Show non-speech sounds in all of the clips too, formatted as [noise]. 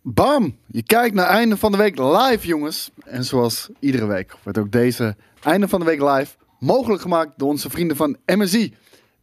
Bam! Je kijkt naar einde van de week live, jongens. En zoals iedere week wordt ook deze einde van de week live mogelijk gemaakt door onze vrienden van MSI.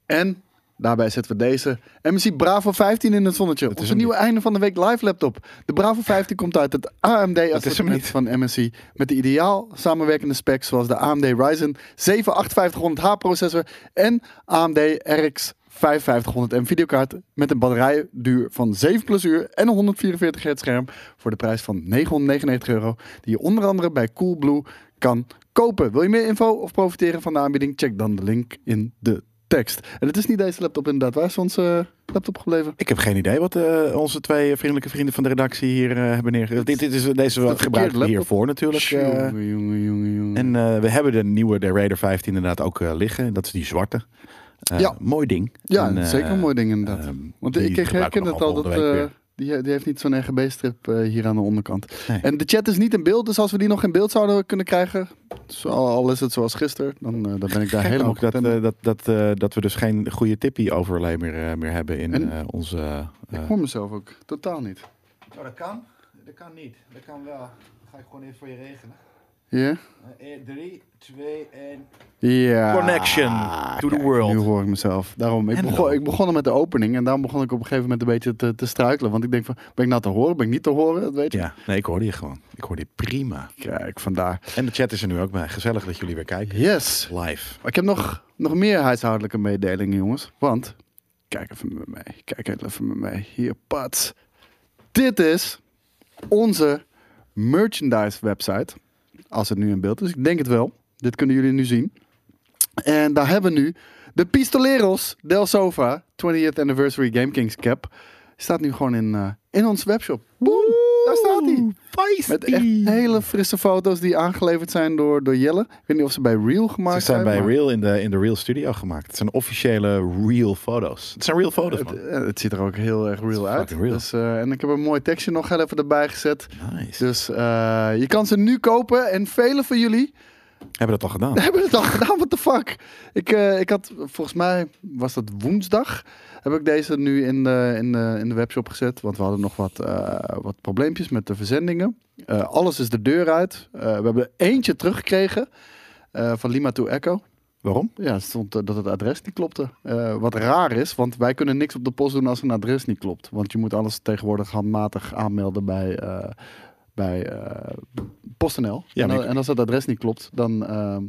En daarbij zetten we deze MSI Bravo 15 in het zonnetje. onze hem nieuwe einde van de week live laptop. De Bravo 15 komt uit het AMD is hem assortiment niet. van MSI. Met de ideaal samenwerkende specs zoals de AMD Ryzen 7 5800H processor en AMD RX 5500M videokaart met een batterijduur van 7 plus uur en een 144 hertz scherm voor de prijs van 999 euro die je onder andere bij Coolblue kan kopen. Wil je meer info of profiteren van de aanbieding? Check dan de link in de tekst. En het is niet deze laptop inderdaad. Waar is onze eh, laptop gebleven? Ik heb geen idee wat eh, onze twee vriendelijke vrienden van de redactie hier eh, hebben neergezet. Dit, dit is, deze verkeerde gebruiken we laptop. hiervoor natuurlijk. eh. Jongen, jongen, jongen, jongen. en eh, we hebben de nieuwe de Raider 15 inderdaad ook eh, liggen. Dat is die zwarte. Eh, Ja. Mooi ding. Ja, En, eh, zeker een mooi ding inderdaad. ehm, Want die ik ik gebruiken herken we het al, dat, nogal volgende week eh, die, die heeft niet zo'n RGB-strip eh, hier aan de onderkant. Nee. En de chat is niet in beeld, dus als we die nog in beeld zouden kunnen krijgen, zo- al is het zoals gisteren, dan, eh, dan ben ik daar Gek helemaal ook dat, content mee. eh, dat, dat, eh, dat we dus geen goede tippie overlay meer, eh, meer hebben in En? Ah, eh, onze... eh, Ik hoor mezelf ook totaal niet. Oh, dat kan. Dat kan niet. Dat kan wel. ga ik gewoon even voor je regelen. Eh, Ja? 3, 2, 1. Ja. Connection to the world. Nu hoor ik mezelf. Daarom, ik Hello. begon, ik begon al met de opening en daarom begon ik op een gegeven moment een beetje te, te struikelen. Want ik denk van, ben ik nou te horen, ben ik niet te horen, dat weet je. Ja, nee, ik hoorde je gewoon. Ik hoorde je prima. Kijk, vandaar. En de chat is er nu ook bij. Gezellig dat jullie weer kijken. Yes. Live. Maar Ik heb nog, nog meer huishoudelijke mededelingen, jongens. Want, kijk even met mij. Kijk even met mij. Hier, pats. Dit is onze merchandise website. Als het nu in beeld is. Ik denk het wel. Dit kunnen jullie nu zien. En daar hebben we nu de Pistoleros del Sofa 20th Anniversary Game Kings Cap. Staat nu gewoon in, eh, in onze webshop. Boom! Daar staat hij. Met echt hele frisse foto's die aangeleverd zijn door, door Jelle. Ik weet niet of ze bij Real Ze gemaakt zijn bij maar- Real in de, in de Real Studio gemaakt. Het zijn officiële Real foto's. Het zijn Real foto's, Het, man. eh, het ziet er ook heel erg real uit. fucking real. Dus, eh, en ik heb een mooi tekstje nog heel even erbij gezet. Nice. Dus eh, je kan ze nu kopen. En velen van jullie [laughs] Hebben dat al gedaan? [laughs] hebben het al gedaan. What the fuck? Ik, eh, ik had, volgens mij was dat woensdag. Heb ik deze nu in de, in de, in de webshop gezet. Want we hadden nog wat, eh, wat probleempjes met de verzendingen. Eh, alles is de deur uit. Eh, we hebben eentje teruggekregen. eh, van Lima to Echo. Waarom? Ja, het stond eh, dat het adres niet klopte. Eh, wat raar is, want wij kunnen niks op de post doen als een adres niet klopt. Want je moet alles tegenwoordig handmatig aanmelden bij, eh, bij eh, PostNL. Ja, en, maar al- en als dat adres niet klopt, dan, ehm,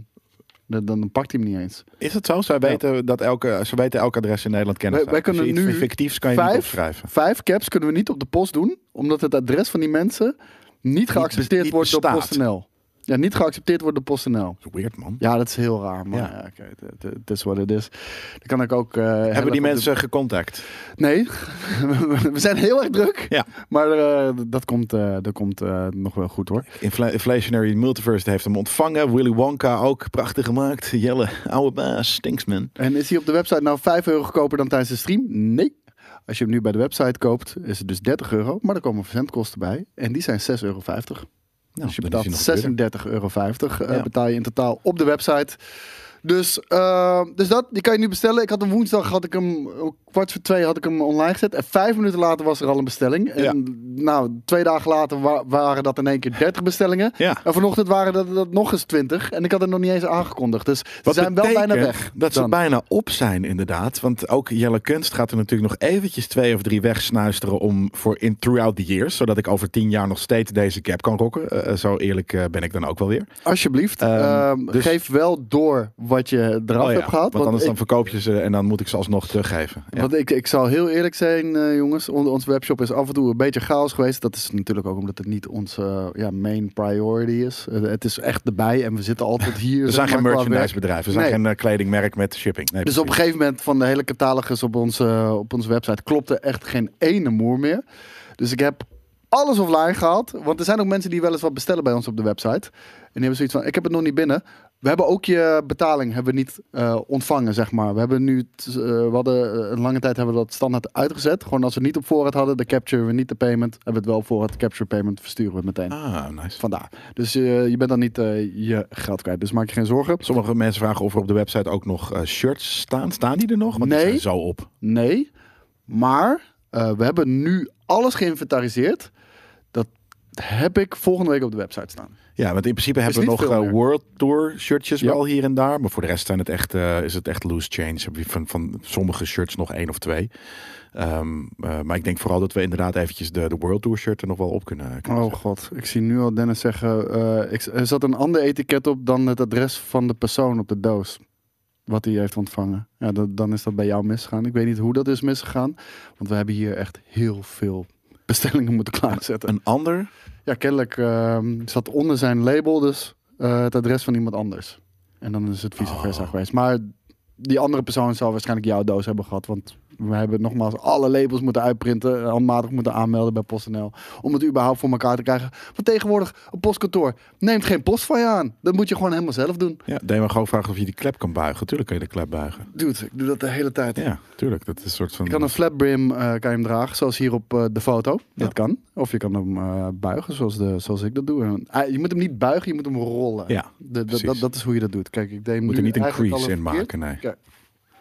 dan, dan pakt hij hem niet eens. Is het zo? Zij weten, dat elke, ze weten elk adres in Nederland kennen. Wij- ze. wij Als je kunnen iets nu fictiefs kan je niet Vijf, opschrijven. vijf caps kunnen we niet op de post doen, omdat het adres van die mensen niet geaccepteerd niet wordt door bestaat. PostNL. Ja, niet geaccepteerd wordt door PostNL. Dat is weird, man. Ja, dat is heel raar, maar Ja. ja. oké, het- het- het is wat het is. Dan kan ik ook... eh, heel Hebben erg die op de- mensen gecontact? Nee, [laughs] we zijn heel erg druk. Ja. Maar eh, dat komt, eh, dat komt eh, nog wel goed hoor. Infla- Inflationary Multiverse heeft hem ontvangen. Willy Wonka ook prachtig gemaakt. Jelle, oude baas, stinks man. En is hij op de website nou 5 euro goedkoper dan tijdens de stream? Nee. Als je hem nu bij de website koopt, is het dus 30 euro. Maar er komen verzendkosten bij. En die zijn 6,50 euro. Nou, dus je dan is hij betaalt nog 36,50 euro eh, Ja. betaal je in totaal op de website. Dus, eh, dus dat, die kan je nu bestellen. Ik had hem woensdag, had ik hem, om kwart voor twee had ik hem online gezet. En vijf minuten later was er al een bestelling. En Ja. nou, twee dagen later wa- waren dat in één keer 30 bestellingen. Ja. En Nou, vanochtend waren dat, dat nog eens 20. En ik had het nog niet eens aangekondigd. Dus ze Wat zijn wel betekent bijna weg. Dat ze dan. bijna op zijn, inderdaad. Want ook Jelle Kunst gaat er natuurlijk nog eventjes twee of drie wegsnuisteren om voor in throughout the years. Zodat ik over tien jaar nog steeds deze cap kan rocken. Eh, eh, zo eerlijk eh, ben ik dan ook wel weer. Alsjeblieft, Ehm, ehm, dus- geef wel door wat je eraf Oh ja, hebt gehaald. want anders ik- dan verkoop je ze en dan moet ik ze alsnog teruggeven. Ja. Want ik, ik zal heel eerlijk zijn, eh, jongens. On, onze webshop is af en toe een beetje chaos geweest. Dat is natuurlijk ook omdat het niet onze eh, ja, main priority is. Eh, het is echt erbij en we zitten [laughs] altijd hier. Er zijn zeg geen maar, qua werk. merchandisebedrijven. Er zijn Nee. geen eh, kledingmerk met shipping. Nee, Dus op een precies. gegeven moment van de hele catalogus op onze, op onze website klopte echt geen ene moer meer. Dus ik heb alles offline gehaald. Want er zijn ook mensen die wel eens wat bestellen bij ons op de website. En die hebben zoiets van, ik heb het nog niet binnen. We hebben ook je betaling hebben we niet eh, ontvangen, zeg maar. We hebben nu, t- eh, we hadden eh, een lange tijd hebben we dat standaard uitgezet. Gewoon als we niet op voorraad hadden, de capture we niet de payment. Hebben we het wel op voorraad, de capture payment versturen we het meteen. Ah, nice. Vandaar. Dus eh, je bent dan niet eh, je geld kwijt. Dus maak je geen zorgen. Sommige mensen vragen of er op de website ook nog eh, shirts staan. Staan die er nog? Want die Nee. zijn zo op. Nee. Maar eh, we hebben nu alles geïnventariseerd. heb ik volgende week op de website staan. Ja, want in principe hebben we niet nog veel eh, meer. World Tour shirtjes Ja. wel hier en daar. Maar voor de rest zijn het echt, eh, is het echt loose change. Heb je Van, van sommige shirts nog één of twee. Ehm, eh, maar ik denk vooral dat we inderdaad eventjes de, de World Tour shirt er nog wel op kunnen, kunnen Oh zetten. god, ik zie nu al Dennis zeggen, eh, ik, er zat een ander etiket op dan het adres van de persoon op de doos. Wat hij heeft ontvangen. Ja, dat- dan is dat bij jou misgegaan. Ik weet niet hoe dat is misgegaan. Want we hebben hier echt heel veel bestellingen moeten klaarzetten. Een ander? Ja, kennelijk ehm, zat onder zijn label dus eh, het adres van iemand anders. En dan is het vice versa Oh. geweest. Maar die andere persoon zal waarschijnlijk jouw doos hebben gehad. Want we hebben nogmaals alle labels moeten uitprinten. eh, Handmatig moeten aanmelden bij PostNL. Om het überhaupt voor elkaar te krijgen. Want tegenwoordig, een postkantoor neemt geen post van je aan. Dat moet je gewoon helemaal zelf doen. Ja, Damon gewoon vragen of je die klep kan buigen. Tuurlijk kan je de klep buigen. Dude, ik doe dat de hele tijd. Ja, tuurlijk. Dat is een soort van... Je kan een flat brim eh, kan je hem dragen, zoals hier op eh, de foto. Dat Ja. kan. Of je kan hem eh, buigen, zoals, de, zoals ik dat doe. En, eh, je moet hem niet buigen, je moet hem rollen. Ja, De- de- precies. dat, dat is hoe je dat doet. Kijk, ik deed hem moet er nu niet een eigenlijk crease al in verkeerd. maken, nee. Kijk,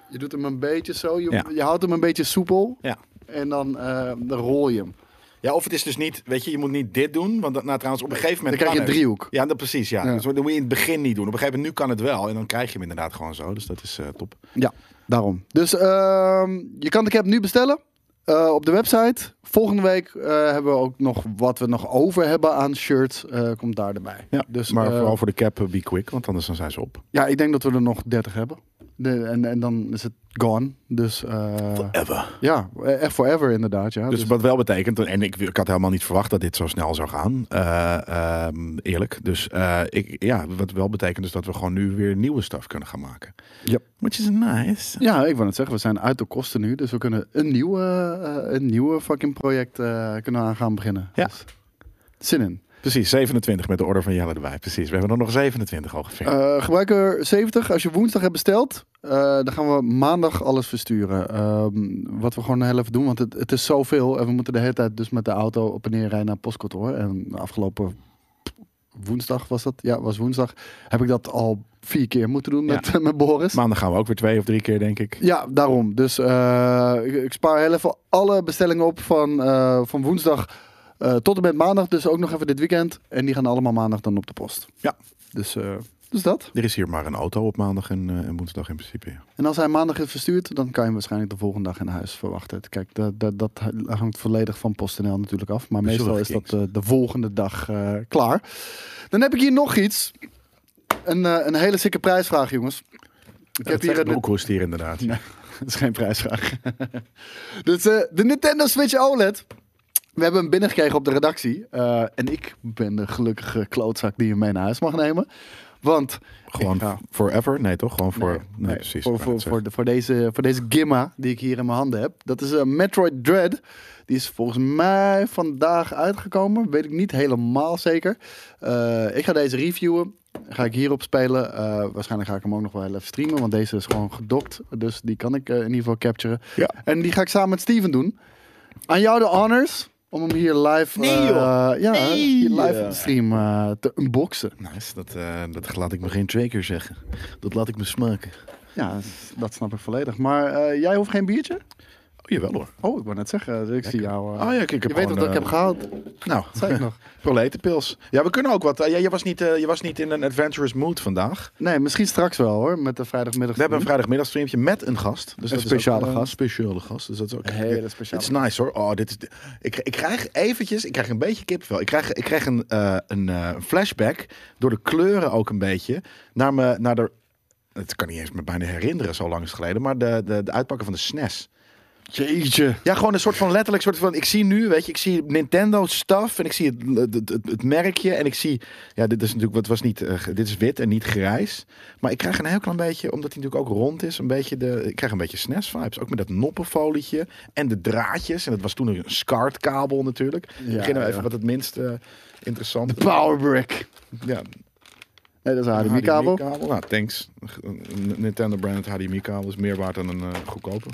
je doet hem een beetje zo, je, Ja. je houdt hem een beetje soepel. Ja. En dan, eh, dan rol je hem. Ja, of het is dus niet, weet je, je moet niet dit doen. Want dat- nou, trouwens, op een gegeven Dan moment. krijg je een kan het. driehoek. Ja, dat, precies. Ja. Ja. Dus dat moet je in het begin niet doen. Op een gegeven moment, nu kan het wel. En dan krijg je hem inderdaad gewoon zo. Dus dat is eh, top. Ja, daarom. Dus ehm, je kan de cap nu bestellen eh, op de website. Volgende week eh, hebben we ook nog wat we nog over hebben aan shirts. eh, komt daar erbij. Ja, dus, maar eh, vooral voor de cap, eh, be quick. Want anders dan zijn ze op. Ja, ik denk dat we er nog 30 hebben. De, en, en dan is het gone. Dus eh, Ever. ja, echt forever inderdaad. Ja. Dus wat wel betekent, en ik, ik had helemaal niet verwacht dat dit zo snel zou gaan. eh, ehm, eerlijk. Dus eh, ik, ja, wat wel betekent is dat we gewoon nu weer nieuwe stuff kunnen gaan maken. Yep. Which is nice. ja, ik wil het zeggen, we zijn uit de kosten nu. Dus we kunnen een nieuwe, eh, een nieuwe fucking project eh, kunnen aan gaan beginnen. Ja. Dus, zin in. Precies, 27 met de order van Jelle erbij. Precies, we hebben er nog 27 al gevinkt. Eh, gebruiker 70, als je woensdag hebt besteld, eh, dan gaan we maandag alles versturen. Ehm, wat we gewoon heel even doen, want het, het is zoveel. En we moeten de hele tijd dus met de auto op en neer rijden naar het postkantoor. En de afgelopen woensdag was dat? Ja, was woensdag. Heb ik dat al vier keer moeten doen met, [laughs] met Boris. Maandag gaan we ook weer twee of drie keer, denk ik. Ja, daarom. Dus eh, ik, ik spaar heel even alle bestellingen op van, eh, van woensdag eh, tot en met maandag. Dus ook nog even dit weekend. En die gaan allemaal maandag dan op de post. Ja. Dus, eh, dus dat. Er is hier maar een auto op maandag en, eh, en woensdag in principe. ja. En als hij maandag is verstuurd, dan kan je hem waarschijnlijk de volgende dag in huis verwachten. Kijk, dat, dat, dat hangt volledig van PostNL natuurlijk af. Maar meestal is dat eh, de volgende dag eh, klaar. Dan heb ik hier nog iets. Een, eh, een hele sikke prijsvraag, jongens. Ik dat heb hier zegt een... Broekhorst hier inderdaad. Nee. [laughs] Dat is geen prijsvraag. [laughs] dus eh, de Nintendo Switch OLED. We hebben hem binnengekregen op de redactie. Eh, en ik ben de gelukkige klootzak die hem mee naar huis mag nemen. Want Gewoon Ik ga- forever? Nee, toch? Gewoon voor... Nee, Nee, precies. Voor, ik wou voor, net voor, de- voor, deze, voor deze gimma die ik hier in mijn handen heb. Dat is een Metroid Dread. Die is volgens mij vandaag uitgekomen. Weet ik niet helemaal zeker. Eh, ik ga deze reviewen. Ga ik hierop spelen. Eh, waarschijnlijk ga ik hem ook nog wel heel even streamen. Want deze is gewoon gedokt. Dus die kan ik eh, in ieder geval capturen. Ja. En die ga ik samen met Steven doen. Aan jou de honors. Om hem hier live, Nee, joh. eh, ja, Nee. hier live op de stream eh, te unboxen. zeggen. Nice, dat, eh, dat laat ik me geen twee keer zeggen. Dat laat ik me smaken. Ja, dat snap ik volledig. Maar eh, jij hoeft geen biertje? Oh, jawel hoor. Oh, ik wou net zeggen, ik zie jou. eh, Ah, ja, kijk, ik heb je weet toch dat gewoon, ik eh, heb gehaald? Nou, Zei ik nog. proletenpils. Ja, we kunnen ook wat. Eh, ja, je, was niet, eh, je was niet in een adventurous mood [laughs] vandaag. Nee, misschien straks wel hoor, met de vrijdagmiddag. We hebben een vrijdagmiddagstreampje met een gast. Dus Hm? Een dat is speciale ook, eh, gast. speciale gast. Dus dat is ook Een hele speciale Het is nice hoor. Oh, dit is, ik, ik krijg eventjes, ik krijg een beetje kipvel. Ik krijg, ik krijg een, eh, een eh, flashback door de kleuren ook een beetje naar me, naar de. Het kan niet eens me bijna herinneren, zo lang is het geleden. Maar de, de, de uitpakken van de E SNES. Jeetje. Ja, gewoon een soort van letterlijk soort van. Ik zie nu, weet je, ik zie Nintendo stuff en ik zie het, het, het, het merkje en ik zie. Ja, dit is natuurlijk wat was niet. eh, ge- dit is wit en niet grijs. Maar ik krijg een heel klein beetje, omdat hij natuurlijk ook rond is, een beetje de. Ik krijg een beetje SNES vibes, ook met dat noppenfolietje en de draadjes. En dat was toen een SCART kabel natuurlijk. Ja, Beginnen we even ja. met het minst eh, interessante. Powerbrick. Ja, Nee, dat is een HDMI-kabel. HDMI-kabel. Nou, thanks. Een Nintendo brand HDMI-kabel is meer waard dan een eh, goedkope.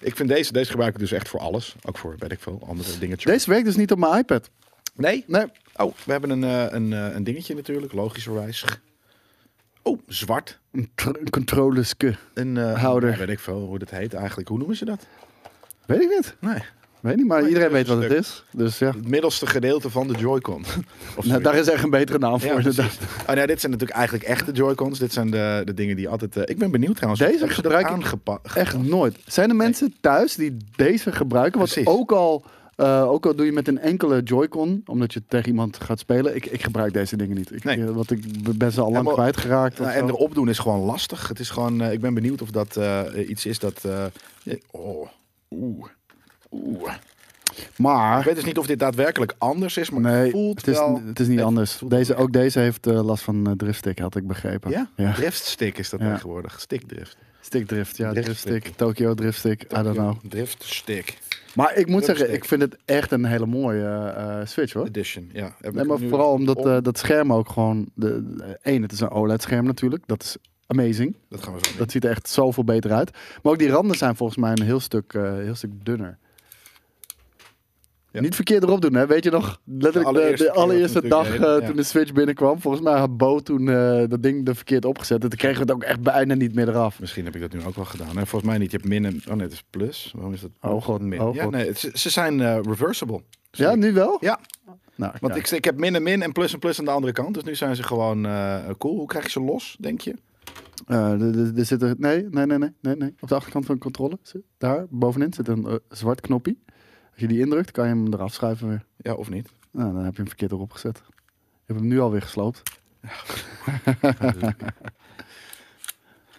Ik vind deze, deze gebruik ik dus echt voor alles. Ook voor, weet ik veel, andere dingetjes. Deze werkt dus niet op mijn iPad. Nee? Nee. Oh, we hebben een, eh, een, eh, een dingetje natuurlijk, logischerwijs. Oh, zwart. Een, tr- een controleske. Een eh, Houder. ja, Weet ik veel hoe dat heet eigenlijk. Hoe noemen ze dat? Weet ik niet. Nee. Weet niet, maar iedereen weet wat tussenstuk. het Oh, is. Dus ja, Het middelste gedeelte van de Joy-Con. [laughs] Of nou, daar is echt een betere naam voor. Ja, inderdaad. Oh, nee, dit zijn natuurlijk eigenlijk echte Joy-Cons. Dit zijn de, de dingen die altijd... eh, ik ben benieuwd trouwens. Deze Hebben ze gebruik dat ik aangepakt. Echt nooit. Zijn er mensen thuis die deze gebruiken? Want Precies. ook al, eh, ook al doe je met een enkele Joy-Con, omdat je tegen iemand gaat spelen, ik, ik gebruik deze dingen niet. Ik, Nee. eh, want ik ben ze al lang maar- kwijtgeraakt. of Nou, en zo. erop doen is gewoon lastig. Het is gewoon... eh, ik ben benieuwd of dat eh, iets is dat... eh, eh, oh. Oeh. Oeh. Ik Maar weet dus niet of dit daadwerkelijk anders is, maar het nee, voelt het is, wel... het is niet het anders. voelt Deze, ook deze heeft eh, last van eh, driftstick, had ik begrepen. Ja? ja. Driftstick is dat Ja. tegenwoordig. Stickdrift. Stickdrift, ja, Driftstick. driftstick. Tokyo driftstick, I don't know. Driftstick Maar ik moet zeggen, Driftstick. ik vind het echt een hele mooie eh, eh, Switch hoor. edition. Ja, heb Nee, ik maar nu Oh, vooral omdat op. eh, dat scherm ook gewoon... De, de- één, het is een OLED-scherm natuurlijk. Dat is amazing. Dat gaan we zo doen. Dat ziet er echt zoveel beter uit. Maar ook die randen zijn volgens mij een heel stuk, eh, heel stuk dunner. Ja. Niet verkeerd erop doen, hè? Weet je nog? Letterlijk de allereerste de keer dat allereerste, we dag natuurlijk eh, deden, ja. toen de Switch binnenkwam. Volgens mij had Bo toen eh, dat ding er verkeerd opgezet. En toen kregen we het ook echt bijna niet meer eraf. Misschien heb ik dat nu ook wel gedaan. Nee, volgens mij niet. Je hebt min en... Oh nee, het is plus. Waarom is dat? Oh god, min. oh ja, god. nee, het- ze, ze zijn eh, reversible. Ja, nu wel? Ja, Nou, want kijk. ik, ik heb min en min en plus en plus aan de andere kant. Dus nu zijn ze gewoon eh, cool. Hoe krijg je ze los, denk je? Eh, er- er- er zit er, nee, nee, nee, nee, nee, nee. Op de achterkant van de controle, zit- daar bovenin, zit een eh, zwart knoppie. Als je die indrukt, kan je hem eraf schuiven weer. Ja, of niet? Nou, dan heb je hem verkeerd erop gezet. Je hebt hem nu alweer gesloopt.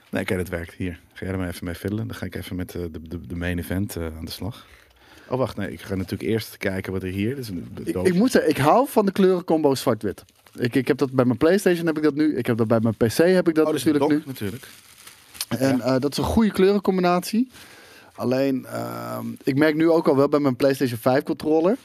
Nee, kijk, dat werkt. Hier, ga jij er maar even mee fiddelen. Dan ga ik even met eh, de, de, de main event eh, aan de slag. Oh, wacht. Nee, ik ga natuurlijk eerst kijken wat er hier... Dit is een Ik, doos. ik moet zeggen, ik hou van de kleurencombo zwart-wit. Ik, ik heb dat bij mijn Playstation heb ik dat nu. Ik heb dat bij mijn PC heb ik dat Oh, dus een natuurlijk nu. dok, natuurlijk. En eh, dat is een goede kleurencombinatie. Alleen, ehm, ik merk nu ook al wel bij mijn PlayStation 5 controller.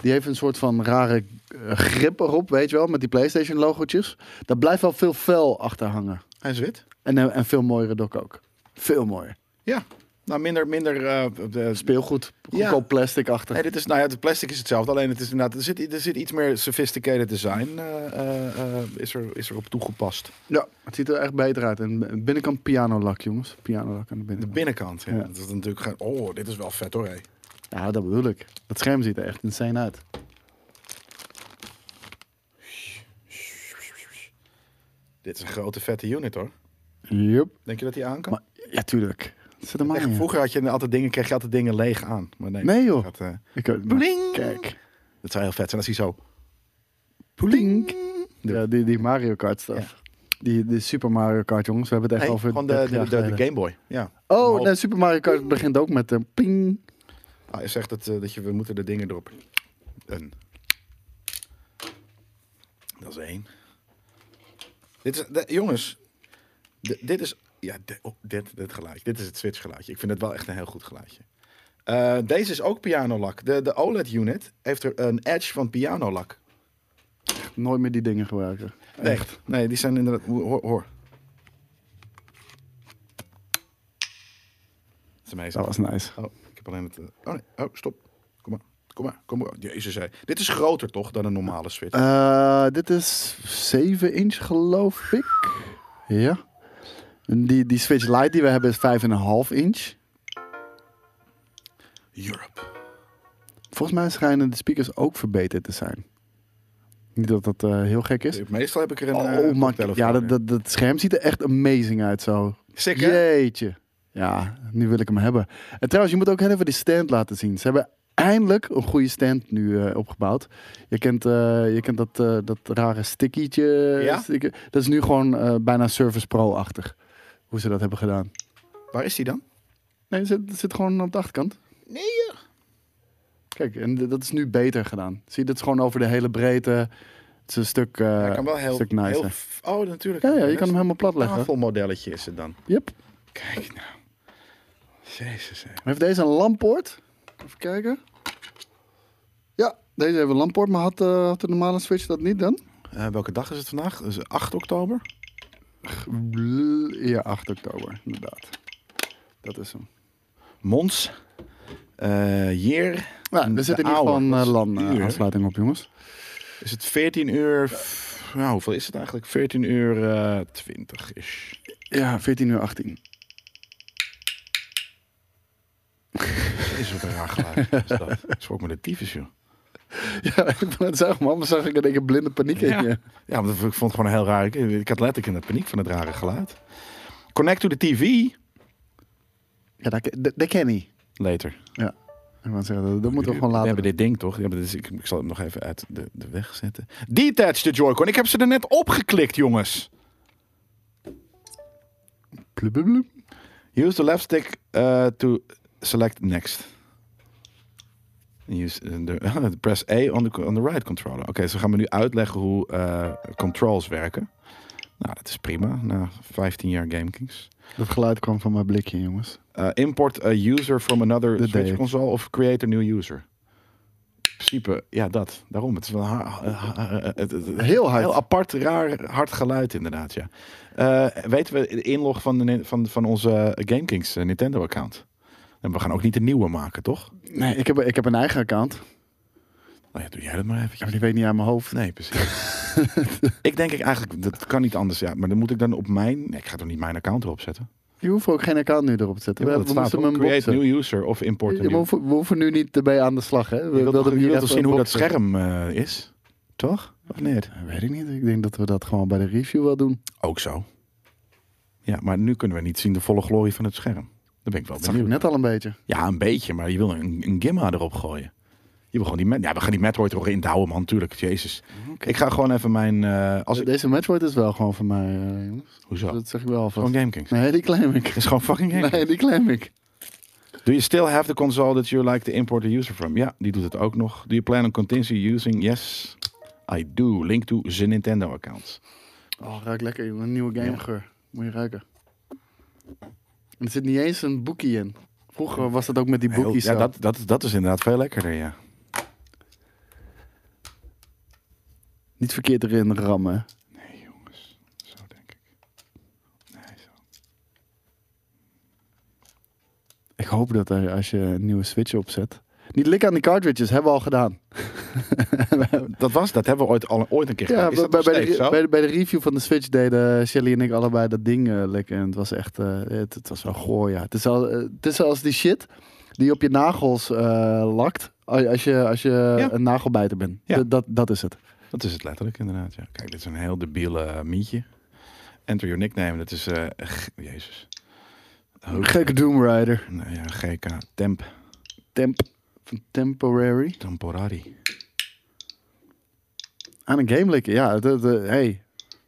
Die heeft een soort van rare eh, grip erop, weet je wel, met die PlayStation logotjes. Daar blijft wel veel fel achter hangen. Hij is wit. En, eh, en veel mooiere dock ook. Veel mooier. Ja. Nou, minder... minder eh, de- Speelgoed, Ja. goedkoop plastic achter. Nee, dit is, nou ja, het plastic is hetzelfde, alleen het is inderdaad, er zit, er zit iets meer sophisticated design eh, eh, eh, is, er, is er op toegepast. Ja, het ziet er echt beter uit. En binnenkant pianolak, jongens. Pianolak aan de De binnenkant. binnenkant, ja. Ja. Dat is natuurlijk gewoon, oh, dit is wel vet hoor, hé. ja, dat bedoel ik. Dat scherm ziet er echt insane uit. Dit is een grote vette unit hoor. Yup. Denk je dat die aan kan? Maar, ja, tuurlijk. Het zit er maar Echt, in. vroeger had je altijd dingen, kreeg je altijd dingen leeg aan. Maar nee, Nee, joh. Dat, eh, Ik, nou, Bling. Kijk. dat zou heel vet zijn als hij zo... Plink. De- Ja, die, die Mario Kart stuff. Die, die Super Mario Kart, jongens. We hebben het Nee, echt over gewoon de, 30 de, jaar de, de geleden. Game Boy. Ja. Oh, Omhoog. nee, Super Mario Kart begint ook met een ping. Ah, hij zegt dat, eh, dat je, we moeten de dingen erop... Een. Dat is één. Dit is, de- jongens, de- dit is... Ja, de- oh, dit, dit geluidje. Dit is het Switch geluidje. Ik vind het wel echt een heel goed geluidje. Eh, deze is ook pianolak. De, de OLED-unit heeft er een edge van pianolak. Nooit meer die dingen gebruiken. Nee, nee, die zijn inderdaad... Hoor, hoor. Dat is amazing. Dat was nice. Oh, ik heb alleen het. eh, Oh nee, oh stop. Kom maar, kom maar, kom maar. Jezus, hé. Dit is groter toch dan een normale Switch? Eh, dit is 7 inch, geloof ik. Ja. En Die, die Switch Lite die we hebben is 5,5 inch. Eh. Europe. Volgens mij schijnen de speakers ook verbeterd te zijn. Niet dat dat eh, heel gek is. Meestal heb ik er een. Oh, eh, oh man. koptelefoon Ja, in. dat, dat, dat scherm ziet er echt amazing uit zo. Sick, hè? Jeetje. Ja, nu wil ik hem hebben. En trouwens, je moet ook heel even die stand laten zien. Ze hebben eindelijk een goede stand nu eh, opgebouwd. Je kent, eh, je kent dat, eh, dat rare stickietje. Ja? sticker. Dat is nu gewoon eh, bijna Service Pro-achtig. Hoe ze dat hebben gedaan. Waar is die dan? Nee, het zit, het zit gewoon op de achterkant. Nee. ja. Eh, Kijk, en d- dat is nu beter gedaan. Zie je, dat is gewoon over de hele breedte. Het is een stuk, eh, Hij kan wel heel. stuk heel nicer. f- oh, natuurlijk. Ja, ja, je kan hem helemaal plat leggen. tafelmodelletje is het dan. Yep. Kijk nou. Jezus, hé. Heeft deze een lamppoort? Even kijken. Ja, deze heeft een lamppoort, maar had, eh, had de normale Switch dat niet dan? Eh, welke dag is het vandaag? Dat is 8 oktober. Ja, 8 oktober, inderdaad. Dat is hem. Mons. Eh hier Nou, De er zit in ieder oude, geval een dat eh, is LAN eh, duur. aansluiting op, jongens. is het 14 uur. f- Nou, hoeveel is het eigenlijk? 14 uur eh, 20 is. Ja, 14 uur 18. Is wat een raar geluid. is [laughs] dat? Schrok me de tyfus, joh. [laughs] Ja, ik ben het zeggen, man. Dan zag ik in één keer blinde paniek in je. Ja, want ik vond het gewoon een heel raar. Ik, ik had letterlijk in de paniek van het rare geluid. Connect to the TV. Ja, dat, dat, dat ken ik. Later. Ja. Ik wou zeggen, dat, dat moeten we gewoon laten. We hebben dit ding toch? Ja, maar dit is, ik, ik zal hem nog even uit de, de weg zetten. Detach de Joy-Con. Ik heb ze er net opgeklikt, jongens. Blub, blub, blub. Use the left stick uh, to select next. Use uh, the, [laughs] press A on the, on the right controller. Oké, ze gaan me nu uitleggen hoe eh, controls werken. Nou, dat is prima. Na 15 jaar GameKings. Dat geluid kwam van mijn blikje, jongens. Eh, import a user from another Dat deed Switch ik. console of create a new user. In principe, ja, dat. Daarom. Het is wel ha- ha- ha- het- het- het- Heel hard. Heel apart, raar, hard geluid inderdaad, ja. Eh, weten we de inlog van, de, nin- van, van onze GameKings eh, Nintendo-account? En we gaan ook niet een nieuwe maken, toch? Nee, ik heb, ik heb een eigen account. Ja, Nou ja, doe jij dat maar eventjes. maar die weet niet aan mijn hoofd. [laughs] Nee, precies. ik denk ik eigenlijk, dat kan niet anders. Ja, maar dan moet ik dan op mijn... Nee, ik ga toch niet mijn account erop zetten? Je hoeft ook geen account nu erop te zetten. Jawel, we dat we staat moesten op. hem Create boksen. new user of import Ja, a maar new we, hoeven, we hoeven nu niet erbij aan de slag, hè? We Je wilt, wilden toch, je hier wilt even toch zien hoe dat boksen. scherm eh, is? Toch? Of niet? Weet ik niet. Ik denk dat we dat gewoon bij de review wel doen. Ook zo. Ja, maar nu kunnen we niet zien de volle glorie van het scherm. Daar ben ik wel Dat zag ik benieuwd. net al een beetje. Ja, een beetje, maar je wil een, een gimma erop gooien. Je wil gewoon die met, ja, we gaan die Metroid er ook in houden, man. Tuurlijk, jezus. Ik ga gewoon even mijn... eh, als ik, Deze matchboard is wel gewoon van mij, eh, jongens. hoezo? Dat zeg ik wel alvast. Gewoon GameKings. Nee, [laughs] die claim ik. Het is gewoon fucking GameKings. Nee, die claim ik. Do you still have the console that you like to import the user from? Ja, die doet het ook nog. Do you plan on continue using? Yes, I do. Link to the Nintendo account. Oh, ruikt lekker, jongen. Een nieuwe Ja. gamegeur. Moet je ruiken. En er zit niet eens een boekie in. Vroeger was dat ook met die Heel- boekies. ja, zo. dat, dat, dat is inderdaad veel lekkerder, ja. Niet verkeerd erin rammen. hè. Nee, jongens. Zo denk ik. Nee, zo. Ik hoop dat er, als je een nieuwe Switch opzet. Niet likken aan die cartridges, hebben we al gedaan. Dat was, dat hebben we ooit, al, ooit een keer gedaan. Ja, Is bij, dat nog bij de, steeds zo? bij, de, bij de review van de Switch deden Shelly en ik allebei dat ding eh, likken. En het was echt, eh, het, het was wel goor, ja. Het is, al, eh, het is als die shit die op je nagels eh, lakt. Als als je, als je een nagelbijter bent. Ja. Dat- Dat, dat is het. Dat is het letterlijk, inderdaad. Ja. Kijk, dit is een heel debiele eh, mietje. Enter your nickname, dat is... eh, g- Jezus. Hoog- Gekke Doom Rider. Nou ja, GK. Temp. Temp, van temporary. Temporari. Aan een game likken, ja. Dat, eh, hey.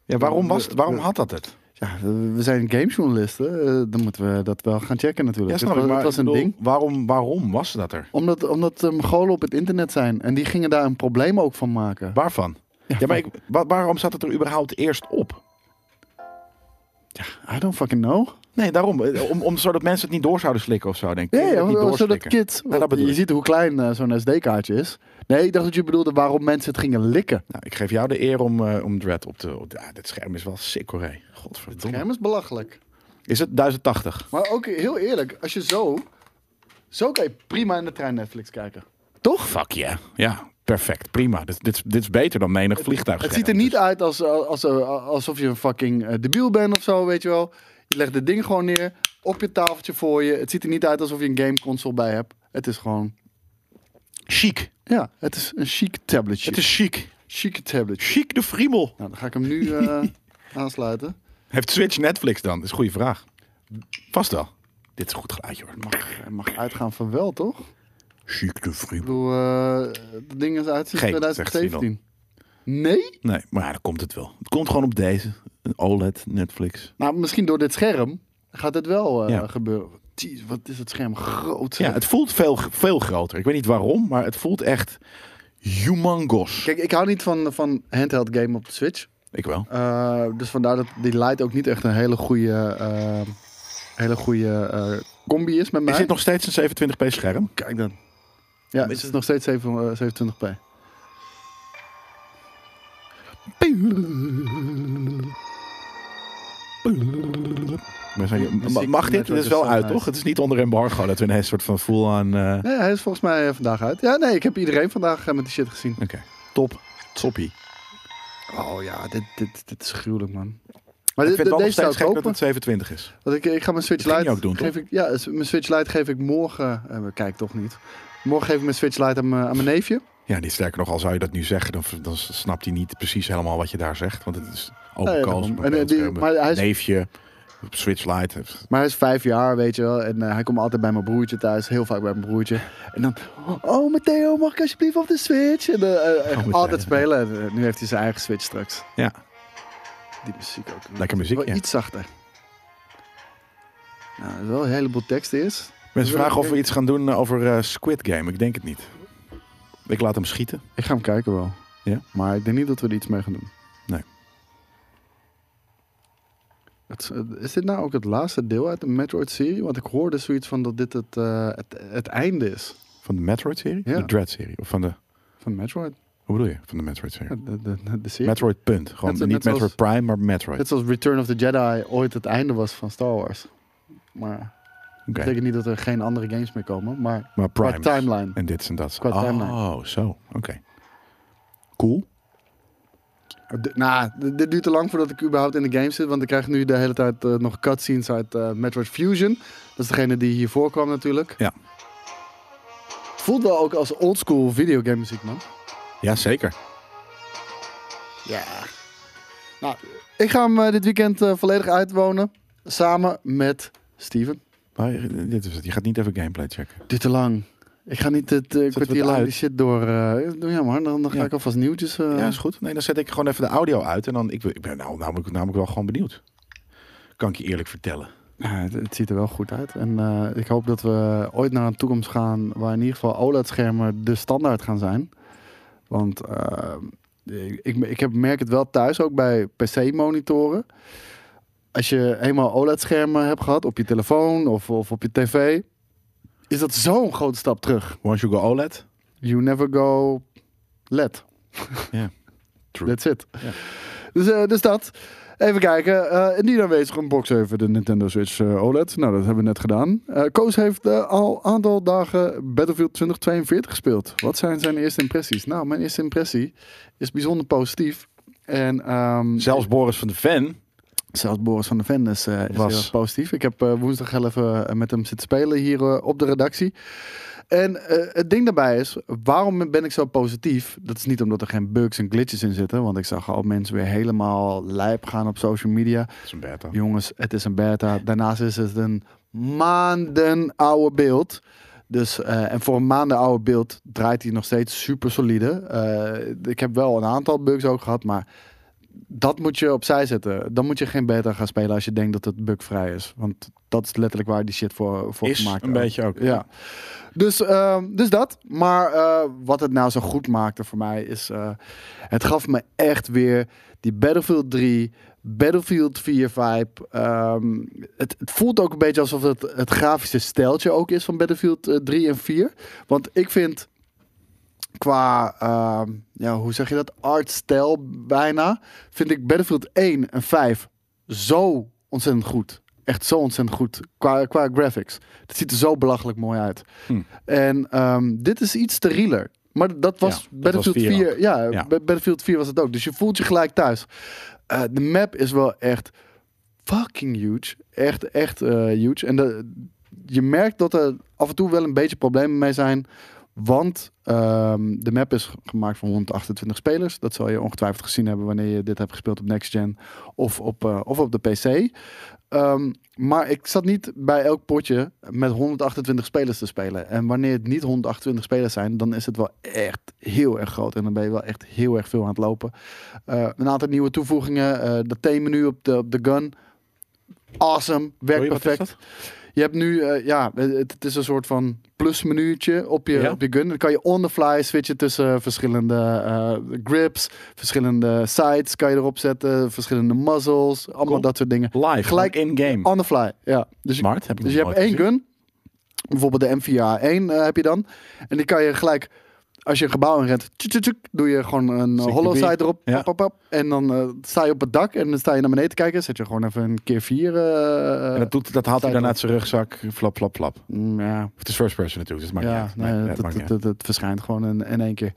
Ja, waarom, was, het- waarom had dat het? ja. We zijn gamejournalisten. eh, dan moeten we dat wel gaan checken natuurlijk. Ja, Het snap ik, was- maar het was ik een bedoel, ding. Waarom, waarom was dat er? Omdat, omdat de Mongolen op het internet zijn. En die gingen daar een probleem ook van maken. Waarvan? Ja, maar ik, wa- waarom zat het er überhaupt eerst op? I don't fucking know. Nee, daarom. eh, Om, om, zodat mensen het niet door zouden slikken of zo, denk Ja, ik. ja, Kinderen het niet zodat doorslikken. kids... Ja, dat bedoel je ik. ziet hoe klein eh, zo'n SD-kaartje is. Nee, ik dacht dat je bedoelde waarom mensen het gingen likken. Nou, ik geef jou de eer om, eh, om Dread op te... Op, ja, dit scherm is wel sick hoor, hé. Godverdomme. is belachelijk. Is het 1080? Maar ook heel eerlijk, als je zo... Zo kan je prima in de trein Netflix kijken. Toch? Fuck yeah. Ja, perfect. Prima. Dit, dit, is- dit is beter dan menig vliegtuig. Het ziet er dus- niet uit als, eh, als, als- alsof je een fucking eh, debiel bent of zo, weet je wel. Je legt het ding gewoon neer op je tafeltje voor je. Het ziet er niet uit alsof je een gameconsole bij hebt. Het is gewoon... dus Chic. Ja, het is een chic tabletje. Het is chic. chique tablet. Chic de friemel. Nou, dan ga ik hem nu [laughs] eh, aansluiten. Heeft Switch Netflix dan? Dat is een goede vraag. Vast wel. Dit is een goed geluidje hoor. Mag, hij mag uitgaan van wel, toch? Ik Chic de friemel. bedoel, eh dat ding is uit sinds Geen, zegt hij 2017. Nee? Nee, maar ja, dan komt het wel. Het komt gewoon op deze. Een OLED Netflix. Nou, misschien door dit scherm gaat het wel eh, Ja. gebeuren. Jeez, wat is het scherm groot. zeg. Ja, het voelt veel, veel groter. Ik weet niet waarom, maar het voelt echt humongous. Kijk, ik hou niet van, van handheld game op de Switch. Ik wel. Eh, dus vandaar dat die Lite ook niet echt een hele goede, eh, hele goede eh, combi is met mij. Is dit nog steeds een 720p scherm? Kijk dan. Ja, het is nog steeds 7, eh, 27p. Maar zijn- Muziek ma- mag Network dit? Dit is is wel zo uit, nice. toch? Het is niet onder embargo dat we een soort van full-on... eh, Nee, hij is volgens mij eh, vandaag uit. Ja, nee, ik heb iedereen vandaag eh, met die shit gezien. Oké. Top. Toppie. Oh ja, dit, dit, dit is gruwelijk, man. Maar ik dit- vind het wel deze nog zou steeds ik gek dat kopen. het 27 is. Want ik, ik ga mijn Switch Dat ging Lite je ook doen, toch? geef ik, ja, s- mijn Switch Lite geef ik morgen. eh, kijk toch niet. Morgen geef ik mijn Switch Lite aan, mijn- aan mijn neefje. Ja, die sterker nog, al zou je dat nu zeggen, dan, dan snapt hij niet precies helemaal wat je daar zegt. Want het is Ja, open ja, kans. daarom. maar En, eh, die- beeldschermen, maar hij is- Neefje, Switch Lite. Maar hij is vijf jaar, weet je wel. En eh, hij komt altijd bij mijn broertje thuis. Heel vaak bij mijn broertje. En dan... Oh, Matteo, mag ik alsjeblieft op de Switch? En, eh, eh, Oh, Matteo. altijd spelen. En, eh, nu heeft hij zijn eigen Switch straks. Ja, Die muziek ook. lekker muziek. Wel ja. iets zachter. Nou, dat is wel een heleboel tekst is. Mensen vragen of we iets gaan doen over eh, Squid Game. Ik denk het niet. Ik laat hem schieten. Ik ga hem kijken wel. Ja? Maar ik denk niet dat we er iets mee gaan doen. Nee. Het, is dit nou ook het laatste deel uit de Metroid-serie? Want ik hoorde zoiets van dat dit het, eh, het, het einde is Van de Metroid-serie? Ja. De Dread-serie? Of van de... van Metroid. Hoe bedoel je? Van de Metroid-serie? Ja, De, de, de, de serie. Metroid punt. Gewoon Net zo- niet net zoals- Metroid Prime, maar Metroid. Net zoals Return of the Jedi ooit het einde was van Star Wars. Maar dat Oké. betekent niet dat er geen andere games meer komen. Maar Maar qua Prime. timeline. En dit en dat. Qua oh, timeline. zo. Oké. Cool. De- nou, d- dit duurt te lang voordat ik überhaupt in de game zit. Want ik krijg nu de hele tijd eh, nog cutscenes uit eh, Metroid Fusion. Dat is degene die hiervoor kwam natuurlijk. Ja. Het voelt wel ook als oldschool videogame muziek, man. Ja, zeker. Ja. Nou, ik ga hem eh, dit weekend eh, volledig uitwonen. Samen met Steven. Maar eh, dit is het. Je gaat niet even gameplay checken. Duurt te lang. Ik ga niet het eh, het kwartier lang uit? die shit door... eh, doe ja, maar dan, dan ga Ja. ik alvast nieuwtjes... eh, Ja, is goed. Nee, dan zet ik gewoon even de audio uit. En dan... Ik, ben- ik ben nou, namelijk, namelijk wel gewoon benieuwd. Kan ik je eerlijk vertellen. Ja, Nou, het, het ziet er wel goed uit. En eh, ik hoop dat we ooit naar een toekomst gaan waar in ieder geval OLED-schermen de standaard gaan zijn. Want eh, ik, ik, ik heb, merk het wel thuis ook bij PC-monitoren. Als je eenmaal OLED-schermen hebt gehad op je telefoon of, of op je tv, is dat zo'n grote stap terug. Once you go E OLED. You never go LED. Ja. True. That's it. Ja. Dus, eh, dus dat. Even kijken. Eh niet aanwezig een box even de Nintendo Switch eh, OLED. Nou, dat hebben we net gedaan. Eh, Koos heeft eh, al een aantal dagen Battlefield 2042 gespeeld. Wat zijn zijn eerste impressies? Nou, mijn eerste impressie is bijzonder positief. En ehm, Zelfs Boris van de Ven. zelfs Boris van de Ven is, eh, is Was. heel erg positief. Ik heb eh, woensdag heel even eh, met hem zitten spelen hier eh, op de redactie. En eh, het ding daarbij is, waarom ben ik zo positief? Dat is niet omdat er geen bugs en glitches in zitten. Want ik zag al mensen weer helemaal lijp gaan op social media. Dat is een beta. Jongens, het is een beta. Daarnaast is het een maanden oude beeld. Dus, eh, en voor een maanden oude beeld draait hij nog steeds super solide. Eh, ik heb wel een aantal bugs ook gehad, maar dat moet je opzij zetten. Dan moet je geen beta gaan spelen als je denkt dat het bugvrij is. Want dat is letterlijk waar die shit voor, voor Is gemaakt een beetje ook. ja. Dus, ehm, dus dat. Maar eh, wat het nou zo goed maakte voor mij is... eh, het gaf me echt weer die Battlefield 3, Battlefield 4 vibe. Ehm, het, het voelt ook een beetje alsof het het grafische stijltje ook is van Battlefield eh, 3 en 4. Want ik vind qua, ehm, ja, hoe zeg je dat, artstijl bijna... vind ik Battlefield 1 en 5 zo ontzettend goed. Echt zo ontzettend goed qua, qua graphics. Het ziet er zo belachelijk mooi uit. Hm. En ehm, dit is iets sterieler. Maar dat was Ja, dat Battlefield was 4. vier ja, Ja. Ba- Battlefield 4 was het ook. Dus je voelt je gelijk thuis. Eh, de map is wel echt fucking huge. Echt, echt eh, huge. En de, je merkt dat er af en toe wel een beetje problemen mee zijn. Want ehm, de map is gemaakt van 128 spelers. Dat zal je ongetwijfeld gezien hebben wanneer je dit hebt gespeeld op Next Gen of op, eh, of op de PC. Ehm, maar ik zat niet bij elk potje met 128 spelers te spelen. En wanneer het niet 128 spelers zijn, dan is het wel echt heel erg groot. En dan ben je wel echt heel erg veel aan het lopen. Eh, een aantal nieuwe toevoegingen. eh dat theemenu op de, op de gun. Awesome. Werkt Sorry, wat is perfect. dat? Je hebt nu, eh, ja, het, het is een soort van plusmenuutje op je, Ja. op je gun. Dan kan je on the fly switchen tussen verschillende eh, grips, verschillende sights kan je erop zetten, verschillende muzzles, allemaal Cool. dat soort dingen. Live. Gelijk- Gelijk in-game. On the fly, ja. Dus, je- Smart. Heb ik dus nog je hebt nooit één gezien. gun, bijvoorbeeld de M4A1 eh, heb je dan, en die kan je gelijk Als je een gebouw inrent, tjuk, tjuk, tjuk, doe je gewoon een eh, Stukje hollow side bier. erop. Ja. pap, pap, pap. en dan eh, sta je op het dak en dan sta je naar beneden te kijken. Zet je gewoon even een keer vier. eh, En dat, doet, dat haalt hij dan title. uit zijn rugzak. Flap, flap, flap. Of mm, ja, het is first person natuurlijk, dus het maakt ja, niet uit. nee, Nee, nee, dat, het maakt dat, dat, niet dat verschijnt gewoon in, in één keer.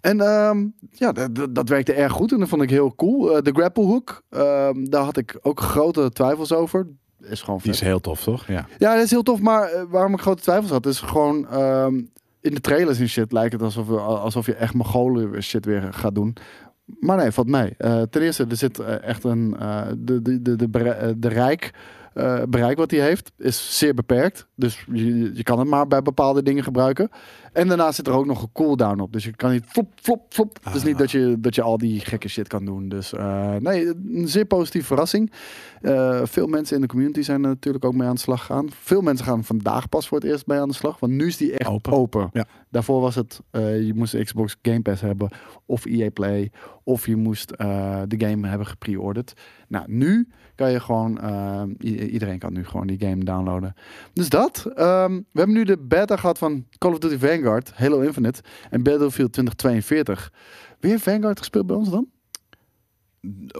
En ehm, ja, dat, dat- dat werkte erg goed en dat vond ik heel cool. Eh, de grapplehook, ehm, daar had ik ook grote twijfels over. Is gewoon uit. Die is heel tof, toch? Ja. Ja, dat is heel tof, maar eh, waarom ik grote twijfels had, is gewoon ehm, in de trailers en shit lijkt het alsof, we- alsof je echt Mongolen shit weer gaat doen. Maar nee, valt mee. Eh, ten eerste, er zit eh, echt een. eh, de, de, de, de, bere- eh, de rijk, eh, bereik wat hij heeft is zeer beperkt. Dus je, je kan het maar bij bepaalde dingen gebruiken. En daarnaast zit er ook nog een cooldown op. Dus je kan niet flop, flop, flop. Het is niet dat je, dat je al die gekke shit kan doen. Dus eh, nee, een zeer positieve verrassing. Eh, veel mensen in de community zijn er natuurlijk ook mee aan de slag gegaan. Veel mensen gaan vandaag pas voor het eerst mee aan de slag. Want nu is die echt Open. open. Ja. Daarvoor was het, eh, je moest de Xbox Game Pass hebben. Of EA Play. Of je moest eh, de game hebben gepreorderd. Nou, nu kan je gewoon... eh, i- iedereen kan nu gewoon die game downloaden. Dus dat. Ehm, we hebben nu de beta gehad van Call of Duty Vanguard, Halo Infinite en Battlefield 2042. Weer Vanguard gespeeld bij ons dan?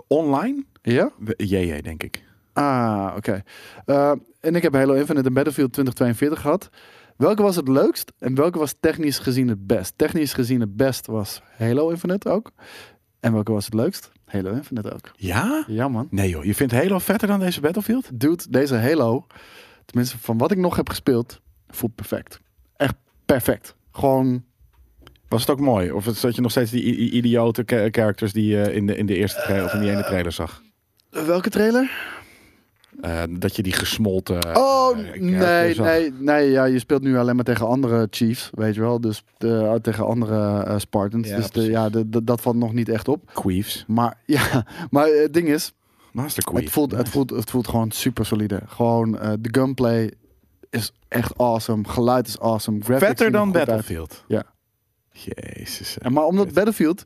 Online? Ja? We- JJ, denk ik. Ah, oké. Eh, en ik heb Halo Infinite en Battlefield 2042 gehad. Welke was het leukst en welke was technisch gezien het best? Technisch gezien het best was Halo Infinite ook. En welke was het leukst? Halo Infinite ook. Ja? Ja, man. Nee joh, je vindt Halo vetter dan deze Battlefield? Dude, deze Halo, tenminste van wat ik nog heb gespeeld, voelt perfect. Echt perfect. Gewoon Was het ook mooi? Of zat je nog steeds die i- i- idiote ca- characters die je in de, in de eerste trailer, of in die ene trailer zag? Welke trailer? Eh, dat je die gesmolten... eh, Oh, characters nee, zag. nee, nee. Ja, je speelt nu alleen maar tegen andere Chiefs, weet je wel. Dus eh, tegen andere eh, Spartans. Ja, dus de, precies. ja, de- de- dat valt nog niet echt op. Queefs. Maar [laughs] ja, maar eh, het ding is, Master Queef. het voelt, het, Nice. voelt, het voelt gewoon super solide. Gewoon eh, de gunplay is echt awesome. Geluid is awesome. Graphics zien vetter er dan goed uit. Battlefield. Ja. Jezus. eh. En maar omdat Vet. Battlefield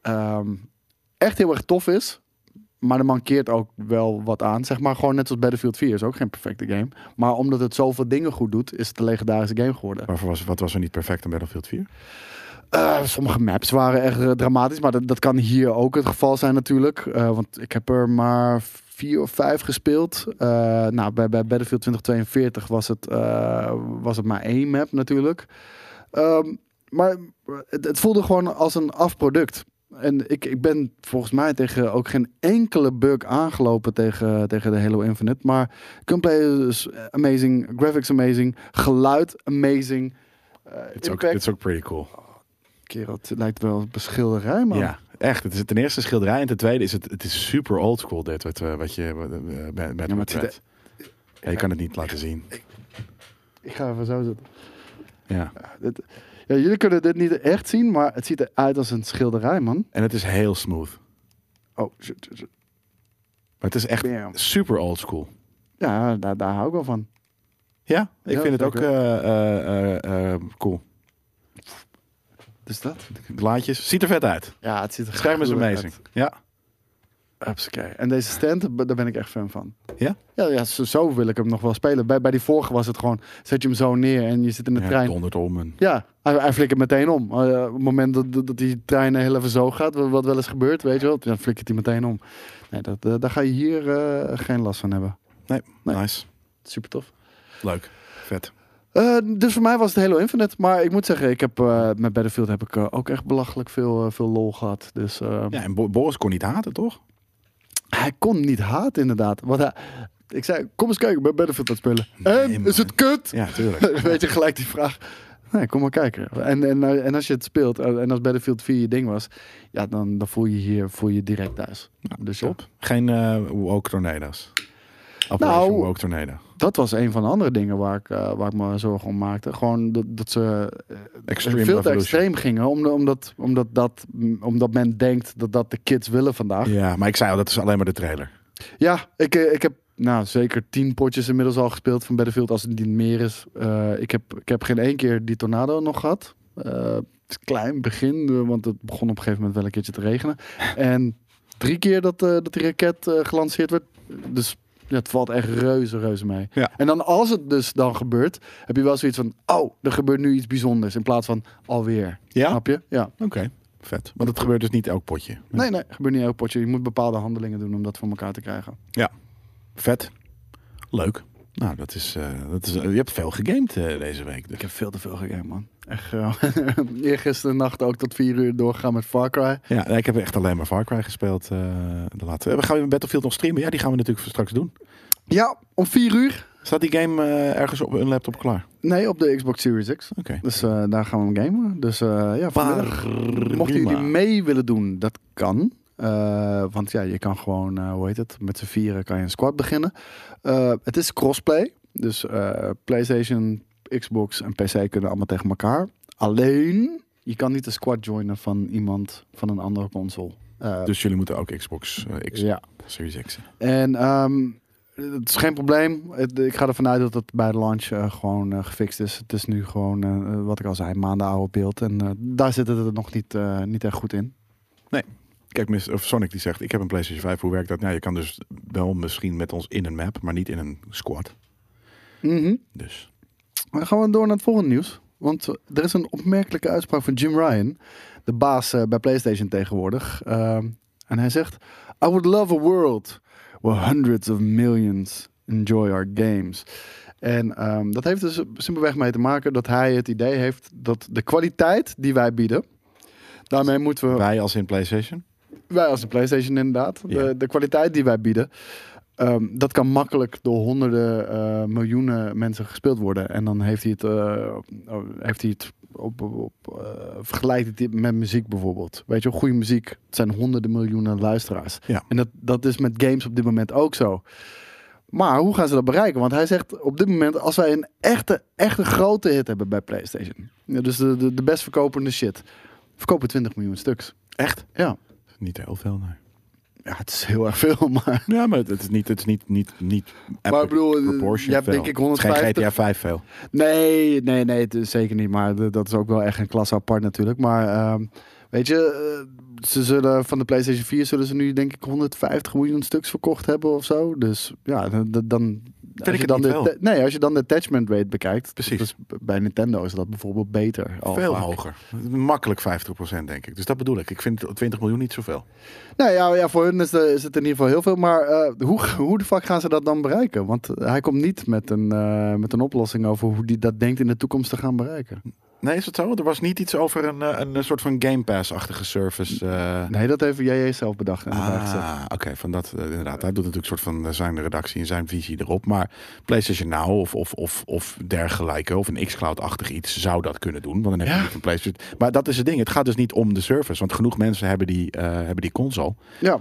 ehm, echt heel erg tof is, maar er mankeert ook wel wat aan. Zeg maar gewoon net als Battlefield 4 is ook geen perfecte game. Maar omdat het zoveel dingen goed doet, is het een legendarische game geworden. Waarvoor was, wat was er niet perfect aan Battlefield 4? Eh, sommige maps waren echt eh, dramatisch, maar dat, dat kan hier ook het geval zijn natuurlijk. Eh, want ik heb er maar vier of vijf gespeeld. Eh, nou, bij, bij Battlefield 2042 was het, eh, was het maar één map natuurlijk. Ehm, maar het, het voelde gewoon als een afproduct. En ik, ik ben volgens mij tegen ook geen enkele bug aangelopen tegen, tegen de Halo Infinite. Maar gunplay is amazing, graphics amazing, geluid amazing. eh, Het is ook- impact het is ook pretty cool. Kerel, het lijkt wel op een schilderij, man. Ja, echt. Het is ten eerste een schilderij en ten tweede is het, het is super old school dit wat, eh, wat je wat, eh, bij, bij Ja, maar het ziet Red. Ja, je kan het niet laten zien. Ik ga even zo zitten. Ja. Dit- ja, jullie kunnen dit niet echt zien, maar het ziet eruit als een schilderij, man. En het is heel smooth. Oh, shit, shit, shit. Maar het is echt Bam. super old school. ja, daar, daar hou ik wel van. Ja, ik Ja, vind het ook zeker. eh, eh, eh, eh, cool. Dus dat? Blaadjes. Ziet er vet uit. Ja, het ziet er Scherm is gruwelijk amazing. Ja. uit. Hupsakee. En deze stand, b- daar ben ik echt fan van. Ja? Ja, ja zo, zo wil ik hem nog wel spelen. Bij, bij die vorige was het gewoon, zet je hem zo neer en je zit in de ja trein. dondert om. En... Ja, hij, hij flikkert meteen om. Eh, op het moment dat, dat- dat die trein heel even zo gaat, wat wat wel eens gebeurt, weet je wel, dan flikkert hij meteen om. Nee, dat, eh, daar ga je hier eh, geen last van hebben. Nee, Nee. nice. Super tof. Leuk. Vet. Eh, dus voor mij was het Halo Infinite. Maar ik moet zeggen, ik heb, eh, met Battlefield heb ik eh, ook echt belachelijk veel, eh, veel lol gehad. Dus eh, Ja, en Bo- Boris kon niet haten, toch? hij kon niet haat inderdaad. Want hij- ik zei, kom eens kijken, ik ben Battlefield aan het spelen. en, man. is het kut? Ja, [laughs] tuurlijk. Weet je, gelijk die vraag. Nee, kom maar kijken. En, en, eh, en als je het speelt, eh, en als Battlefield 4 je ding was, ja, dan, dan voel je hier voel je direct thuis. dus ja, Top. Geen eh woke tornado's. Operation Nou. woke tornado. dat was een van de andere dingen waar ik, eh, waar ik me zorgen om maakte. Gewoon dat, dat ze eh, Extreme veel te Revolution. extreem gingen, omdat, omdat, omdat, dat, omdat men denkt dat dat de kids willen vandaag. Ja, Ja, maar ik zei al, dat is alleen maar de trailer. ik, eh, ik heb nou, zeker tien potjes inmiddels al gespeeld van Battlefield, als het niet meer is. Eh, ik, heb, ik heb geen één keer die tornado nog gehad. Eh, het is een klein begin, eh, want het begon op een gegeven moment wel een [laughs] keertje te regenen. En drie keer dat, eh, dat die raket eh, gelanceerd werd. Dus het valt echt reuze, reuze mee. Ja. En dan als het dus dan gebeurt, heb je wel zoiets van... Oh, er gebeurt nu iets bijzonders. In plaats van alweer. Ja? Snap je? Ja. Oké, vet. Maar dat gebeurt dus niet elk potje. Nee, nee. Gebeurt niet elk potje. Je moet bepaalde handelingen doen om dat voor elkaar te krijgen. Ja, vet. Leuk. Nou, dat is, eh, dat is, je hebt veel gegamed eh, deze week. Dus. Ik heb veel te veel gegeven, man. Echt. eh, [laughs] Eergisteren nacht ook tot vier uur doorgaan met Far Cry. Ja, nee, ik heb echt alleen maar Far Cry gespeeld. eh, de laatste. Eh, We gaan weer Battlefield nog streamen. Ja, die gaan we natuurlijk straks doen. Ja, om vier uur. Staat die game eh, ergens op een laptop klaar? Nee, op de Xbox Series X. Oké. Dus eh, daar gaan we hem gamen. Dus eh, ja, vanmiddag. Mochten jullie mee willen doen, dat kan. Eh, want ja, je kan gewoon, eh, hoe heet het, met z'n vieren kan je een squad beginnen. Eh, het is crossplay. Dus eh, PlayStation, Xbox en PC kunnen allemaal tegen elkaar. Alleen, je kan niet de squad joinen van iemand van een andere console. Eh, Dus jullie moeten ook Xbox eh, X ja. Series X. En ehm, het is geen probleem. Het- ik ga ervan uit dat het bij de launch eh, gewoon eh, gefixt is. Het is nu gewoon, eh, wat ik al zei, maanden oude beeld. En eh, daar zit het er nog niet, eh, niet echt goed in. Kijk, Miss, of Sonic die zegt, ik heb een PlayStation 5, hoe werkt dat? Nou, je kan dus wel misschien met ons in een map, maar niet in een squad. Mhm. Dus Dan gaan we door naar het volgende nieuws. Want eh, er is een opmerkelijke uitspraak van Jim Ryan, de baas eh, bij PlayStation tegenwoordig. Ehm, en hij zegt: I would love a world where hundreds of millions enjoy our games. En ehm, dat heeft dus simpelweg mee te maken dat hij het idee heeft dat de kwaliteit die wij bieden, daarmee moeten we wij als in PlayStation. wij als de PlayStation inderdaad. Ja. De, de kwaliteit die wij bieden. ehm, dat kan makkelijk door honderden eh, miljoenen mensen gespeeld worden. En dan heeft hij het, eh, oh, heeft hij het op, op, op, eh, vergelijkt hij het met muziek bijvoorbeeld. Weet je, wel, goede muziek. Het zijn honderden miljoenen luisteraars. Ja. En dat, dat is met games op dit moment ook zo. Maar hoe gaan ze dat bereiken? Want hij zegt op dit moment, als wij een echte, echte grote hit hebben bij PlayStation. Ja, dus de, de, de best verkopende shit. Verkopen 20 miljoen stuks. Echt? Ja. Niet heel veel, nee. Ja, het is heel erg veel, [laughs] maar... Ja, maar het het is niet, het is niet, niet, niet Maar ik bedoel, eh, proportion je hebt veel. denk ik Het is Geen 150. GTA 5 veel. Nee, nee, nee, het is zeker niet. Maar de- dat is ook wel echt een klasse apart natuurlijk. Maar ehm, weet je, eh, ze zullen van de PlayStation 4 zullen ze nu denk ik 150 miljoen stuks verkocht hebben of zo. Dus ja, d- d- dan... Als ik je het dan niet de, veel. de- nee, als je dan de attachment rate bekijkt. Precies. dus b- bij Nintendo is dat bijvoorbeeld beter. al veel vaak. hoger. Makkelijk 50% denk ik. Dus dat bedoel ik. Ik vind 20 miljoen niet zoveel. Nou ja, ja voor hun is, de- is het in ieder geval heel veel. Maar eh, hoe, hoe de fuck gaan ze dat dan bereiken? Want hij komt niet met een, eh, met een oplossing over hoe die dat denkt in de toekomst te gaan bereiken. Nee, is dat zo? Er was niet iets over een, eh, een soort van Game Pass-achtige service. eh, Nee, dat heeft JJ zelf bedacht. En erbij gezet. Ah, oké, van dat eh, inderdaad. Hij doet natuurlijk een soort van eh, zijn redactie en zijn visie erop. Maar PlayStation Now of, of, of, of dergelijke, of een xCloud-achtig iets, zou dat kunnen doen. Want dan heb je Ja. niet een PlayStation. Maar dat is het ding. Het gaat dus niet om de service. Want genoeg mensen hebben die, eh, hebben die console. Ja,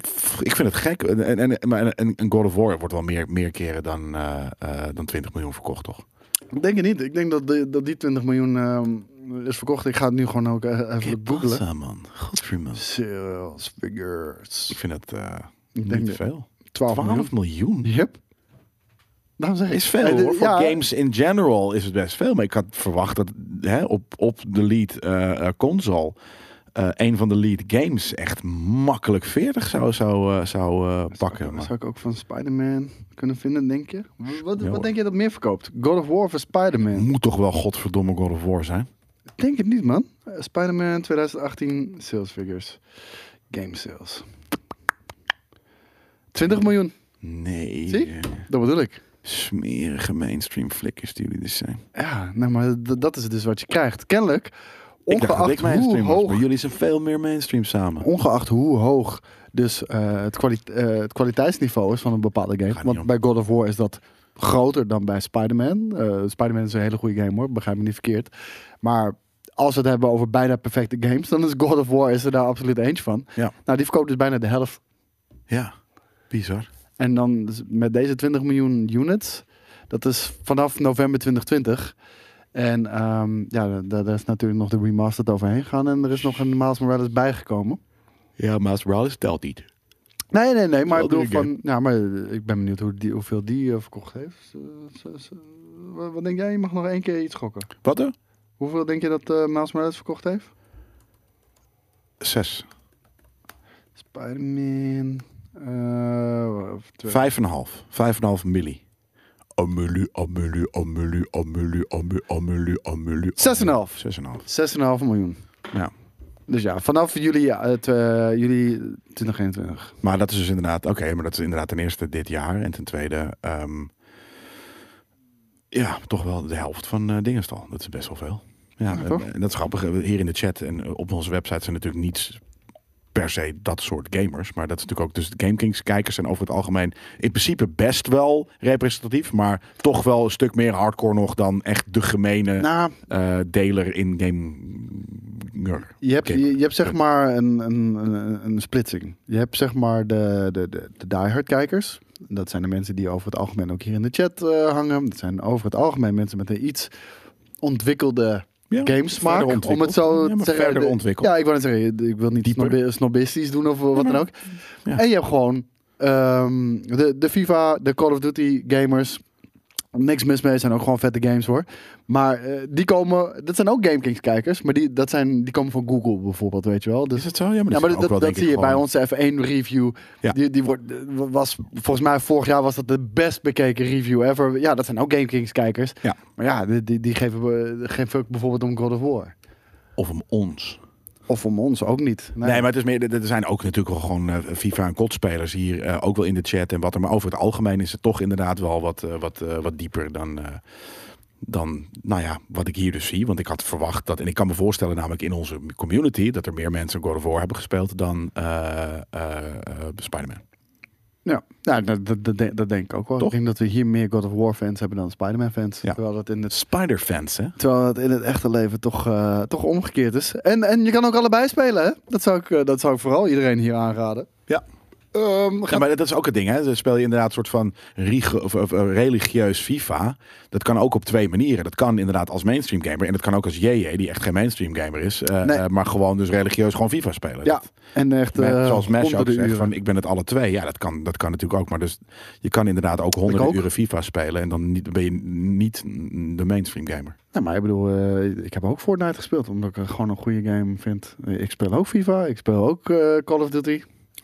Pff, Ik vind het gek. En, en, en, maar een- een God of War wordt wel meer, meer keren dan, eh, eh, dan 20 miljoen verkocht, toch? ik denk het niet. Ik denk dat, die- dat die 20 miljoen ehm, is verkocht. Ik ga het nu gewoon ook eh, even googlen. man. Godverdomme. man. Sales figures. Ik vind het eh, Ik niet denk te veel. 12 miljoen. 12 miljoen? Yep. Daarom zeg ik. Is veel Eh, de- hoor. Voor ja, games in general is het best veel. Maar ik had verwacht dat hè, op, op de lead eh, eh, console. eh, een van de lead games echt makkelijk 40 zou, zou, eh, zou eh, pakken. Zou, Maar zou ik ook van Spider-Man kunnen vinden, denk je? Wat, wat, Ja, hoor. Mm. denk je dat meer verkoopt? God of War of Spider-Man? moet toch wel godverdomme God of War zijn? Ik denk het niet, man. Eh, Spider-Man 2018 sales figures. Game sales. 20 miljoen, Nee. Zie? eh, dat bedoel ik. Smerige mainstream flikkers die jullie dus zijn. Ja, nou, maar d- dat is dus wat je krijgt. Kennelijk, Ik dacht dat ongeacht, ik mainstream hoe, was, hoog, maar jullie zijn veel meer mainstream samen. ongeacht hoe hoog dus eh, het, kwali- eh, het kwaliteitsniveau is van een bepaalde Gaat game. niet om. Want bij God of War is dat groter dan bij Spider-Man. Eh, Spider-Man is een hele goede game hoor, begrijp me niet verkeerd. Maar als we het hebben over bijna perfecte games, dan is God of War is er daar absoluut eentje van. Ja. Nou, die verkoopt dus bijna de helft. Ja, bizar. En dan dus met deze 20 miljoen units, dat is vanaf november 2020. En ehm, ja, da- da- daar is natuurlijk nog de remastered overheen gegaan. En er is nog een Miles Morales bijgekomen. Ja, maar Morales telt niet. Nee, nee, nee. Maar ik Wel bedoel drie van... Ja, maar eh, ik ben benieuwd hoe die, hoeveel die eh, verkocht heeft. Eh, z- z- wa- Wat denk jij? Je mag nog één keer iets gokken. Wat er? Hoeveel denk je dat eh Miles Morales verkocht heeft? Zes. Spider-Man Eh, of twee. Vijf en een half. Vijf en een half milli. Amelie, Amelie, Amelie, Amelie, Amelie, Amelie, Amelie. Zes en een half. Zes en een half. 6,5 miljoen. Ja. Dus ja, vanaf juli, ja, het, eh, juli 2021. Maar dat is dus inderdaad, oké, maar dat is inderdaad ten eerste dit jaar. En ten tweede, ehm, ja, toch wel de helft van eh Dingenstal. Dat is best wel veel. Ja, toch? en dat is grappig. Eh, Hier in de chat en eh, op onze website zijn natuurlijk niet per se dat soort gamers. Maar dat is natuurlijk ook, dus de GameKings kijkers zijn over het algemeen in principe best wel representatief. Maar toch wel een stuk meer hardcore nog dan echt de gemene Nou, eh, deler in gamer. je hebt, Oké. je, je hebt zeg maar een, een, een, een splitsing. Je hebt zeg maar de, de, de, de diehard kijkers. Dat zijn de mensen die over het algemeen ook hier in de chat eh, hangen. Dat zijn over het algemeen mensen met een iets ontwikkelde Ja, verder gamesmaak. Om ontwikkeld. het zo Ja, te maar zeggen. verder De- ontwikkeld. Ja, ik wil het zeggen. Ik wil niet Dieper. snobi- snobistisch doen of eh, wat dan ook. ja. En je hebt gewoon ehm, de, de FIFA, de Call of Duty gamers. Niks mis mee, zijn ook gewoon vette games hoor. Maar eh, die komen, dat zijn ook GameKings kijkers, maar die, dat zijn, die komen van Google bijvoorbeeld, weet je wel. Dus, Is het zo? Ja, maar dat, ja, maar is ook dat, wel, dat denk zie ik, je bij gewoon- onze F1 review. Ja. Die, die wordt, eh, was, volgens mij vorig jaar was dat de best bekeken review ever. Ja, dat zijn ook GameKings kijkers. Ja. Maar ja, die, die, die geven we- geen fuck bijvoorbeeld om God of War. Of om ons. Of om ons ook niet. Nee, maar het is meer, er zijn ook natuurlijk wel gewoon eh, FIFA en kotspelers hier, eh, ook wel in de chat en wat er. Maar over het algemeen is het toch inderdaad wel wat, eh, wat, eh, wat dieper dan, eh, dan, nou ja, wat ik hier dus zie. Want ik had verwacht dat, en ik kan me voorstellen namelijk in onze community, dat er meer mensen God of War hebben gespeeld dan eh, eh, eh, Spider-Man. Ja, nou, dat, dat, dat, denk- dat denk ik ook wel. Toch? Ik denk dat we hier meer God of War fans hebben dan Spider-Man fans. Ja. Terwijl, dat in het, Spider-fans, hè? terwijl dat in het echte leven toch, eh, toch omgekeerd is. En, en je kan ook allebei spelen, hè? Dat zou ik, eh, dat zou ik vooral iedereen hier aanraden. Ja. Ehm, Ja, ga- maar dat is ook het ding, hè? Dan speel je inderdaad een soort van rige- of, of, eh, religieus FIFA. Dat kan ook op twee manieren. Dat kan inderdaad als mainstream gamer en dat kan ook als JJ, die echt geen mainstream gamer is, eh, Nee. eh, maar gewoon dus religieus gewoon FIFA spelen. ja, Dat- en echt maar eh, zoals Mesh ook honderden zegt, uren. van ik ben het alle twee. Ja, dat kan, dat kan natuurlijk ook. Maar dus je kan inderdaad ook honderden ook. uren FIFA spelen en dan niet, ben je niet de mainstream gamer. Nou, maar ik bedoel, eh, ik heb ook Fortnite gespeeld, omdat ik het gewoon een goede game vind. Eh, Ik speel ook FIFA, ik speel ook eh, Call of Duty.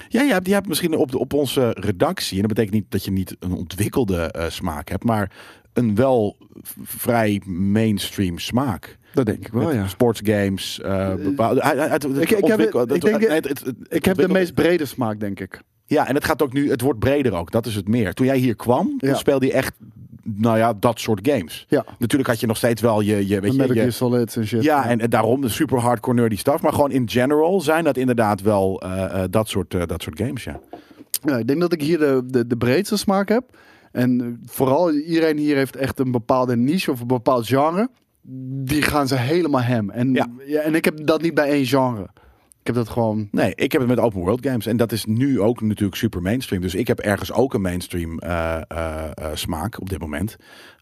Ja, je hebt, je hebt misschien op, de, op onze redactie, en dat betekent niet dat je niet een ontwikkelde eh, smaak hebt, maar een wel v- vrij mainstream smaak. Dat denk ik wel, Met ja. Sportsgames. eh, bepaalde- uit- uit- uit- het Ik- ik heb- ontwikkel- ik het- denk- nee, het- het- het Ik heb de ontwikkel- meest brede smaak, denk ik. Ja, en het gaat ook nu. Het wordt breder ook. Dat is het meer. Toen jij hier kwam, Ja. toen speelde je echt. Nou ja, dat soort games. Ja. Natuurlijk had je nog steeds wel je. je, weet Met je, Metal je- Gear Solid en shit. ja, en, en daarom de super hardcore nerdy stuff. Maar gewoon in general zijn dat inderdaad wel eh, eh, dat, soort, eh, dat soort games. Ja. Ja, ik denk dat ik hier de, de, de breedste smaak heb. En eh, vooral iedereen hier heeft echt een bepaalde niche of een bepaald genre. Die gaan ze helemaal hem. En, Ja. ja. en ik heb dat niet bij één genre. Ik heb dat gewoon. Nee, ik heb het met open world games. En dat is nu ook natuurlijk super mainstream. Dus ik heb ergens ook een mainstream eh, eh, eh, smaak op dit moment.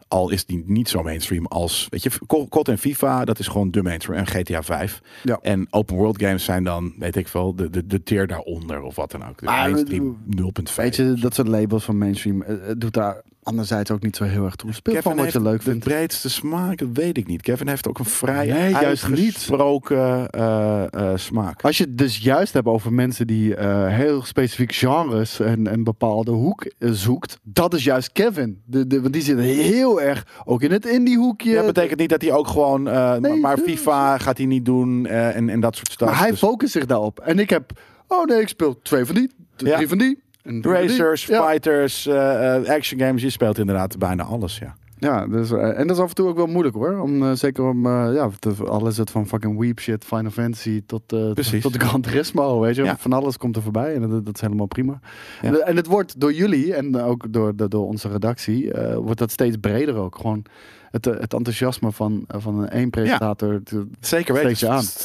Al is die niet zo mainstream als... Weet je, C- COD en FIFA, dat is gewoon de mainstream. En GTA 5. Ja. En open world games zijn dan, weet ik veel, de, de, de tier daaronder of wat dan ook. De Maar- mainstream 0.5. Weet je, dat soort labels van mainstream. eh, Het doet daar anderzijds ook niet zo heel erg toe. Speel Kevin van wat heeft je leuk de vindt. breedste smaak, dat weet ik niet. Kevin heeft ook een vrij Nee, juist niet. uitgesproken eh, eh, smaak. Als je het dus juist hebt over mensen die eh, heel specifiek genres en een bepaalde hoek eh, zoekt, dat is juist Kevin. De, de, want die zit heel erg ook in het indie hoekje. Ja, betekent niet dat hij ook gewoon. eh, maar- Nee, maar dus- FIFA gaat hij niet doen eh, en, en dat soort stuff. Maar hij Dus focust zich daarop. En ik heb, oh nee, ik speel twee van die, d- Ja. drie van die. En drie van die. Racers, Ja, fighters, eh, eh, action games. Je speelt inderdaad bijna alles. Ja. ja dus, eh, en dat is af en toe ook wel moeilijk hoor. Om, eh, zeker om, eh, ja, te, al is het van fucking weep shit, Final Fantasy tot, eh, Precies. tot, tot Gran Turismo, weet je. Ja. Van alles komt er voorbij en dat, dat is helemaal prima. Ja. En, en het wordt door jullie en ook door, door, door onze redactie, eh, wordt dat steeds breder ook. Gewoon het, eh, het enthousiasme van, eh, van één presentator. te- Zeker weten.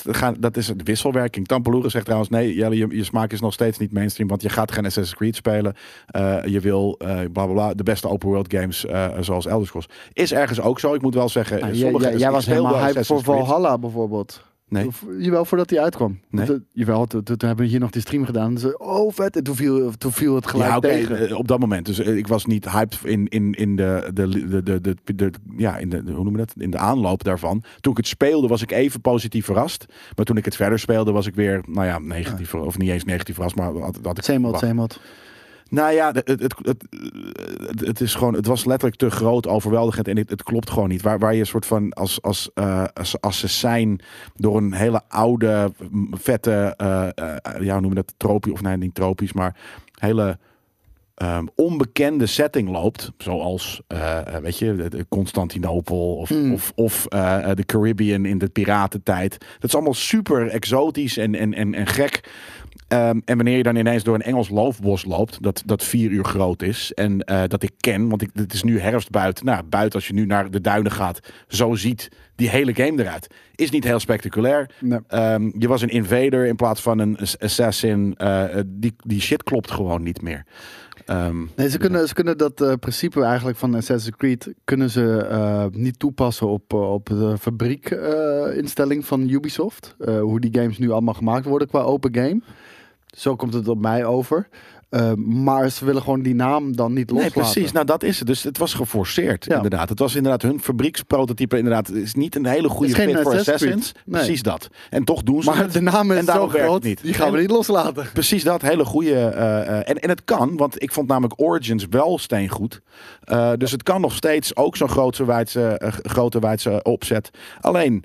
weten. Dat is de wisselwerking. Tampeloeren zegt trouwens: nee, Jelle, je, je smaak is nog steeds niet mainstream. Want je gaat geen Assassin's Creed spelen. Eh, je wil eh bla, bla bla de beste open world games eh, zoals Elder Scrolls. Is ergens ook zo. Ik moet wel zeggen. Nou, jij, sommige, jij- jij ik was speelde helemaal hype voor Assassin's Creed. Valhalla bijvoorbeeld. Nee. Of- Jawel, voordat hij uitkwam. Nee. Toen- jawel, toen, toen hebben we hier nog die stream gedaan. En ze, oh vet, en toen viel, toen viel het gelijk ja, oké, tegen. eh, op dat moment. Dus eh, ik was niet hyped in, in, in de, de, de, de, de, de- ja, in de, de- hoe noem je dat? In de aanloop daarvan. Toen ik het speelde, was ik even positief verrast. Maar toen ik het verder speelde, was ik weer, nou ja, negatief ver- of niet eens negatief verrast, maar had, had ik. Same old, wacht. same old. Nou ja, het, het, het, het, het is gewoon, het was letterlijk te groot, overweldigend en het, het klopt gewoon niet. Waar, waar je een soort van als, als, eh als assassijn door een hele oude, m, vette, eh eh, ja, hoe noem je dat, tropisch, of nee, niet tropisch, maar hele ehm, onbekende setting loopt. Zoals, eh, eh, weet je, de- de Constantinopel of, of, of eh, eh, de Caribbean in de piratentijd. Dat is allemaal super exotisch en, en, en, en gek. Ehm, en wanneer je dan ineens door een Engels loofbos loopt, dat, dat vier uur groot is en eh, dat ik ken, want ik, het is nu herfst buiten. Nou, buiten als je nu naar de duinen gaat, zo ziet die hele game eruit. Is niet heel spectaculair. Nee. Ehm, je was een invader in plaats van een ass- assassin. Eh, eh, die, die shit klopt gewoon niet meer. Ehm, Nee, ze kunnen, ze kunnen dat eh, principe eigenlijk van Assassin's Creed kunnen ze, eh, niet toepassen op, eh, op de fabriekinstelling van Ubisoft. Eh, hoe die games nu allemaal gemaakt worden qua open game. Zo komt het op mij over. Eh, maar ze willen gewoon die naam dan niet Nee, loslaten. precies. Nou, dat is het. Dus het was geforceerd, Ja. inderdaad. Het was inderdaad hun fabrieksprototype. Inderdaad, Het is niet een hele goede Het is geen fit voor Assassin's Creed. Assassins. Nee. Precies dat. En toch doen ze Maar het. de naam En is zo daarom werkt groot, het niet. die gaan we niet loslaten. Precies dat, hele goede. eh, eh, en, en het kan, want ik vond namelijk Origins wel steengoed. Eh, dus het kan nog steeds ook zo'n grote wijdse, eh, g- grote wijdse opzet. Alleen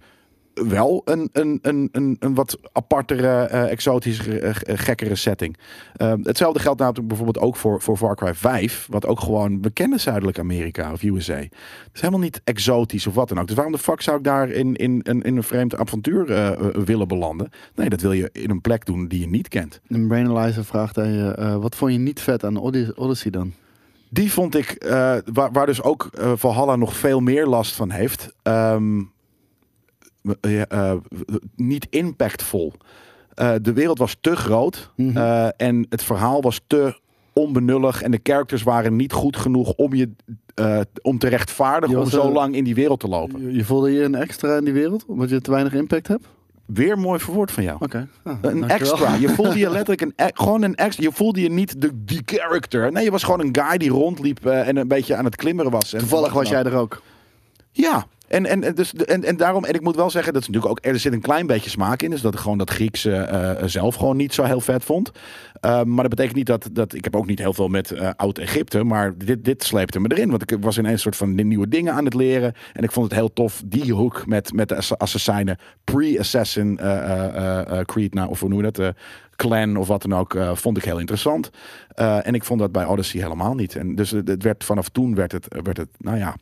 wel een, een, een, een, een wat apartere, eh exotischere, eh, g- eh, gekkere setting. Eh, hetzelfde geldt natuurlijk bijvoorbeeld ook voor, voor Far Cry 5, wat ook gewoon bekende Zuidelijk Amerika of USA. Het is helemaal niet exotisch of wat dan ook. Dus waarom de fuck zou ik daar in, in, in, in een vreemd avontuur eh, eh, willen belanden? Nee, dat wil je in een plek doen die je niet kent. Een Brainalyzer vraagt aan je, eh, wat vond je niet vet aan Odys- Odyssey dan? Die vond ik, eh, waar, waar dus ook eh, Valhalla nog veel meer last van heeft, ehm, eh, eh, niet impactvol. Eh, de wereld was te groot Mhm. eh, en het verhaal was te onbenullig en de characters waren niet goed genoeg om je eh, om te rechtvaardigen Je om was, zo eh, lang in die wereld te lopen. Je, je voelde je een extra in die wereld, omdat je te weinig impact hebt? Weer mooi verwoord van jou. Oké. Ah, Een dankjewel. extra. [laughs] Je voelde je letterlijk een, e- gewoon een extra. Je voelde je niet de, die character. Nee, je was gewoon een guy die rondliep eh, en een beetje aan het klimmeren was. En Toevallig was jij er ook. Ja. En, en, en dus, en, en daarom, en ik moet wel zeggen, dat is natuurlijk ook, er zit een klein beetje smaak in. Dus dat ik gewoon dat Griekse eh, zelf gewoon niet zo heel vet vond. Eh, maar dat betekent niet dat, dat ik heb ook niet heel veel met eh, oud-Egypte. Maar dit, dit sleepte me erin. Want ik was ineens een soort van nieuwe dingen aan het leren. En ik vond het heel tof, die hoek met, met de ass- assassijnen. Pre-assassin eh, eh, eh, eh, Creed, nou, of hoe noem je dat? eh, clan of wat dan ook, eh, vond ik heel interessant. Eh, en ik vond dat bij Odyssey helemaal niet. En dus het het werd, vanaf toen werd het, werd het nou ja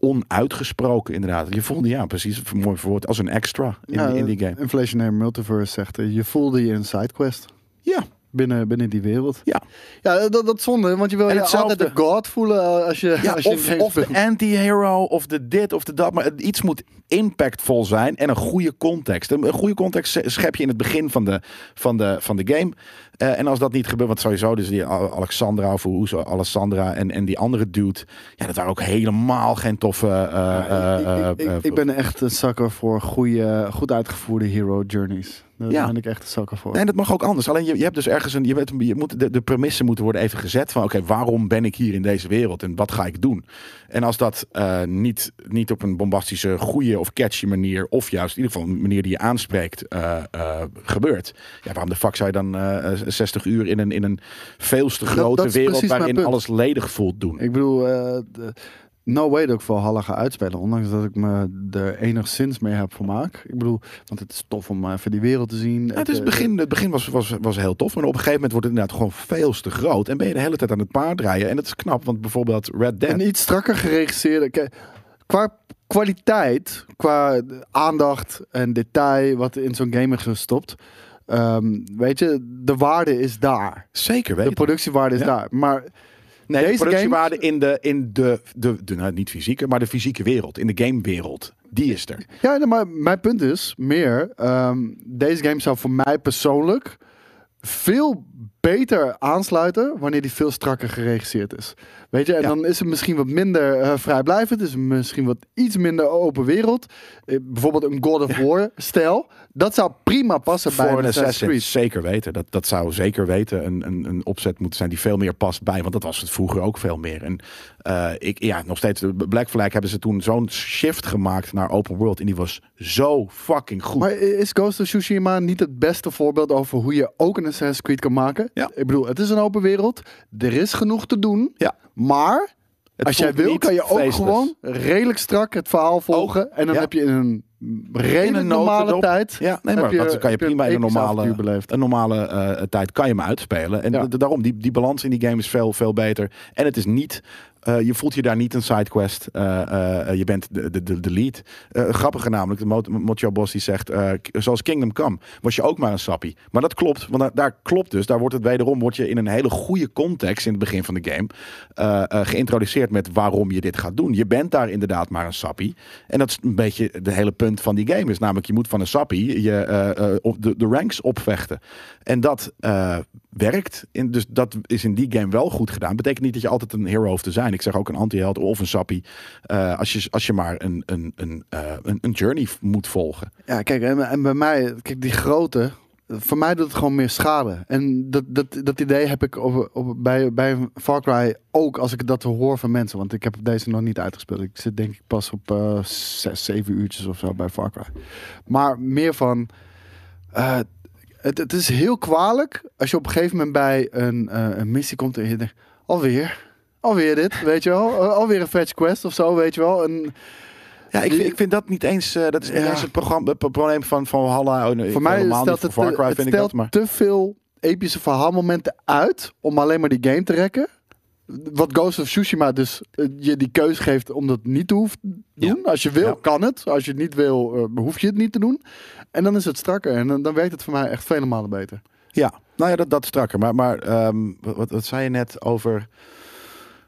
onuitgesproken inderdaad. Je voelde ja, precies, mooi verwoord, als een extra in, Ja, die- in die game. Inflationary Multiverse zegt, eh, je voelde je een sidequest Ja, binnen, binnen die wereld. ja. Ja, eh, dat, dat is zonde, want je wil En je hetzelfde- altijd de god voelen eh, als je, ja als je in of, games of de speelt. anti-hero, of de dit, of de dat. Maar het- iets moet impactvol zijn en een goede context. Een, een goede context se- schep je in het begin van de, van de, van de game. Eh, en als dat niet gebeurt, want sowieso, dus die A- Alexandra of hoe zo, Alessandra en, en die andere dude. Ja, dat waren ook helemaal geen toffe... eh, eh, ik, ik- eh, ik, ik ben echt een zakker voor goede, goed uitgevoerde hero journeys. Daar Ja. ben ik echt een zakker voor. Nee, dat mag ook anders. Alleen je, je hebt dus ergens een. Je, weet, je moet, de, de premissen moeten worden even gezet van oké, waarom ben ik hier in deze wereld en wat ga ik doen? En als dat eh, niet, niet op een bombastische, goede of catchy manier, of juist in ieder geval een manier die je aanspreekt, eh, eh, gebeurt. Ja, waarom de fuck zou je dan eh, eh, 60 uur in een, in een veel te grote dat is wereld precies mijn waarin punt. alles ledig voelt doen? Ik bedoel, eh, de- no way dat ik Valhalla ga uitspelen. Ondanks dat ik me er enigszins mee heb vermaakt. Ik bedoel, want het is tof om even die wereld te zien. Eh, Ja, het, is het begin, het begin was, was, was heel tof, maar op een gegeven moment wordt het inderdaad gewoon veel te groot. En ben je de hele tijd aan het paardrijden. En dat is knap, want bijvoorbeeld Red Dead. Een iets strakker geregisseerde. Kijk, Qua kwaliteit, qua aandacht en detail wat in zo'n game is gestopt. ehm, weet je, de waarde is daar. Zeker De weten. productiewaarde is Ja. daar. Maar Nee, Deze de productiewaarde in de, in de, de, de nou, niet fysieke, maar de fysieke wereld, in de gamewereld, die is er. Ja, nee, maar mijn punt is meer. ehm, deze game zou voor mij persoonlijk veel beter aansluiten wanneer die veel strakker geregisseerd is. Weet je, en Ja. dan is het misschien wat minder eh, vrijblijvend, is het misschien wat iets minder open wereld. Eh, bijvoorbeeld een God of War stijl. Dat zou prima passen bij Voor een een Assassin's assassin, Creed. zeker weten. Dat, dat zou zeker weten een, een, een opzet moeten zijn die veel meer past bij. Want dat was het vroeger ook veel meer. En eh, ik, ja, nog steeds, de Black Flag hebben ze toen zo'n shift gemaakt naar open world. En die was zo fucking goed. Maar is Ghost of Tsushima niet het beste voorbeeld over hoe je ook een Assassin's Creed kan maken? Ja. Ik bedoel, het is een open wereld. Er is genoeg te doen. Ja. Maar Het als jij voelt wil, niet kan je ook feestless. gewoon redelijk strak het verhaal volgen. en dan ja. heb je in een redelijk een normale notendop. tijd. Ja, nee, maar heb je- dat kan je heb je prima in een episch avontuur normale, beleefd. een normale eh, tijd kan je hem uitspelen. En Ja. d- daarom, die, die balans in die game is veel, veel beter. En het is niet, eh, je voelt je daar niet een sidequest. eh, eh, eh, je bent de, de, de, de lead. Eh, grappiger namelijk, de Mot- Mojo Boss die zegt, eh, k- zoals Kingdom Come was je ook maar een sappie. Maar dat klopt, want da- daar klopt dus. Daar wordt het wederom, word je in een hele goede context in het begin van de game eh, eh, geïntroduceerd met waarom je dit gaat doen. Je bent daar inderdaad maar een sappie. En dat is een beetje de hele punt van die game. Is namelijk, je moet van een sappie je, eh, eh, op de, de ranks opvechten. En dat eh, werkt. In, dus dat is in die game wel goed gedaan. Betekent niet dat je altijd een hero hoeft te zijn. Ik zeg ook een anti-held of een sappie. eh, als, je, als je maar een, een, een, eh, een, een journey moet volgen. Ja, kijk, en, en bij mij, kijk, die grote, voor mij doet het gewoon meer schade. En dat, dat, dat idee heb ik op, op, bij, bij Far Cry ook als ik dat hoor van mensen. Want ik heb deze nog niet uitgespeeld. Ik zit denk ik pas op eh, zes, zeven uurtjes of zo bij Far Cry. Maar meer van, eh, het, het is heel kwalijk als je op een gegeven moment bij een, eh, een missie komt en je denkt, alweer... Alweer dit, weet je wel. Eh, Alweer een fetch quest of zo, weet je wel. En Ja, ik Die- vind, ik vind dat niet eens. eh, dat is niet Ja. eens het, programma, het probleem van, van Valhalla. Oh, nee, Voor mij helemaal stelt niet. het, Voor Far te- Cry het vind ik stelt dat, maar. te veel epische verhaalmomenten uit om alleen maar die game te rekken. Wat Ghost of Tsushima dus eh, je die keus geeft om dat niet te hoeven doen. Als je wil, Ja. kan het. Als je het niet wil, eh, hoef je het niet te doen. En dan is het strakker. En dan, dan werkt het voor mij echt vele malen beter. Ja, nou ja, dat, dat strakker. Maar, maar ehm, wat, wat zei je net over.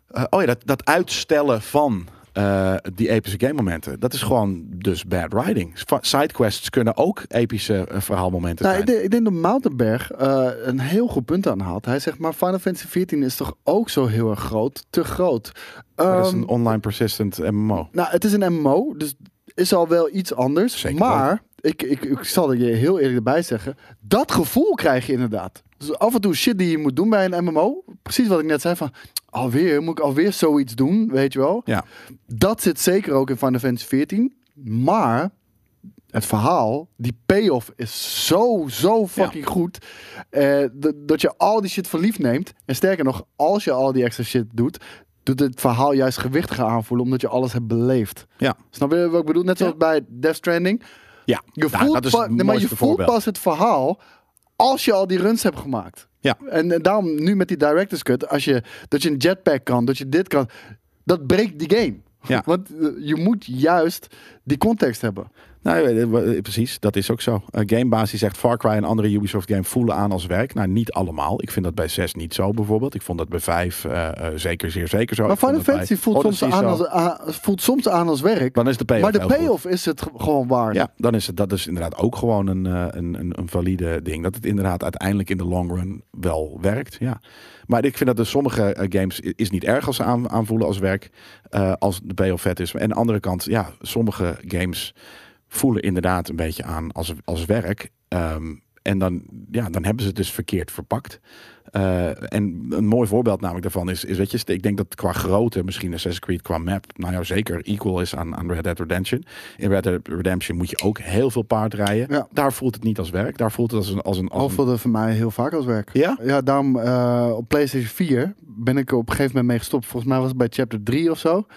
eh, oh ja, dat, dat uitstellen van eh, die epische game momenten. Dat is gewoon dus bad writing. Va- Sidequests kunnen ook epische eh, verhaalmomenten Nou, ik, zijn. denk, ik denk dat Moutenberg eh, een heel goed punt aan had. Hij zegt, maar Final Fantasy XIV is toch ook zo heel erg groot? Te groot. Maar dat is Ehm, een online persistent MMO. Nou, het is een MMO, dus is al wel iets anders. Zeker maar ik, ik, ik zal er je heel eerlijk bij zeggen, dat gevoel krijg je inderdaad. Dus af en toe shit die je moet doen bij een MMO, precies wat ik net zei van alweer moet ik alweer zoiets doen, weet je wel? Ja. Dat zit zeker ook in Final Fantasy 14, maar het verhaal, die payoff is zo, zo fucking goed. eh, d- dat je al die shit voor lief neemt. En sterker nog, als je al die extra shit doet, doet het verhaal juist gewichtiger aanvoelen, omdat je alles hebt beleefd. Ja. Snap je wat ik bedoel? Net zoals bij Death Stranding. Ja, Je nou, voelt, dat is pa- het nee, maar je mooiste voelt voorbeeld. pas het verhaal als je al die runs hebt gemaakt. Ja. En, en daarom nu met die director's cut, als je, dat je een jetpack kan, dat je dit kan, dat breekt die game. Ja. [laughs] Want eh, je moet juist die context hebben. Nou, eh, eh, eh, precies, dat is ook zo. Eh, Gamebaas die zegt Far Cry en andere Ubisoft game voelen aan als werk. Nou, niet allemaal. Ik vind dat bij 6 niet zo bijvoorbeeld. Ik vond dat bij 5 zeker zeer zeker zo. Maar Ik vond Oh, Final dat bij Fantasy voelt soms, Odyssey aan zo. als, aan- voelt soms aan als werk. Dan is de payoff maar de heel goed. payoff is het ge- gewoon waard. Ja, dan is het, dat is inderdaad ook gewoon een, eh, een, een, een valide ding. Dat het inderdaad uiteindelijk in de long run wel werkt. Ja. Maar ik vind dat dus sommige eh, games i- is niet erg als ze aan, aanvoelen als werk. eh, als de payoff vet is. En aan de andere kant, ja, sommige games voelen inderdaad een beetje aan als, als werk. Ehm, en dan, ja, dan hebben ze het dus verkeerd verpakt. Eh, en een mooi voorbeeld namelijk daarvan is, is weet je, ik denk dat qua grootte misschien Assassin's Creed qua map, nou ja, zeker equal is aan, aan Red Dead Redemption. In Red Dead Redemption moet je ook heel veel paard rijden. Ja. Daar voelt het niet als werk. Daar voelt het als een... Als een, als Al een- voelde voor mij heel vaak als werk. Ja? Ja, daarom eh, op PlayStation 4 ben ik er op een gegeven moment mee gestopt. Volgens mij was het bij chapter 3 of zo. [sighs]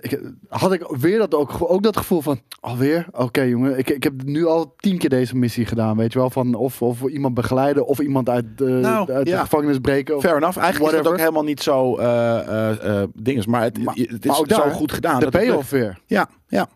Ik, eh, had ik weer dat ook, ook dat gevoel van, alweer? Oké jongen, ik, ik heb nu al tien keer deze missie gedaan, weet je wel. Van of, of iemand begeleiden of iemand uit, eh, Nou, uit de ja. gevangenis breken. Of, Fair enough. Eigenlijk is dat Whatever. ook helemaal niet zo eh, eh, eh, dinges. Maar het, Maar- het is maar ook zo daar, goed gedaan. de dat het lukt. payoff weer. Ja, ja.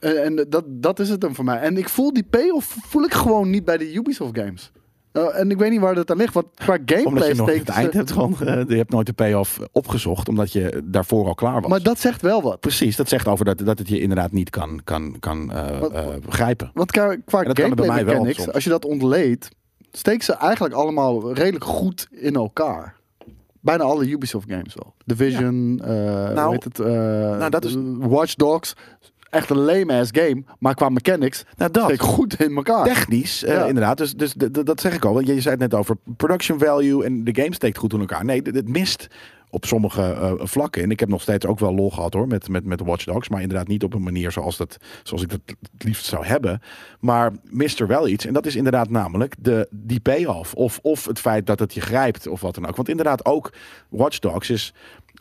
En, en dat, dat is het dan voor mij. En ik voel die payoff voel ik gewoon niet bij de Ubisoft games. Eh, en ik weet niet waar dat aan ligt, want qua Omdat gameplay je nog steekt het eind ze- hebt gewoon. eh, je hebt nooit de payoff opgezocht, omdat je daarvoor al klaar was. Maar dat zegt wel wat. Precies, dat zegt over dat, dat het je inderdaad niet kan, kan, kan eh, Wat- eh, begrijpen. Want qua, qua En dat kan er bij gameplay mij wel mechanics, soms. als je dat ontleedt, steekt ze eigenlijk allemaal redelijk goed in elkaar. Bijna alle Ubisoft games wel. Division, eh Nou, hoe heet het, eh, dat is- Watch Dogs. Echt een lame ass game, maar qua mechanics Nou, dat. steekt goed in elkaar. Technisch, eh, Ja. inderdaad. Dus, dus d- d- dat zeg ik al. Want je, je zei het net over production value en de game steekt goed in elkaar. Nee, d- het mist op sommige eh, vlakken. En ik heb nog steeds ook wel lol gehad hoor met, met, met Watch Dogs. Maar inderdaad niet op een manier zoals, dat, zoals ik dat het liefst zou hebben. Maar mist er wel iets. En dat is inderdaad namelijk de, die payoff. Of, of het feit dat het je grijpt of wat dan ook. Want inderdaad ook Watch Dogs is...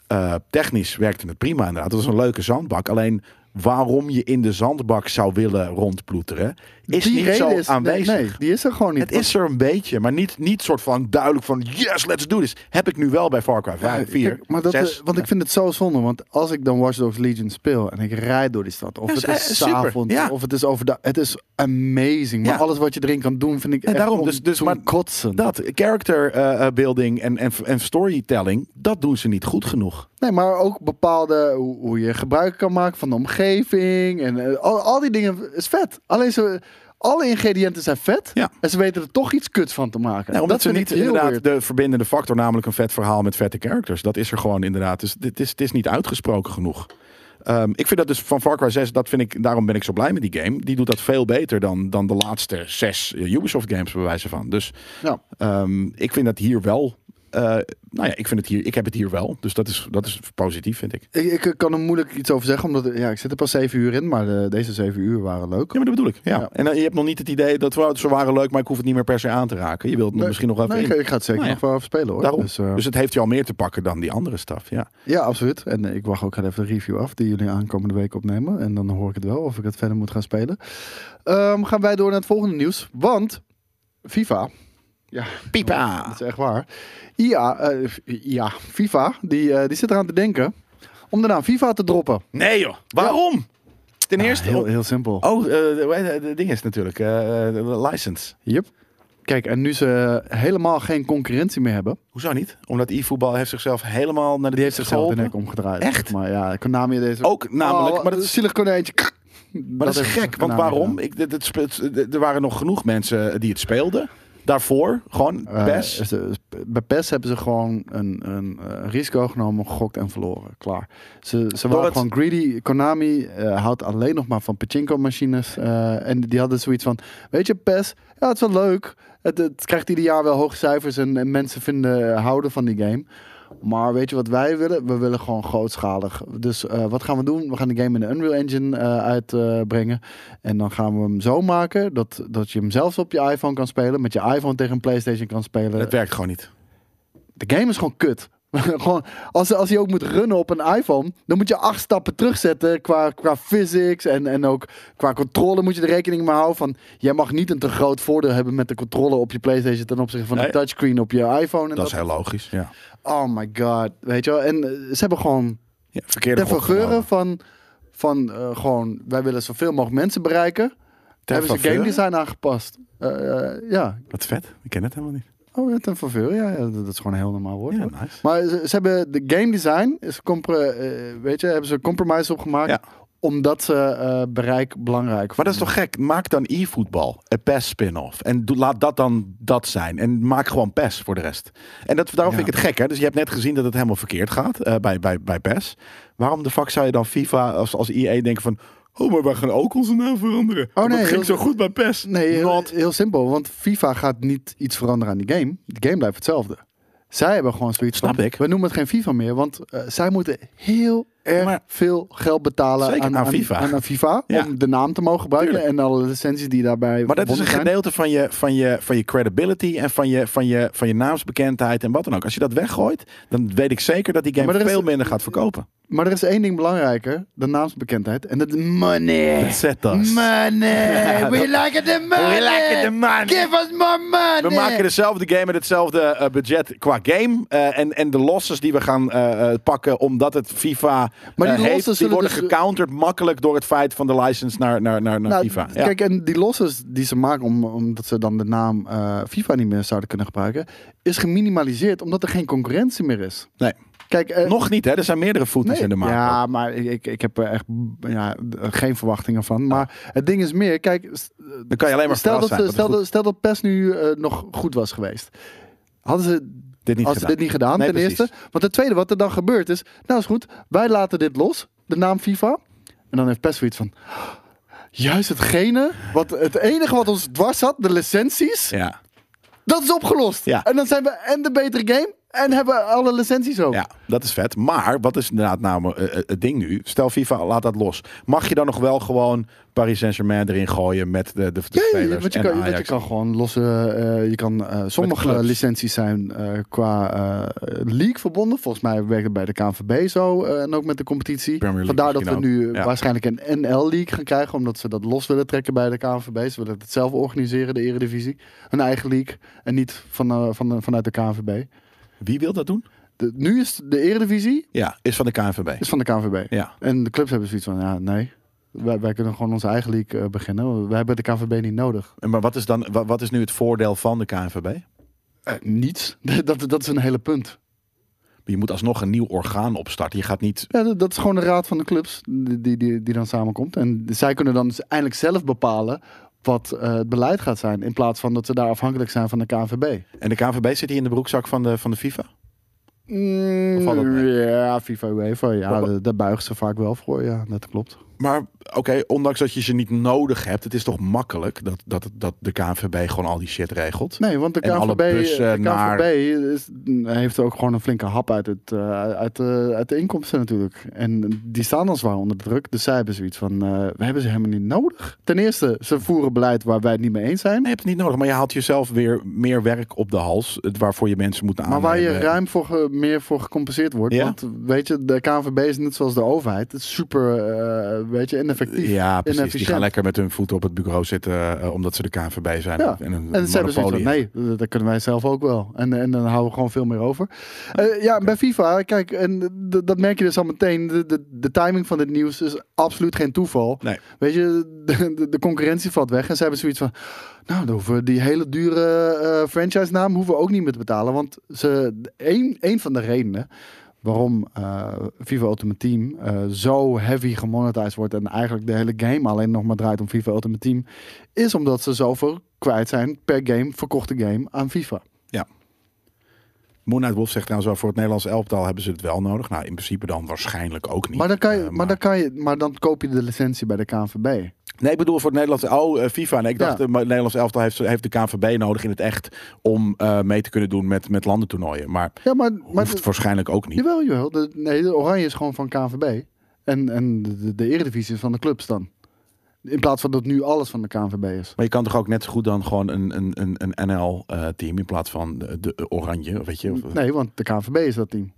eh, technisch werkte het prima inderdaad. Dat was een leuke zandbak. Alleen waarom je in de zandbak zou willen rondploeteren... is die niet zo reden is, aanwezig. Nee, nee, die is er gewoon niet. Het is er een beetje, maar niet, niet soort van duidelijk van yes, let's do this. Heb ik nu wel bij Far Cry 5, 4, Kijk, maar dat, eh, 6. want ik vind het zo zonde, want als ik dan Watch Dogs Legion speel en ik rijd door die stad, of Ja, het is- is eh, super, avond, ja. of het is overdag, het is amazing. Maar Ja. alles wat je erin kan doen, vind ik En echt daarom, om dus- dus te maar kotsen. Dat, character eh, eh, building en, en, en storytelling, dat doen ze niet goed genoeg. Nee, maar ook bepaalde hoe, hoe je gebruik kan maken van de omgeving en eh, al, al die dingen is vet. Alleen ze, alle ingrediënten zijn vet Ja. en ze weten er toch iets kuts van te maken. Nou, omdat dat ze vind niet ik heel inderdaad weird. de verbindende factor, namelijk een vet verhaal met vette characters. Dat is er gewoon inderdaad. Dus dit is, het is niet uitgesproken genoeg. Ehm, ik vind dat dus van Far Cry 6, dat vind ik, daarom ben ik zo blij met die game. Die doet dat veel beter dan, dan de laatste zes eh, Ubisoft games, bij wijze van. Dus Ja. Ehm, ik vind dat hier wel. eh, nou ja, ik, vind het hier, ik heb het hier wel. Dus dat is, dat is positief, vind ik. Ja, Ik, ik kan er moeilijk iets over zeggen, omdat ja, ik zit er pas zeven uur in, maar eh, deze zeven uur waren leuk. maar dat bedoel ik. Ja. Ja. En dan- je hebt nog niet het idee dat we, ze waren leuk, maar ik hoef het niet meer per se aan te raken. Je wilt het Nee, misschien nog even nee, in. ik, ik ga het zeker Nou ja. nog wel even spelen hoor. Daarom. Dus, eh, Dus het heeft je al meer te pakken dan die andere staf. Ja. ja, absoluut. En eh, ik wacht ook even de review af die jullie aankomende week opnemen. En dan hoor ik het wel of ik het verder moet gaan spelen. Ehm, gaan wij door naar het volgende nieuws. Want FIFA, Pipa! [laughs] dat is echt waar. IA, eh, ja, FIFA, die, eh, die zit eraan te denken om de naam FIFA te droppen. Nee joh, waarom? Ten eerste... Ah, heel, heel simpel. Oh, eh, hoe heet het? het ding is natuurlijk. eh, eh, license. Yep. Kijk, en nu ze helemaal geen concurrentie meer hebben, Hoezo niet? Omdat e-voetbal heeft zichzelf helemaal naar de die heeft zichzelf de geholpen. nek omgedraaid. Echt? Maar ja, Konami deze. Ook namelijk, Oh, maar dat een is zielig konijntje. Maar dat, is gek, want waarom? Ik, dit- dit speelt- d- er waren nog genoeg mensen eh, die het speelden. Daarvoor, gewoon Eh, best. ze- bij PES hebben ze gewoon een, een eh, risico genomen, gegokt en verloren. Klaar. Ze, ze waren het- gewoon greedy. Konami eh, houdt alleen nog maar van pachinko-machines. eh, en die hadden zoiets van, weet je, PES, ja, het is wel leuk. Het, het krijgt ieder jaar wel hoge cijfers en, en mensen vinden, houden van die game. Maar weet je wat wij willen? We willen gewoon grootschalig. Dus eh, wat gaan we doen? We gaan de game in de Unreal Engine eh, uitbrengen. en dan gaan we hem zo maken dat, dat je hem zelfs op je iPhone kan spelen. Met je iPhone tegen een PlayStation kan spelen. het werkt gewoon niet. De game is gewoon kut. [laughs] gewoon, als, als je ook moet runnen op een iPhone, dan moet je acht stappen terugzetten qua, qua physics en, en ook qua controle moet je er rekening mee houden van jij mag niet een te groot voordeel hebben met de controle op je Playstation ten opzichte van Nee. de touchscreen op je iPhone. En Dat, dat is heel logisch. Ja. Oh my god, weet je wel. En eh, ze hebben gewoon Ja, verkeerde de gok vergeuren genomen. van, van eh, gewoon wij willen zoveel mogelijk mensen bereiken. hebben ze faveur? game design aangepast. Eh, eh, ja, Wat vet, ik ken het helemaal niet. oh ja, ten faveur. Ja, ja, dat dat is gewoon een heel normaal woord. Ja, nou, hoor. nice. Maar ze, ze hebben de game design, is compro- eh, weet je, hebben ze een compromise opgemaakt. Ja. Omdat ze eh, bereik belangrijk Maar dat is toch gek? Maak dan e-voetbal, een PES spin-off. En doe, laat dat dan dat zijn. En maak gewoon PES voor de rest. En dat, daarom Ja. vind ik het gek, hè? Dus je hebt net gezien dat het helemaal verkeerd gaat eh, bij, bij, bij PES. Waarom de fuck zou je dan FIFA als, als EA denken van... Oh, maar we gaan ook onze naam veranderen. Oh, nee, ging heel- zo goed bij PES. Nee, heel, Not heel simpel. Want FIFA gaat niet iets veranderen aan die game. De game blijft hetzelfde. Zij hebben gewoon zoiets Snap van, ik. we noemen het geen FIFA meer. Want eh, zij moeten heel erg Maar- veel geld betalen Zeker aan FIFA. Aan, aan FIFA [laughs] Ja. Om de naam te mogen gebruiken. Tuurlijk. En alle licenties die daarbij Maar dat is een verbonden zijn. gedeelte van je, van je, van je credibility en van je, van, je, van je naamsbekendheid en wat dan ook. Als je dat weggooit, dan weet ik zeker dat die game Maar er is- veel minder gaat verkopen. Maar er is één ding belangrijker. De naamsbekendheid. En dat is money. Zet us. [laughs] Money. We like the money. We like the money. Give us more money. We maken dezelfde game met hetzelfde eh, budget qua game. eh, en, en de losses die we gaan eh, eh, pakken omdat het FIFA Maar die eh, losses heeft, die zullen worden dus- gecounterd makkelijk door het feit van de license naar, naar, naar, naar Nou, FIFA. d- Ja. Kijk, en die losses die ze maken om, omdat ze dan de naam eh, FIFA niet meer zouden kunnen gebruiken, is geminimaliseerd omdat er geen concurrentie meer is. nee. Kijk, eh, Nog niet, hè? Er zijn meerdere voetjes nee. in de markt. Ja, maar ik- ik, ik heb er echt b- ja, d- geen verwachtingen van. Maar het ding is meer, kijk, s- Dan kan je alleen maar stel dat, verrast ze- zijn het stel, goed- dat, stel dat PES nu eh, nog goed was geweest. Hadden ze dit niet als gedaan. ze dit niet gedaan, Nee, ten precies. eerste. Want ten tweede, wat er dan gebeurt is... Nou is goed, wij laten dit los, de naam FIFA. En dan heeft PES zoiets van... Juist hetgene, wat, het enige wat ons dwars zat, de licenties, Ja. dat is opgelost. Ja. En dan zijn we en de betere game En hebben we alle licenties ook. Ja, dat is vet. Maar wat is inderdaad namelijk eh, eh, het ding nu? Stel FIFA laat dat los. Mag je dan nog wel gewoon Paris Saint-Germain erin gooien met de, de, de Ja, ja, ja, spelers want je en kan, want je Ajax? kan gewoon losse. eh, je kan, eh, sommige clubs. licenties zijn eh, qua eh, league verbonden. Volgens mij werkt het bij de KNVB zo. eh, en ook met de competitie. Premier League Vandaar dat we misschien nu ook. Ja. waarschijnlijk een NL-league gaan krijgen. Omdat ze dat los willen trekken bij de KNVB. Ze willen het zelf organiseren, de Eredivisie. Hun eigen league. En niet van, eh, van, vanuit de KNVB. Wie wil dat doen? De- nu is de Eredivisie Ja, is van de KNVB. is van de KNVB. Ja. En de clubs hebben zoiets van, ja, nee. Wij, wij kunnen gewoon onze eigen league eh, beginnen. Wij hebben de KNVB niet nodig. En Maar wat is, dan, wa- wat is nu het voordeel van de KNVB? Eh, niets. [laughs] dat, dat is een hele punt. Je moet alsnog een nieuw orgaan opstarten. Je gaat niet... Ja, dat, dat is gewoon de raad van de clubs die, die, die, die dan samenkomt. En zij kunnen dan dus eindelijk zelf bepalen wat eh, het beleid gaat zijn. In plaats van dat ze daar afhankelijk zijn van de KNVB. En de KNVB zit hier in de broekzak van de, van de FIFA? Of valt dat mee? Mm, ja, FIFA UEFA, ja, Wat- daar- daar buigen ze vaak wel voor. Ja, dat klopt. Maar oké, ondanks dat je ze niet nodig hebt, het is toch makkelijk dat, dat, dat de KNVB gewoon al die shit regelt. Nee, want de En alle KNVB, eh, de bussen KNVB naar- is- heeft ook gewoon een flinke hap uit, het, eh, uit, de, uit de inkomsten natuurlijk. En die staan al zwaar onder druk. Dus zij hebben zoiets van, eh, we hebben ze helemaal niet nodig. Ten eerste, ze voeren beleid waar wij het niet mee eens zijn. Nee, je hebt het niet nodig, maar je haalt jezelf weer meer werk op de hals, het waarvoor je mensen moet Maar aannemen. waar je ruim voor ge- meer voor gecompenseerd wordt. Ah, Ja. Want weet je, de KNVB is net zoals de overheid. Het is super, eh, weet je, ineffectief. Ja, precies. Die inefficiënt. gaan lekker met hun voeten op het bureau zitten, eh, omdat ze de KNVB zijn. Ja. En, een En ze hebben zoiets monopolie. van, nee, dat, dat kunnen wij zelf ook wel. En, en dan houden we gewoon veel meer over. Eh, ja, bij FIFA, kijk, en d- dat merk je dus al meteen. De, de, de timing van dit nieuws is absoluut geen toeval. Nee. Weet je, de, de- de concurrentie valt weg. En ze hebben zoiets van, nou, dan hoeven we die hele dure eh franchise naam hoeven we ook niet meer te betalen. Want ze, een, een van de redenen waarom eh, FIFA Ultimate Team eh, zo heavy gemonetized wordt... en eigenlijk de hele game alleen nog maar draait om FIFA Ultimate Team... is omdat ze zoveel kwijt zijn per game, verkochte game, aan FIFA. Moon Knight Wolf zegt trouwens wel, voor het Nederlands elftal hebben ze het wel nodig. Nou, in principe dan waarschijnlijk ook niet. Maar dan, kan je, Eh, maar, dan kan je, maar dan koop je de licentie bij de KNVB. Nee, ik bedoel voor het Nederlands... Oh, eh, FIFA. Nee, ik Ja. dacht, eh, maar het Nederlands elftal heeft, heeft de KNVB nodig in het echt... om eh, mee te kunnen doen met, met landentoernooien. Maar, Ja, maar, maar hoeft waarschijnlijk ook niet. jawel, jawel. De, nee, de Oranje is gewoon van KNVB. En, en de, de, de Eredivisie is van de clubs dan. In plaats van dat nu alles van de KNVB is. Maar je kan toch ook net zo goed dan gewoon een, een, een, een NL-team... in plaats van de, de oranje, weet je? Of- Nee, want de KNVB is dat team.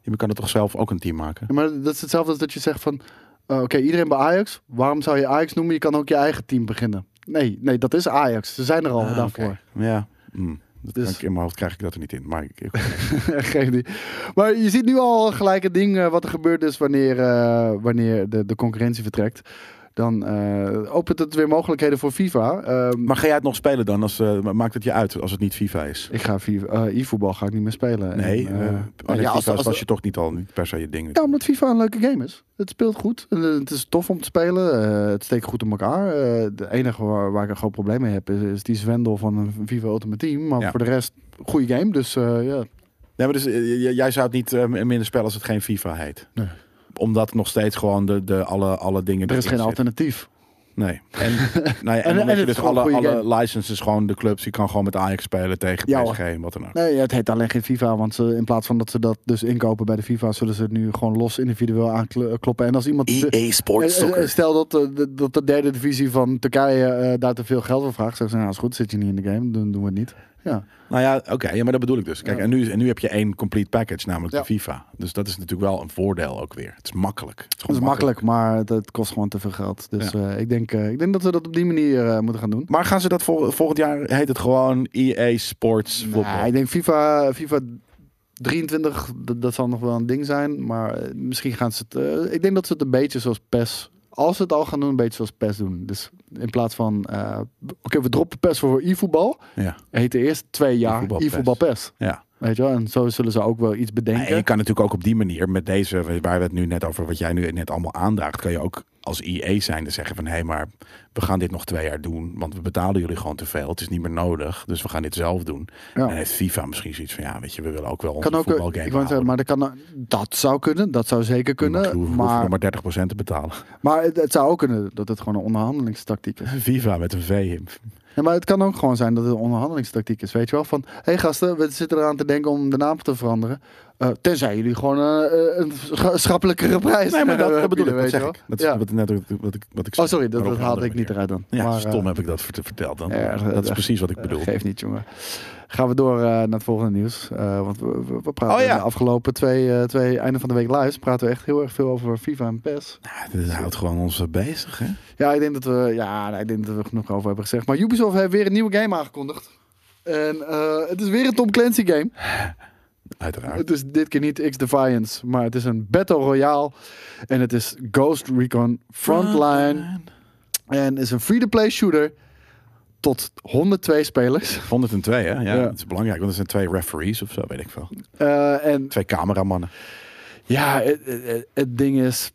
Je kan er toch zelf ook een team maken? Ja, maar dat is hetzelfde als dat je zegt van... eh, Oké, iedereen bij Ajax. Waarom zou je Ajax noemen? Je kan ook je eigen team beginnen. Nee, nee, dat is Ajax. Ze zijn er al Ah, daarvoor. oké. Ja. Hm. Dat Dus- kan ik, in mijn hoofd krijg ik dat er niet in. Maar ik, ik- [laughs] Geen idee. Maar je ziet nu al gelijk het ding eh, wat er gebeurt is wanneer, eh, wanneer de, de concurrentie vertrekt. Dan eh, opent het weer mogelijkheden voor FIFA. Ehm, maar ga jij het nog spelen dan? Als, eh, maakt het je uit als het niet FIFA is? ik ga FIFA, eh, e-voetbal ga ik niet meer spelen. Nee, En, eh, eh, alleen nou ja, FIFA als, als, als, je toch niet al niet per se je ding. ja, omdat FIFA een leuke game is. Het speelt goed. En, eh, het is tof om te spelen. Eh, het steekt goed in elkaar. Eh de enige waar, waar ik een groot probleem mee heb is, is die zwendel van een FIFA Ultimate Team. Maar Ja. voor de rest, goede game. Dus eh, ja, Nee, maar dus, eh, j- jij zou het niet eh, minder spelen als het geen FIFA heet. Nee. Omdat nog steeds gewoon de, de, alle, alle dingen. er is geen erin zitten. alternatief. Nee. En, [laughs] nou ja, en, en omdat het je is dus gewoon een alle, goede alle licenses, gewoon de clubs, je kan gewoon met Ajax spelen tegen Ja, PSG en wat [laughs] dan ook. Nee, het heet alleen geen FIFA, want ze, in plaats van dat ze dat dus inkopen bij de FIFA, zullen ze het nu gewoon los individueel aankloppen. En als iemand. EA E Sports Eh, eh, Soccer. Stel dat, eh, de- dat de derde divisie van Turkije eh, daar te veel geld voor vraagt. Zeggen ze, nou is goed, zit je niet in de game, dan doen we het niet. Ja, Nou ja, oké, ja, maar dat bedoel ik dus. Kijk, Ja. en, nu, en nu heb je één complete package, namelijk Ja. de FIFA. Dus dat is natuurlijk wel een voordeel ook weer. Het is makkelijk. Het is, dat gewoon is makkelijk, maar het, het kost gewoon te veel geld. Dus eh, ik, denk, eh, ik denk dat we dat op die manier eh, moeten gaan doen. Maar gaan ze dat vol- volgend jaar, heet het gewoon EA Sports Football? Nou, ik denk FIFA, FIFA 23, dat, dat zal nog wel een ding zijn. Maar eh, misschien gaan ze het... eh, ik denk dat ze het een beetje zoals PES... Als ze het al gaan doen, een beetje zoals PES doen. Dus in plaats van... eh, Oké, we droppen PES voor e-voetbal. Ja. Heet de eerste twee jaar E-voetbal PES. e-voetbal PES. ja. Weet je wel? En zo zullen ze ook wel iets bedenken. En je kan natuurlijk ook op die manier, met deze, waar we het nu net over, wat jij nu net allemaal aandraagt, kan je ook als IE zijnde zeggen van, hé, maar we gaan dit nog twee jaar doen, want we betalen jullie gewoon te veel. Het is niet meer nodig, dus we gaan dit zelf doen. Ja. En heeft FIFA misschien zoiets van, ja, weet je, we willen ook wel onze kan ook, eh, voetbalgame ik wou zeggen, houden. maar dat, kan, eh, dat zou kunnen, dat zou zeker We kunnen. hoeven nog Maar, maar 30% te betalen. [laughs] maar het, het zou ook kunnen dat het gewoon een onderhandelingstactiek is. FIFA met een V. Ja, maar het kan ook gewoon zijn dat het een onderhandelingstactiek is, weet je wel? Van, hé hey gasten, we zitten eraan te denken om de naam te veranderen. Eh, tenzij jullie gewoon eh, een scha- schappelijkere prijs [laughs] Nee, maar dat, hebben, dat bedoel ik. bieden, Dat eh, weet je zeg wel? ik. Dat is Ja. wat, net ook wat ik, wat ik Oh, zei, sorry, dat, maar dat op een haalde andere ik niet eruit manier. dan. Ja, Maar, eh, stom heb ik dat vert- verteld dan. ja, dat is eh, precies wat ik bedoel. Geeft niet, jongen. Gaan we door eh, naar het volgende nieuws. Eh, want we, we, we praten Oh, ja. de afgelopen twee, eh, twee einde van de week live. Praten we echt heel erg veel over FIFA en PES. Nou, dit houdt gewoon ons eh, bezig, hè? Ja, ik denk dat we, ja, nee, ik denk dat we er genoeg over hebben gezegd. Maar Ubisoft heeft weer een nieuwe game aangekondigd. En eh, het is weer een Tom Clancy game. Uiteraard. Het is dit keer niet X-Defiance, maar het is een Battle Royale. En het is Ghost Recon Frontline. En is een free-to-play shooter tot 102 spelers. 102, hè? Ja, Ja. dat is belangrijk, want er zijn twee referees of zo, weet ik veel. Eh, en Twee cameramannen. ja, het, het- het ding is...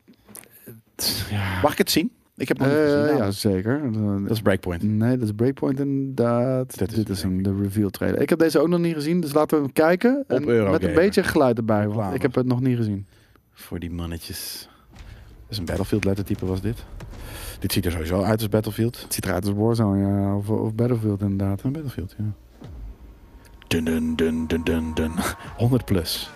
het- ja, Mag ik het zien? Ik heb het nog niet gezien. Eh, Nou, ja, zeker. Dat is Breakpoint. Nee, dat is Breakpoint inderdaad. Dat is Dit is hem, hem, de reveal trailer. Ik heb deze ook nog niet gezien, dus laten we hem kijken. En met een Eurogamer. beetje geluid erbij, want Reclame. ik heb het nog niet gezien. Voor die mannetjes. Dat is een Battlefield lettertype was dit. Dit ziet er sowieso uit als Battlefield. Het ziet eruit als Warzone ja, of, of Battlefield inderdaad. Een Battlefield, ja. Dun dun dun dun dun dun. [laughs] 100 plus.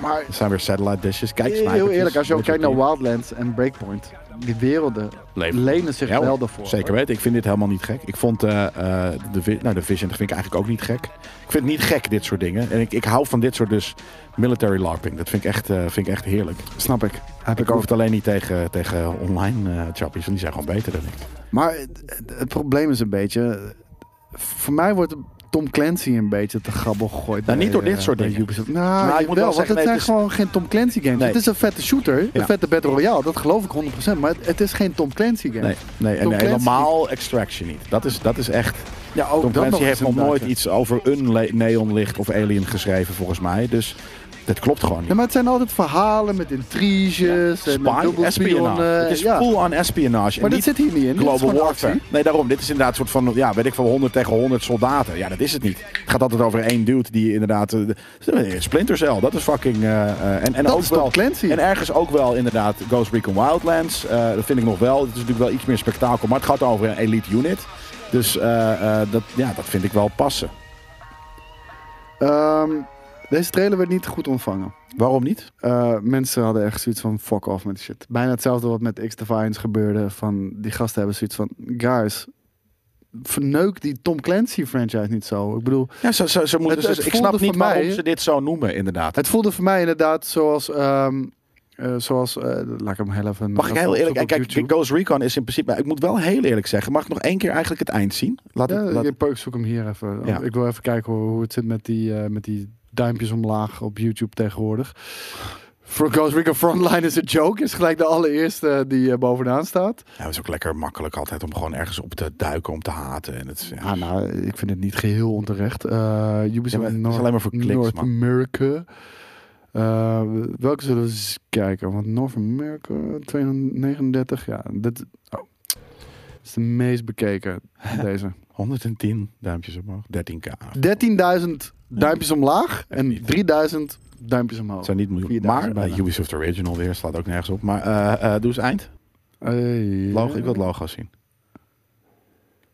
Maar Er zijn weer satellite dishes. Kijk, heel snipertjes. eerlijk, als je ook Weet kijkt naar wat Wildlands en Breakpoint, die werelden die- Leven. lenen zich Ja, wel daarvoor. Zeker weten. Ik vind dit helemaal niet gek. Ik vond eh, eh, de, vi- nou, de Vision dat vind ik eigenlijk ook niet gek. Ik vind het niet gek, dit soort dingen. En ik, ik hou van dit soort dus military larping. Dat vind ik echt, eh, vind ik echt heerlijk. Snap ik. Heb Ik ik ook. hoef het alleen niet tegen, tegen online eh chappies, want die zijn gewoon beter dan ik. Maar het, het- het probleem is een beetje, voor mij wordt Tom Clancy een beetje te grabbel gegooid. Nou, niet door dit eh, soort bij dingen. Ubisoft. ik Nou, moet ik wel wel, want zeggen, het zijn nee, het is- gewoon geen Tom Clancy games. Nee. Het is een vette shooter, Ja. een vette Battle Royale, dat geloof ik 100%. Maar het, het is geen Tom Clancy game. Nee, nee en Tom Clancy- helemaal Extraction niet. Dat is, dat is echt... Ja, ook dat Tom Clancy eens heeft nog inderdaad, nooit ja. iets over een le- neonlicht of alien geschreven, volgens mij. Dus dat klopt gewoon Nee, niet. maar het zijn altijd verhalen met intriges en eh, met Spy, espionage. dubbelspionnen. Het is eh, ja. full-on espionage. Maar En dit zit hier niet in. Dit is Global gewoon warfare. actie. Nee, daarom. Dit is inderdaad een soort van, ja, weet ik van 100 tegen 100 soldaten. Ja, dat is het niet. Het gaat altijd over één dude die inderdaad... eh, de- Splinter Cell, dat is fucking... eh, eh, en, en Dat ook is Tom wel, Clancy. En ergens ook wel inderdaad Ghost Recon Wildlands. Eh, dat vind ik nog wel. Het is natuurlijk wel iets meer spektakel, maar het gaat over een elite unit. Dus eh, eh, dat, ja, dat vind ik wel passen. Ehm, deze trailer werd niet goed ontvangen. Waarom niet? Eh, mensen hadden echt zoiets van fuck off met die shit. Bijna hetzelfde wat met X-Defiance gebeurde. Van die gasten hebben zoiets van guys, verneuk die Tom Clancy franchise niet zo. Ik bedoel, Ja, zo, zo, zo moet, Het- zo- het ik voelde snap niet voor mij- waarom ze dit zo noemen, inderdaad. het voelde voor mij inderdaad zoals, ehm, eh, zoals eh, laat ik hem heel even. Mag ik heel eerlijk... opzoeken op Kijk, YouTube. Ghost Recon is in principe... Ik moet wel heel eerlijk zeggen. Mag ik nog één keer eigenlijk het eind zien? Laat het- Ja, laat- ik- ik zoek hem hier even. Ja. Ik wil even kijken hoe, hoe het zit met die, eh, met die duimpjes omlaag op YouTube tegenwoordig. For Ghost Recon Frontline is a joke. Is gelijk de allereerste die eh, bovenaan staat. Ja, het is ook lekker makkelijk altijd om gewoon ergens op te duiken, om te haten. En het, is- ja. Ah, nou, ik vind het niet geheel onterecht. Eh Ubisoft Ja, maar het is North, alleen maar voor kliks, North man. America. Eh, welke zullen we eens kijken? Want North America 239, ja. Dit oh. is de meest [laughs] bekeken, deze. 110 duimpjes omhoog, 13k. 13.000 duimpjes omlaag en niet. 3000 duimpjes Het omhoog. zijn niet miljoenen. 4000 Maar bijna. eh, Ubisoft Original weer, slaat ook nergens op. Maar eh, eh, doe eens eind. Hey. Logo, ik wil het logo zien.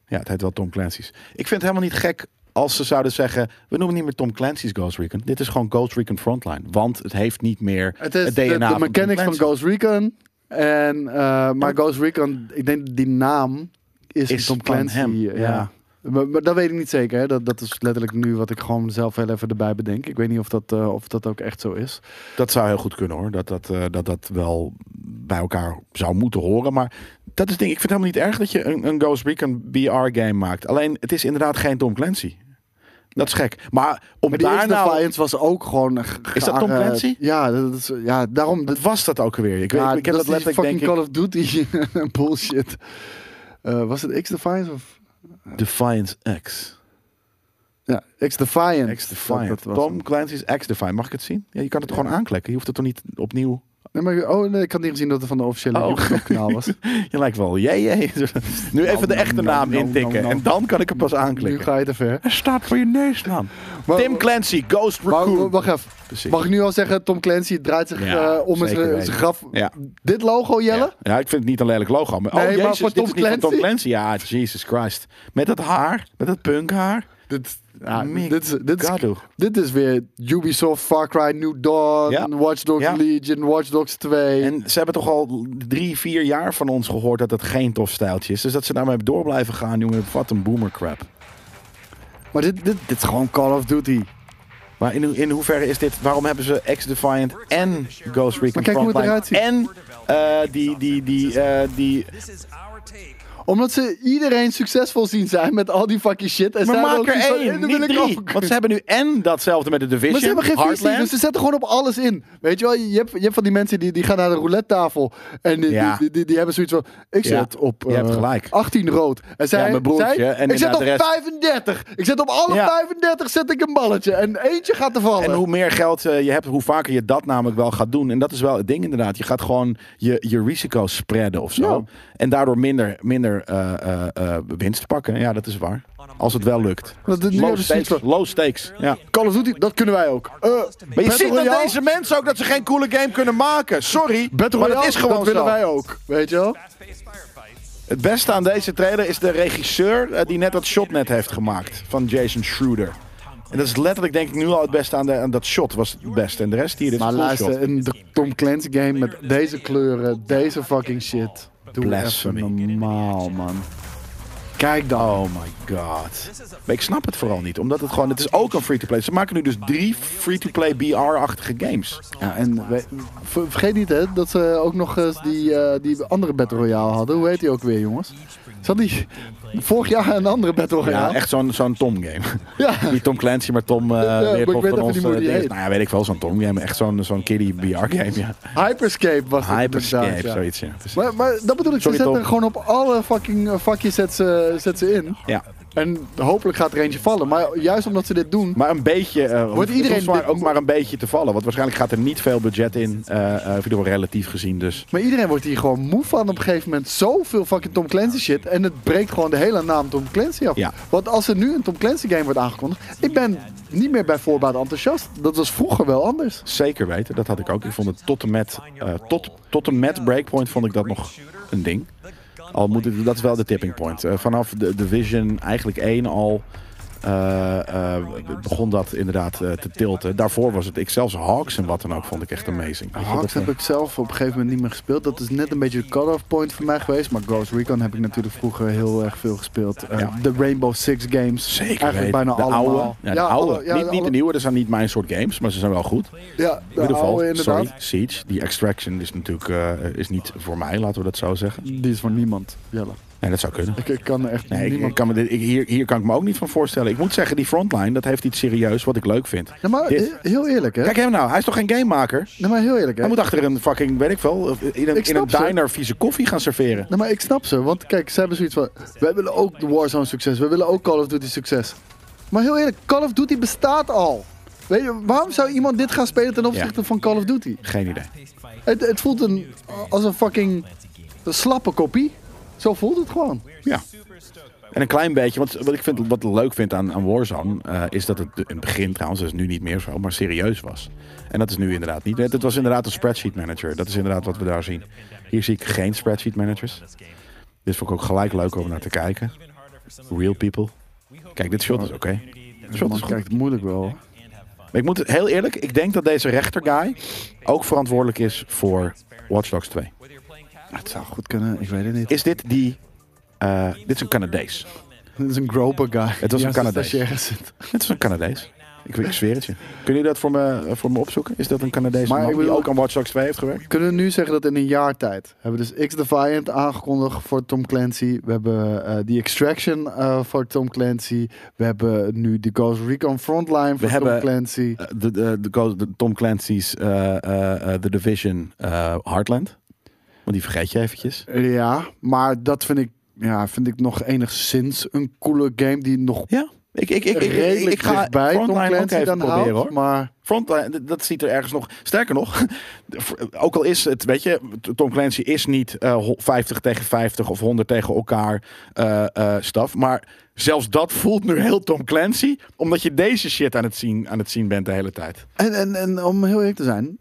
Ja, het heet wel Tom Clancy's. Ik vind het helemaal niet gek als ze zouden zeggen... we noemen niet meer Tom Clancy's Ghost Recon. Dit is gewoon Ghost Recon Frontline. Want het heeft niet meer Het is het de, DNA de mechanics van Tom Clancy. Ghost Recon. En, eh, maar Ghost Recon, ik denk die naam is, Is Tom van Clancy. hem, ja. ja. Maar, maar dat weet ik niet zeker. Hè? Dat, dat is letterlijk nu wat ik gewoon zelf heel even erbij bedenk. Ik weet niet of dat, eh, of dat ook echt zo is. Dat zou heel goed kunnen hoor. Dat dat, eh, dat dat wel bij elkaar zou moeten horen. Maar dat is het ding. Ik vind het helemaal niet erg dat je een, een Ghost Recon BR game maakt. Alleen het is inderdaad geen Tom Clancy. Dat is gek. Maar om Maar die daar eerste nou... Defiance was ook gewoon... ge- Is dat Tom geaar- eh, Clancy? Ja, dat is, ja daarom... Wat was dat ook alweer? Ik, ja, weet, ik heb dat is die fucking letterlijk denk ik... Call of Duty [laughs] bullshit. Eh, was het X-Defiance of... Defiance X. Ja, X-Defiance. X Defiant. Dat- dat was Tom Clancy's X Defiant. Mag ik het zien? Ja, je kan het gewoon aanklikken. Je hoeft het toch niet opnieuw... Nee, maar, oh, nee, ik had niet gezien dat het van de officiële Oh. YouTube kanaal [laughs] was. Je lijkt wel jee [laughs] jee. Nu even de echte Nom, naam nom, nom, intikken nom. en dan kan ik er pas nu aanklikken. ga je te ver. Er staat voor je neusnaam. Maar- Tim Clancy, Ghost Maar, Raccoon. wacht even. Precies. Mag ik nu al zeggen, Tom Clancy draait zich Ja, eh, om in zeker zijn weten. zijn graf. Ja. Dit logo, Jelle? Ja. ja, ik vind het niet een lelijk logo. Maar, Nee, oh, maar jezus, voor dit Tom is niet van Tom Clancy? Clancy. Ja, Jesus Christ. Met dat haar, met dat punkhaar. Dit, ja, Ah, Mick Ah, dit, is, dit, is, Gado. dit is weer Ubisoft, Far Cry, New Dawn, Ja. Watch Dogs Ja. Legion, Watch Dogs 2. En ze hebben toch al drie, vier jaar van ons gehoord dat het geen tof stijltje is. Dus dat ze daarmee door blijven gaan, jongen. Wat een boomer crap. maar dit, dit, dit is gewoon Call of Duty. Maar in, ho- in hoeverre is dit... Waarom hebben ze X-Defiant en Ghost Recon Maar kijk hoe het Frontline eruit ziet. En eh, die, die, die, eh, die... This is our take. Omdat ze iedereen succesvol zien zijn met al die fucking shit. En Maar zij maak ook er iets van, eh, één, dat niet wil ik drie. ook. Want ze hebben nu en datzelfde met de Division, Maar ze hebben geen visie, Heartland. dus ze zetten gewoon op alles in. Weet je wel, je hebt, je hebt van die mensen die, die gaan naar de roulette tafel. En die, Ja. die, die, die, die hebben zoiets van, ik Ja, zet op je hebt eh, gelijk. 18 rood. En zij, mijn broertje zij, en ik zet op inderdaad de 35. Ik zet op alle Ja. 35 zet ik een balletje. En eentje gaat er vallen. En hoe meer geld eh, je hebt, hoe vaker je dat namelijk wel gaat doen. En dat is wel het ding inderdaad. Je gaat gewoon je, je risico's spreiden of zo. Ja. En daardoor minder, minder eh, eh, eh, winst pakken. Ja, dat is waar. Als het wel lukt. Dat- dat- nu Low hebben ze stakes. zoiets van, Low stakes. Ja. Call of Duty, dat kunnen wij ook. Eh, Maar je Battle ziet aan Royale? deze mensen ook dat ze geen coole game kunnen maken. Sorry, Battle maar Royale, dat is gewoon willen zo. wij ook. Weet je wel? Fast-paced firefights. Het beste aan deze trailer is de regisseur eh, die net dat shot net heeft gemaakt van Jason Schroeder. En dat is letterlijk denk ik nu al het beste aan, de, aan dat shot was het beste. En de rest hier, dit is Maar een cool shot. luister, een de Tom Clancy game met deze kleuren, deze fucking shit. Doe even Blasphemy. normaal, man. Kijk dan. Oh my god. Maar ik snap het vooral niet, omdat het gewoon, het is ook een free-to-play. Ze maken nu dus drie free-to-play BR-achtige games. Ja, en we- ver- vergeet niet hè, dat ze ook nog eens die, eh, die andere Battle Royale hadden. Hoe heet die ook weer, jongens? Zat die vorig jaar een andere Battle Ja, Royale? echt zo'n zo'n Tom-game. [laughs] [laughs] Ja. Niet Tom Clancy, maar Tom eh maar ik Leerhoff weet even van ons. niet hoe eh, die ding. heet. nou ja, weet ik wel, zo'n Tom-game. Echt zo'n zo'n kiddie BR-game, ja. Hyperscape was het Hyperscape, inderdaad, ja. zoiets, ja. precies. Maar, maar dat bedoel ik, ze Sorry, zetten Tom. gewoon op alle fucking eh, vakjes zet ze, zet ze in. Ja. En hopelijk gaat er eentje vallen. Maar juist omdat ze dit doen, Maar een beetje, eh hoeft iedereen soms maar dit- ook maar een beetje te vallen. Want waarschijnlijk gaat er niet veel budget in, eh eh, in ieder geval relatief gezien dus. Maar iedereen wordt hier gewoon moe van op een gegeven moment. Zoveel fucking Tom Clancy shit. En het breekt gewoon de hele naam Tom Clancy af. Ja. Want als er nu een Tom Clancy game wordt aangekondigd. Ik ben niet meer bij voorbaat enthousiast. Dat was vroeger wel anders. Zeker weten, dat had ik ook. Ik vond het tot en met, eh, tot, tot en met Breakpoint vond ik dat nog een ding. Al moet ik, dat is wel de tipping point. Eh, vanaf de Division eigenlijk 1 al eh, eh, begon dat inderdaad eh, te tilten. Daarvoor was het, ik zelfs Hawks en wat dan ook, vond ik echt amazing. Weet je, Hawks dat, heb eh, ik zelf op een gegeven moment niet meer gespeeld. Dat is net een beetje de cut-off point voor mij geweest. Maar Ghost Recon heb ik natuurlijk vroeger heel erg veel gespeeld. Eh, Ja. De Rainbow Six games. Zeker Eigenlijk weten. bijna de allemaal. Oude, ja, de oude. alle- ja, niet, niet alle- de nieuwe, dat zijn niet mijn soort games, maar ze zijn wel goed. Ja, In de ieder geval, oude inderdaad. sorry, Siege. Die Extraction is natuurlijk eh, is niet voor mij, laten we dat zo zeggen. Die is voor niemand, Jelle. Nee, dat zou kunnen. Ik, ik kan er echt Nee, ik, niemand... ik kan me dit, ik- hier, hier kan ik me ook niet van voorstellen. Ik moet zeggen, die frontline, dat heeft iets serieus wat ik leuk vind. Ja, maar Dit- eh, heel eerlijk, hè? Kijk hem nou, hij is toch geen gamemaker? Nee, maar heel eerlijk, hè? Hij moet achter een fucking, weet ik veel, in een, Ik in een snap ze. diner vieze koffie gaan serveren. Nou, maar ik snap ze. Want kijk, ze hebben zoiets van... Wij willen ook de Warzone succes. Wij willen ook Call of Duty succes. Maar heel eerlijk, Call of Duty bestaat al. Weet je, waarom zou iemand dit gaan spelen ten opzichte van Call of Duty? Geen idee. Het, het voelt een, als een fucking slappe kopie. Zo voelt het gewoon. Ja. En een klein beetje, want wat ik vind, wat ik leuk vind aan, aan Warzone, eh, is dat het in het begin trouwens, dat is nu niet meer zo, maar serieus was. En dat is nu inderdaad niet. Het was inderdaad een spreadsheet manager. Dat is inderdaad wat we daar zien. Hier zie ik geen spreadsheet managers. Dit vond ik ook gelijk leuk om naar te kijken. Real people. Kijk, dit shot is oké. Dit shot is goed. het moeilijk wel. Maar ik moet heel eerlijk, ik denk dat deze rechterguy ook verantwoordelijk is voor Watch Dogs 2. Het zou goed kunnen, ik weet het niet. Is dit die... eh, dit is een Canadees. [laughs] Het is een groper guy. Het was Die een aan zijn Canadees. stagiaire zit. Het is een Canadees. Ik, ik zweer het je. Kunnen jullie dat voor me, eh, voor me opzoeken? Is dat een Canadees Maar man ik die bedoel- ook aan Watch Dogs 2 heeft gewerkt? Kunnen we nu zeggen dat in een jaar tijd... We hebben dus X-Defiant aangekondigd voor Tom Clancy. We hebben eh die Extraction eh, voor Tom Clancy. We hebben nu de Ghost Recon Frontline voor Tom hebben- Clancy. Eh, De, de, de, Go- de Tom Clancy's eh, eh, eh, The Division eh, Heartland. Want die vergeet je eventjes. Ja, maar dat vind ik, ja, vind ik nog enigszins een coole game die nog... Ja. Ik, ik, ik, ik, ik, redelijk ik ga dichtbij Tom Frontline ook Clancy even dan proberen houdt, hoor. Maar Frontline, d- dat ziet er ergens nog. Sterker nog, [laughs] ook al is het, weet je, Tom Clancy is niet eh, ho- 50 tegen 50 of 100 tegen elkaar eh, eh, staf. Maar zelfs dat voelt nu heel Tom Clancy, omdat je deze shit aan het zien, aan het zien bent de hele tijd. en, en, en om heel eerlijk te zijn,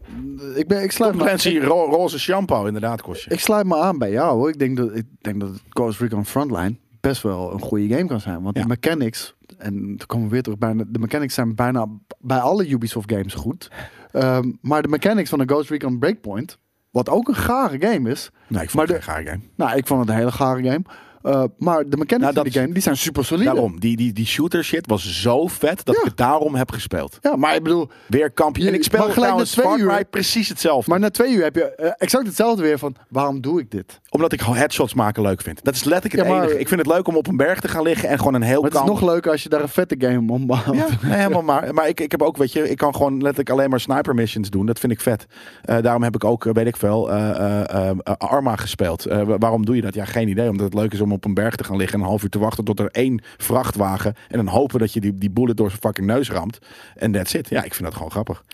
ik, ben, ik, sluit Tom me, ik, Clancy, ro- roze shampoo inderdaad kost je. ik sluit me aan bij jou hoor. Ik denk dat, ik denk dat Ghost Recon Frontline best wel een goede game kan zijn. Want Ja. die mechanics, en dan komen we weer terug, bijna, de mechanics zijn bijna bij alle Ubisoft games goed. Ehm, maar de mechanics van een Ghost Recon Breakpoint, wat ook een gare game is. Nee, ik maar vond het geen gaar game. Nou, ik vond het een hele gare game. Eh, maar de mechanics Nou, dat van is- die game, die zijn super solide. Daarom, die, die, die shooter shit was zo vet dat Ja. ik het daarom heb gespeeld. Ja, maar ik bedoel, Weer kampje. Je- En ik maar speel gelijk na trouwens twee Far uur- Cry precies hetzelfde. maar na twee uur heb je eh, exact hetzelfde weer van, waarom doe ik dit? Omdat ik headshots maken leuk vind. Dat is letterlijk het Ja, maar- enige. Ik vind het leuk om op een berg te gaan liggen en gewoon een heel Maar het is kamp... nog leuker als je daar een vette game om [laughs] bouwt. Ja, nee, helemaal maar. Maar ik, ik heb ook, weet je, ik kan gewoon letterlijk alleen maar sniper missions doen. Dat vind ik vet. Eh, daarom heb ik ook, eh, weet ik veel, eh, eh, eh, Arma gespeeld. Eh, wa- waarom doe je dat? Ja, geen idee. Omdat het leuk is om op een berg te gaan liggen en een half uur te wachten tot er één vrachtwagen. En dan hopen dat je die, die bullet door zijn fucking neus ramt. En that's it. Ja, ik vind dat gewoon grappig.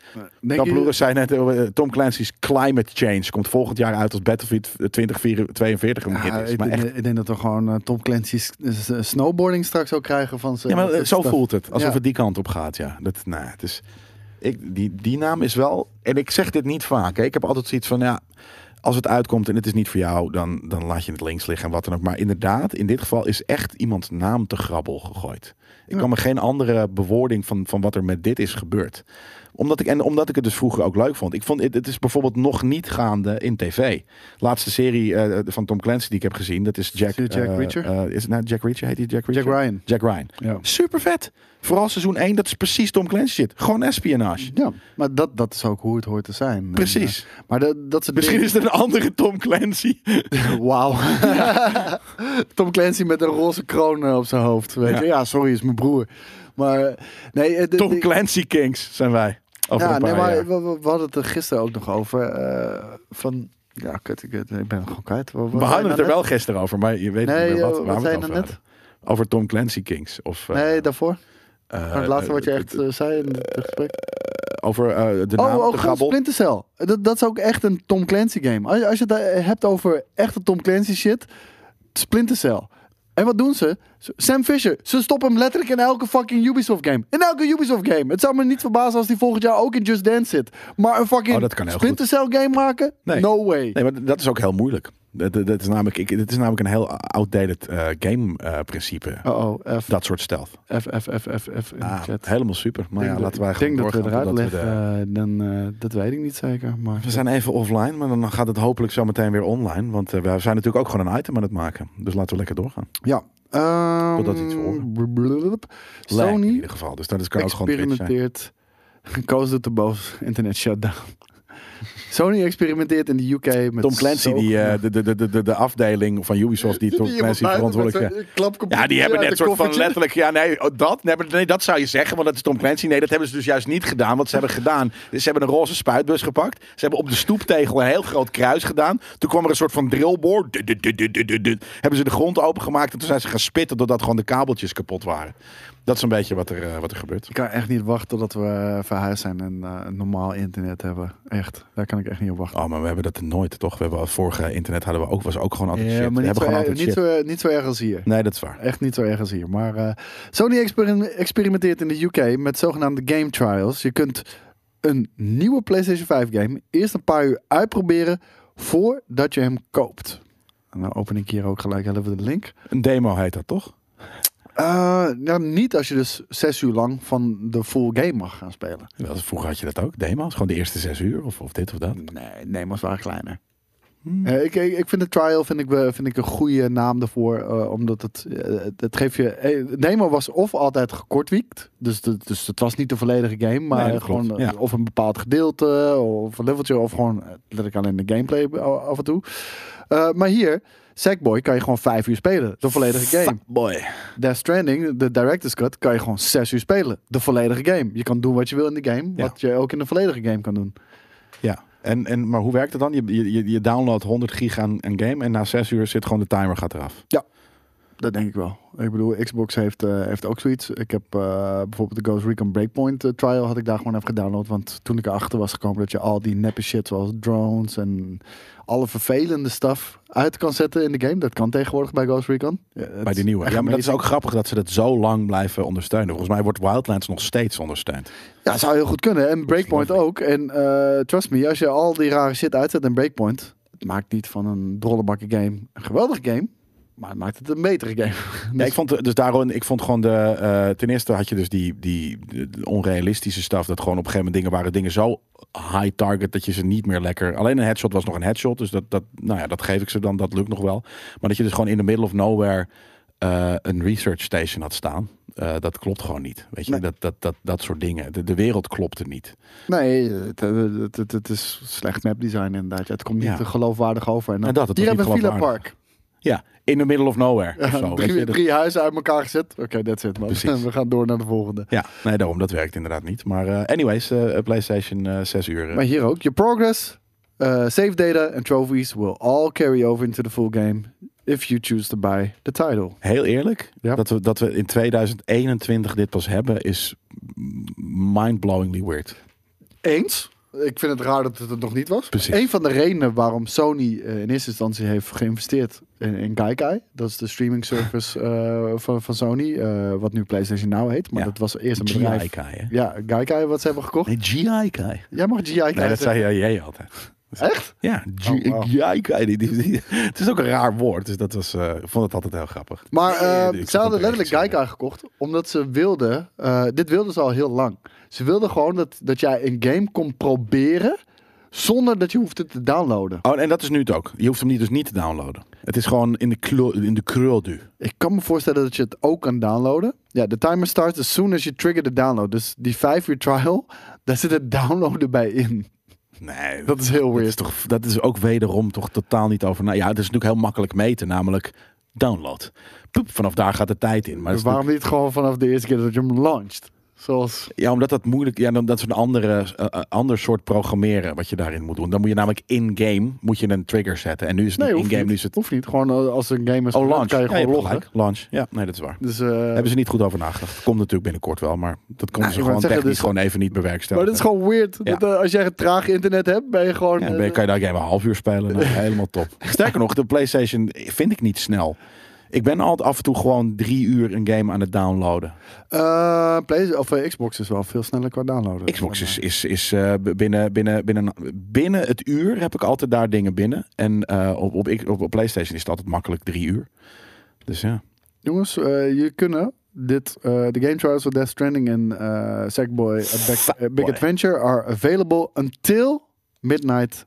Denk Kap je- Loeres zei net, eh, Tom Clancy's Climate Change komt volgend jaar uit als Battlefield 2042 een hit Ja, is. ik, Maar denk- echt, ik denk dat we gewoon eh, Tom Clancy's eh, eh, snowboarding straks ook krijgen van ze. ja, maar eh, zo voelt het. Alsof Ja. het die kant op gaat, ja. Dat, nou, het is, ik, die, die naam is wel... En ik zeg dit niet vaak. Hè. Ik heb altijd zoiets van, ja, als het uitkomt en het is niet voor jou, dan, dan laat je het links liggen en wat dan ook. Maar inderdaad, in dit geval is echt iemands naam te grabbel gegooid. Ik Ja. kan me geen andere bewoording van, van wat er met dit is gebeurd. Omdat ik, en omdat ik het dus vroeger ook leuk vond. Ik vond het, het is bijvoorbeeld nog niet gaande in tv. Laatste serie eh, van Tom Clancy die ik heb gezien, dat is Jack, Is het Jack eh, Reacher? eh, is het nou Jack Reacher? Heet die Jack Reacher? Ryan. Jack Ryan. Ja. Super vet. Vooral seizoen 1, dat is precies Tom Clancy shit. Gewoon espionage. Ja, maar dat, dat is ook hoe het hoort te zijn. Precies. En, eh, maar dat, dat is het Misschien ding. is het een andere Tom Clancy. Wauw. [laughs] Tom Clancy met een roze kroon eh, op zijn hoofd. Weet je? Ja. ja, sorry, is mijn broer. Maar eh, nee, eh, de- Tom de- Clancy Kings zijn wij. Over ja, een paar nee, maar jaar. we, we- we hadden het er gisteren ook nog over. eh, van, ja, kut, ik, weet- ik ben het gewoon kwijt. Wat- wat We zei je hadden het er nou wel gisteren over, maar je weet Nee, niet meer wat, eh, wat waar we zei het je over nou net? hadden. Over Tom Clancy Kings. Of, eh, net? Nee, daarvoor. eh, Van het laatste wat je eh, echt eh, zei in het gesprek. Over eh, de naam, Oh, de oh God, grabbel. Splinter Cell. Dat, dat is ook echt een Tom Clancy game. Als, je- als je het eh, hebt over echte Tom Clancy shit, Splinter Cell. En wat doen ze? Z- Sam Fisher. Ze stoppen hem letterlijk in elke fucking Ubisoft game. In elke Ubisoft game. Het zou me niet verbazen als die volgend jaar ook in Just Dance zit. Maar een Oh, fucking dat kan heel Splinter Cell game maken? Nee. No way. Nee, maar dat is ook heel moeilijk. Dat, dat, dat is, namelijk, ik, dat is namelijk een heel outdated eh, game eh, principe. Oh oh, F, Dat soort stealth. F, F, F, F, F in de Ah, chat. helemaal super. Maar ja, Ik denk laten wij dat- gewoon Ik denk dat we doorgaan eruit totdat we leggen. de- eh, dan, eh, dat weet ik niet zeker. Maar We zijn even offline, maar dan gaat het hopelijk zo meteen weer online. Want eh, we zijn natuurlijk ook gewoon een item aan het maken. Dus laten we lekker doorgaan. ja. Totdat iets Ehm, horen. blablabla. Lag in Sony ieder geval. Dus dat is, kan ook gewoon Twitch zijn. experimenteert. [laughs] Koos doet de boos. Internet shutdown. [laughs] Sony experimenteert in de UK met Tom Clancy, zo- [laughs] die, eh, de, de, de, de, de- de afdeling van Ubisoft die Tom Clancy verantwoordelijk eh, is. Ja, die hebben net een soort van letterlijk. Ja, nee, oh, dat, nee, maar- nee, dat zou je zeggen, want dat is Tom Clancy. Nee, dat hebben ze dus juist niet gedaan. Wat ze hebben gedaan. is Ze hebben een roze spuitbus gepakt. Ze hebben op de stoeptegel een heel groot kruis gedaan. Toen kwam er een soort van drillboor. Dut, dut, dut, dut, dut, dut, dut. Hebben ze de grond opengemaakt en toen zijn ze gaan spitten doordat gewoon de kabeltjes kapot waren. Dat is een beetje wat er, eh, wat er gebeurt. Ik kan echt niet wachten totdat we eh, verhuisd zijn en eh, normaal internet hebben. Echt, daar kan ik echt niet op wachten. Oh, maar we hebben dat nooit, toch? We hebben al vorige internet hadden we ook, was ook gewoon altijd shit. we Eh, maar niet hebben zo, gewoon erg, altijd niet, shit. zo, eh, niet zo erg als hier. Nee, dat is waar. Echt niet zo erg als hier. Maar eh, Sony experim- experimenteert in de UK met zogenaamde game trials. Je kunt een nieuwe PlayStation 5 game eerst een paar uur uitproberen voordat je hem koopt. En dan open ik hier ook gelijk even de link. Een demo heet dat, toch? Eh, nou, niet als je dus zes uur lang van de full game mag gaan spelen. Wel, Vroeger had je dat ook, demo's. Gewoon de eerste zes uur of, of dit of dat. Nee, nemo's waren kleiner. Eh, ik, ik, ik vind de trial vind ik, wel- vind ik een goede naam daarvoor. eh, omdat het, eh, het geeft je. eh, Nemo was of altijd gekortwiekt. Dus, de- dus het was niet de volledige game. Maar Nee, dat klopt, gewoon eh, ja. of een bepaald gedeelte. Of een leveltje. Of gewoon eh, letterlijk alleen de gameplay eh, af en toe. Eh, maar hier, Sackboy kan je gewoon vijf uur spelen. De volledige game. Boy. Death Stranding, de director's cut, kan je gewoon zes uur spelen. De volledige game. Je kan doen wat je wil in de game. Ja. Wat je ook in de volledige game kan doen. Ja, en, en, maar hoe werkt het dan? Je, je, je downloadt 100 gig aan een game en na zes uur zit gewoon de timer gaat eraf. Ja. Dat denk ik wel. Ik bedoel, Xbox heeft, eh, heeft ook zoiets. Ik heb eh, bijvoorbeeld de Ghost Recon Breakpoint eh, trial had ik daar gewoon even gedownload. Want toen ik erachter was gekomen dat je al die neppe shit zoals drones en alle vervelende stuff uit kan zetten in de game. Dat kan tegenwoordig bij Ghost Recon. Ja, het Bij de nieuwe. echt Ja, maar dat is amazing. ook grappig dat ze dat zo lang blijven ondersteunen. Volgens mij wordt Wildlands nog steeds ondersteund. Ja, zou heel goed kunnen. En Breakpoint lovely. ook. En eh, trust me, als je al die rare shit uitzet in Breakpoint, het maakt niet van een drollebakken game een geweldige game, maar het maakt het een betere game. [laughs] Ja, ik vond de- dus daarom, ik vond gewoon de. eh, ten eerste had je dus die, die de- de onrealistische staf. Dat gewoon op een gegeven moment dingen waren. Dingen zo high target dat je ze niet meer lekker. Alleen een headshot was nog een headshot. Dus dat, dat, nou ja, dat geef ik ze dan. Dat lukt nog wel. Maar dat je dus gewoon in the middle of nowhere. eh, een research station had staan. eh, dat klopt gewoon niet. Weet je, Nee. dat, dat, dat, dat soort dingen. De, de wereld klopte niet. Nee, het, het, het, het is slecht mapdesign inderdaad. Ja, Het komt niet Ja. te geloofwaardig over. En dan, En dat, het hier was hebben we niet Villa geloofwaardig. Park. Ja, in the middle of nowhere. [laughs] of zo, weet je. drie, Dat- drie huizen uit elkaar gezet. Oké, that's it man. Precies. [laughs] We gaan door naar de volgende. ja, nee, daarom. Dat werkt inderdaad niet. Maar eh, anyways, eh, PlayStation eh 6 uur. eh, Maar hier ook. Your progress, eh, save data en trophies will all carry over into the full game if you choose to buy the title. Heel eerlijk, Ja. dat, we, dat we in 2021 dit pas hebben, is mind-blowingly weird. Eens. Ik vind het raar dat het het nog niet was. Precies. Een van de redenen waarom Sony eh, in eerste instantie heeft geïnvesteerd in, in Gaikai. Dat is de streaming service eh, van, van Sony. eh, wat nu PlayStation Now heet. Maar Ja. dat was eerst een bedrijf. GIK, hè? Ja, Gaikai wat ze hebben gekocht. Nee, GIK. Jij mag GI Nee, kijken. dat zei jij- jij altijd. Echt? Ja, Oh, wow. GIK. Die, die, die- het is ook een raar woord, dus dat was, eh, ik vond het altijd heel grappig. Maar Nee, eh, ik vond ze hadden het letterlijk echt, Gaikai gekocht, omdat ze wilden... eh, dit wilden ze al heel lang. Ze wilden gewoon dat, dat jij een game kon proberen... zonder dat je hoeft het te downloaden. Oh, en dat is nu het ook. Je hoeft hem niet, dus niet te downloaden. Het is gewoon in de, klo, in de krul du. Ik kan me voorstellen dat je het ook kan downloaden. Ja, de timer starts as soon as you trigger the download. Dus die vijf uur trial, [laughs] daar zit het downloaden bij in. Nee, Dat is heel dat weird. is, toch, dat is ook wederom toch totaal niet over... Nou, ja, het is natuurlijk heel makkelijk meten, namelijk download. Poep, vanaf daar gaat de tijd in. Maar dat is Waarom niet gewoon vanaf de eerste keer dat je hem launcht? Zoals... Ja, omdat dat moeilijk. Ja, dan, dat is een andere, eh, eh, ander soort programmeren wat je daarin moet doen. Dan moet je namelijk in-game moet je een trigger zetten. En nu is het Nee, niet hoeft in-game, niet. nu is het. Hoeft niet. Gewoon eh, als een game is Oh, gebeurd, launch. kan je Ja, je gewoon hebt loggen. gelijk. Launch. Ja, nee, dat is waar. Dus, eh, Hebben ze niet goed over nagedacht. Komt natuurlijk binnenkort wel, maar dat konden Nou, ze ik wou gewoon zeggen, technisch dus- gewoon even niet maar bewerkstelligen. dat is gewoon weird. Ja. Dat, eh, als jij traag internet hebt, ben je gewoon... Ja, eh, dan ben je- kan je daar game een half uur [laughs] spelen. Nou, helemaal top. Sterker nog, de PlayStation vind ik niet snel. Ik ben altijd af en toe gewoon drie uur een game aan het downloaden. eh, Play- of, eh, Xbox is wel veel sneller qua downloaden. Xbox is, is, is eh, b- binnen, binnen, binnen, binnen het uur heb ik altijd daar dingen binnen. En eh, op, op, ik- op, op PlayStation is het altijd makkelijk drie uur. Dus ja. Jongens, eh, jullie kunnen dit, eh, de game trials of Death Stranding en eh Sackboy A Big, A Big Sackboy. Adventure are available until midnight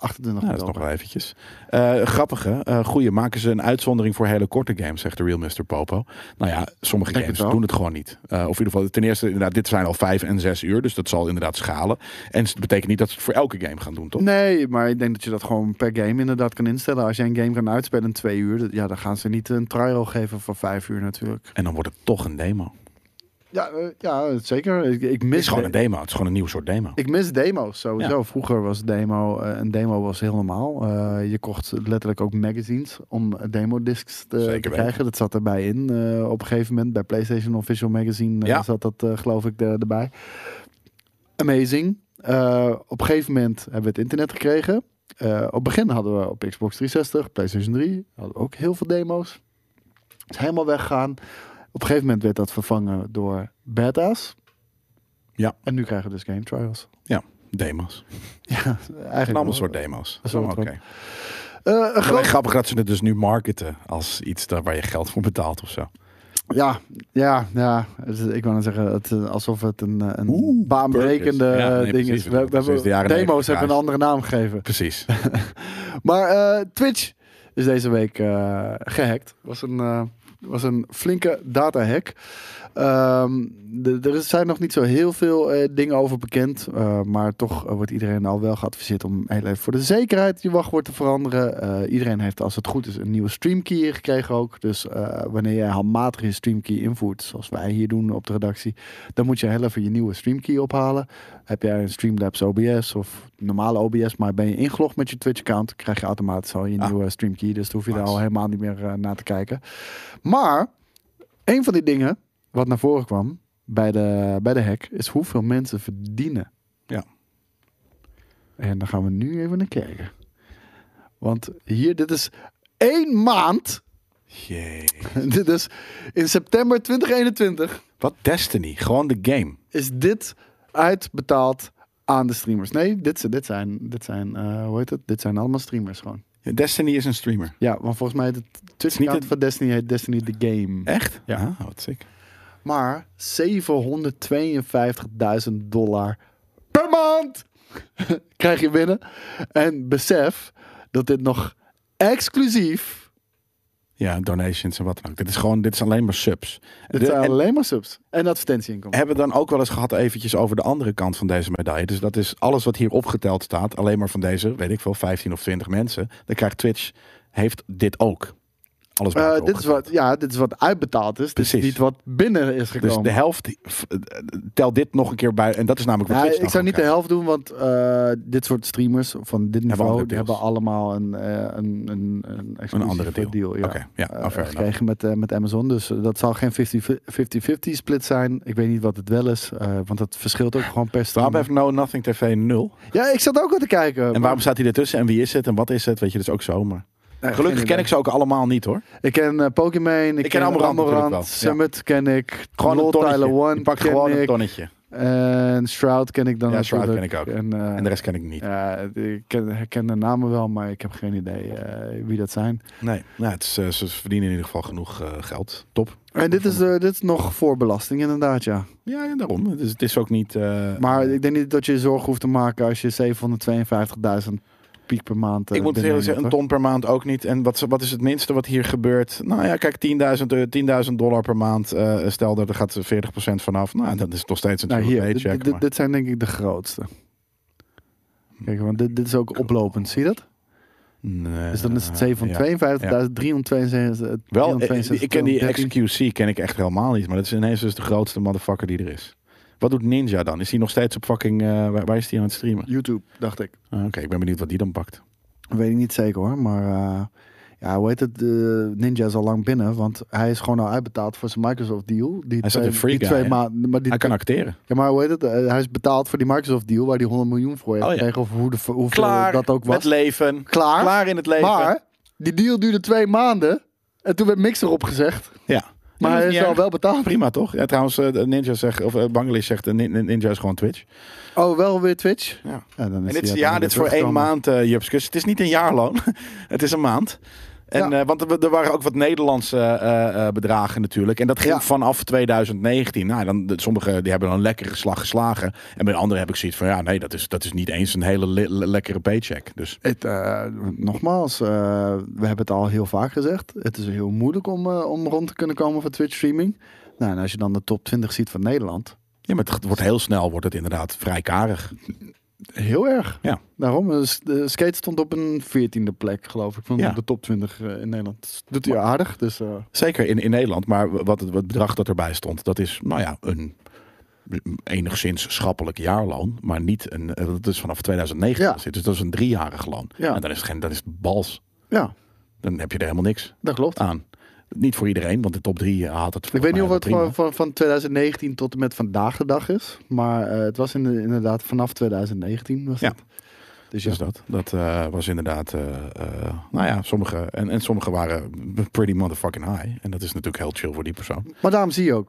28 Ja, dat is nog oktober. wel eventjes. Eh grappige, eh goeie. Maken ze een uitzondering voor hele korte games, zegt de Real Mr. Popo. Nou ja, sommige Denk games het wel. doen het gewoon niet. Eh, of in ieder geval, ten eerste, inderdaad, dit zijn al vijf en zes uur. Dus dat zal inderdaad schalen. En het betekent niet dat ze het voor elke game gaan doen, toch? Nee, maar ik denk dat je dat gewoon per game inderdaad kan instellen. Als jij een game kan uitspelen in twee uur, dat- ja, dan gaan ze niet een trial geven van vijf uur natuurlijk. En dan wordt het toch een demo. Ja, eh, ja zeker. Ik, ik Het mis is gewoon een de- demo. Het is gewoon een nieuw soort demo. ik mis demo's sowieso. Vroeger was demo, eh, een demo was heel normaal. Eh, je kocht letterlijk ook magazines om demodiscs eh, te, Zeker te weten. krijgen. Dat zat erbij in eh, op een gegeven moment. Bij PlayStation Official Magazine eh, Ja. zat dat eh, geloof ik er- erbij. Amazing. Eh, op een gegeven moment hebben we het internet gekregen. Eh, op het begin hadden we op Xbox 360, PlayStation 3, hadden we ook heel veel demo's. Is helemaal weggegaan. Op een gegeven moment werd dat vervangen door beta's. Ja. En nu krijgen we dus game trials. Demo's. Ja, eigenlijk. Een ander wel. soort demo's. Dat is wel Maar wat oké. Eh, een Maar groot- Grappig dat ze het dus nu marketen als iets daar waar je geld voor betaalt of zo. Ja, ja, ja. Het is- Ik wou net zeggen, het, eh, alsof het een, eh, een Oeh, baanbrekende burgers. Ja, nee, eh, ding precies. is. We, we Precies, de hebben, jaren demo's 90 hebben een prijs. andere naam gegeven. [laughs] Precies. Maar eh, Twitch is deze week eh, gehackt. Was een, eh, was een flinke datahack. Ehm, de- er zijn nog niet zo heel veel eh, dingen over bekend. eh, maar toch eh, wordt iedereen al wel geadviseerd om heel even voor de zekerheid je wachtwoord te veranderen. Eh, iedereen heeft, als het goed is, een nieuwe streamkey gekregen ook. Dus eh, wanneer jij handmatig je streamkey invoert, zoals wij hier doen op de redactie, dan moet je heel even je nieuwe streamkey ophalen. Heb jij een Streamlabs OBS of normale OBS, maar ben je ingelogd met je Twitch-account, krijg je automatisch al je Ah. nieuwe streamkey. Dus dan hoef je daar Nice. al helemaal niet meer eh, naar te kijken. Maar een van die dingen wat naar voren kwam bij de, bij de hack is hoeveel mensen verdienen. Ja. En dan gaan we nu even naar kijken. Want hier, dit is één maand. [laughs] Jee. dit is in september 2021 Wat Destiny? Gewoon de game. is dit uitbetaald aan de streamers. Nee, dit, zijn- dit zijn, dit zijn eh, hoe heet het? Dit zijn allemaal streamers gewoon. Ja, Destiny is een streamer. Ja, want volgens mij heet het Twitch-account het- van Destiny heet Destiny The Game. Echt? Ja. Ah, wat sick. Maar 752.000 dollar per maand [laughs] krijg je binnen. En besef dat dit nog exclusief. Ja, donations en wat dan ook. Dit is gewoon, dit is alleen maar subs. Dit De- zijn en- alleen maar subs en advertentieinkomsten. hebben we dan ook wel eens gehad eventjes over de andere kant van deze medaille. Dus dat is alles wat hier opgeteld staat, alleen maar van deze, weet ik veel, 15 of 20 mensen. Dan krijgt Twitch, heeft dit ook. Alles bij Eh, elkaar dit, is wat, opgeteld. ja, dit is wat uitbetaald is. Dit is Precies. niet wat binnen is Dus gekomen. de helft, f- tel dit nog een keer bij. En dat is namelijk wat Ja, Twitch ik dan zou gewoon niet de krijgt. helft doen, want eh, dit soort streamers van dit niveau andere die deals. hebben allemaal een, eh, een, een, een, exclusief andere deal. deal ja. Oké, ja, eh, nou, fair gekregen met, eh, met Amazon. Dus eh, dat zal geen 50-50 split zijn. Ik weet niet wat het wel is, eh, want dat verschilt ook gewoon per Waarom streamer. heeft No Nothing TV 0? Ja, ik zat ook wel te kijken. En waarom staat hij ertussen? En wie is het? En wat is het? Weet je, dus ook zo. Maar... Gelukkig ken ik ze ook allemaal niet hoor. Ik ken eh, Pokimane, ik, ken Amorant natuurlijk wel, ja. Summit ken ik, Gewoon Lord een tonnetje. Tyler One je pakt ken gewoon een ik, tonnetje. en Shroud ken ik dan Ja, Shroud natuurlijk. ken ik ook. En, eh, En de rest ken ik niet. Ja, ik ken, herken de namen wel, maar ik heb geen idee eh, wie dat zijn. Nee, nou, het is, eh, ze verdienen in ieder geval genoeg eh, geld. Top. En dit is, eh, dit is nog voor belasting, inderdaad, ja. Ja, ja, daarom. Het is, het is ook niet... eh, Maar ik denk niet dat je je zorgen hoeft te maken als je 752.000 piek per maand. eh, ik moet binnen eerlijk zeggen, een hebt, ton per maand ook niet. En wat, ze- wat is het minste wat hier gebeurt? Nou ja, kijk, 10.000 eh, 10.000 dollar per maand. eh, stel dat er gaat 40% vanaf. Nou, dat is nog steeds hoor. een Nou, nou, hier, dit- paycheck. dit, dit, maar- zijn denk ik de grootste. Kijk, want dit, dit is ook oplopend, zie je dat? Nee, Dus dan is het ja. 752.000, Wel, eh, ik ken die XQC ken ik echt helemaal niet. Maar dat is ineens dus de grootste motherfucker die er is. Wat doet Ninja dan? Is hij nog steeds op fucking... eh, waar, waar is hij aan het streamen? YouTube, dacht ik. Ah, Oké, ik ben benieuwd wat die dan pakt. Weet ik niet zeker hoor, maar eh, ja, hoe heet het? eh, Ninja is al lang binnen, want hij is gewoon al uitbetaald voor zijn Microsoft deal. Die Hij staat twee, in Free die Guy, twee hè? maanden, maar die, Hij kan acteren. ja, maar hoe heet het? Eh, hij is betaald voor die Microsoft deal waar hij 100 miljoen voor heeft Oh, ja. gekregen, of hoe de, hoeveel dat ook was. met leven. Klaar. Klaar in het leven. Maar die deal duurde twee maanden en toen werd Mixer opgezegd, ja. maar Ja, dat hij niet is al erg. wel betaald. Prima toch? Ja, trouwens, eh, Ninja zegt, of eh, Bangladesh zegt, eh, Nin- Ninja is gewoon Twitch. Oh, wel weer Twitch? Ja. dan En is dit, hij is- uiteindelijk ja, dit is voor één teruggekomen. maand, eh Jupskus. Het is niet een jaarloon. [laughs] het is een maand. En, Ja. eh, want er, er waren ook wat Nederlandse eh, eh, bedragen natuurlijk. En dat ging Ja. vanaf 2019. Nou, dan, de- sommigen die hebben dan een lekkere slag geslagen. En bij anderen heb ik zoiets van, ja, nee, dat is, dat is niet eens een hele le- le- lekkere paycheck. Dus Het, eh, nogmaals, eh, we hebben het al heel vaak gezegd. Het is heel moeilijk om, eh, om rond te kunnen komen van Twitch streaming. Nou, en als je dan de top 20 ziet van Nederland. ja, maar het wordt heel snel, wordt het inderdaad vrij karig. Heel erg. Ja. Daarom, eh, s- de skate stond op een 14e plek, geloof ik, van Ja. de top 20 eh, in Nederland. Dus doet hij aardig. Dus, eh, Zeker in, in Nederland, maar w- wat het wat bedrag dat erbij stond, dat is nou ja, een enigszins schappelijk jaarloon, maar niet een, eh, dat is vanaf 2019. Ja. dat zit. Dus dat is een driejarig loon. Ja. En dan is het, geen, dan is het bals. ja, Dan heb je er helemaal niks dat klopt. aan. Niet voor iedereen, want de top drie eh, had het. Ik volgens weet niet mij of het wel van, prima. van, van 2019 tot en met vandaag de dag is. Maar eh, het was in, inderdaad vanaf 2019. Was Ja. het. Dus ja. dat. Dat eh, was inderdaad, eh, eh, nou ja, sommige, en, en sommige waren pretty motherfucking high. En dat is natuurlijk heel chill voor die persoon. Maar daarom zie je ook,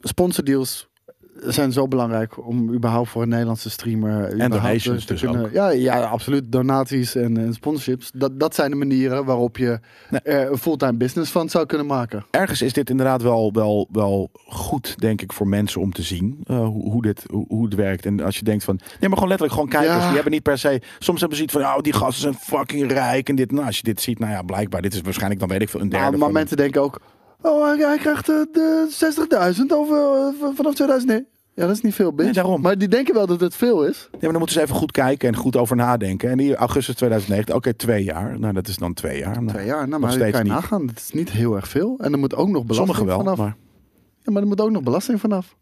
sponsordeals zijn zo belangrijk om überhaupt voor een Nederlandse streamer überhaupt donations te dus ook. Ja, ja, absoluut. Donaties en, en sponsorships. Dat, dat zijn de manieren waarop je Nee. er een fulltime business van zou kunnen maken. ergens is dit inderdaad wel, wel, wel goed, denk ik, voor mensen om te zien eh, hoe, hoe, dit, hoe, hoe het werkt. En als je denkt van, nee, maar gewoon letterlijk gewoon kijkers. Ja. Die hebben niet per se, soms hebben ze iets van, oh, die gasten zijn fucking rijk en dit. Nou, als je dit ziet, nou ja, blijkbaar, dit is waarschijnlijk, dan weet ik veel, een derde Maar, maar van- mensen denken ook, Oh, hij, hij krijgt eh, de 60.000 over, eh, vanaf 2000. Nee. Ja, dat is niet veel, bitch. Nee, daarom. Maar die denken wel dat het veel is. Ja, maar dan moeten ze even goed kijken en goed over nadenken. En hier, augustus 2009, oké, twee jaar. Nou, dat is dan twee jaar. Nou, Twee jaar, nou, nog maar dat steeds kan je niet. nagaan. Dat is niet heel erg veel. En er moet ook nog belasting Sommigen wel, vanaf. maar Ja, maar er moet ook nog belasting vanaf.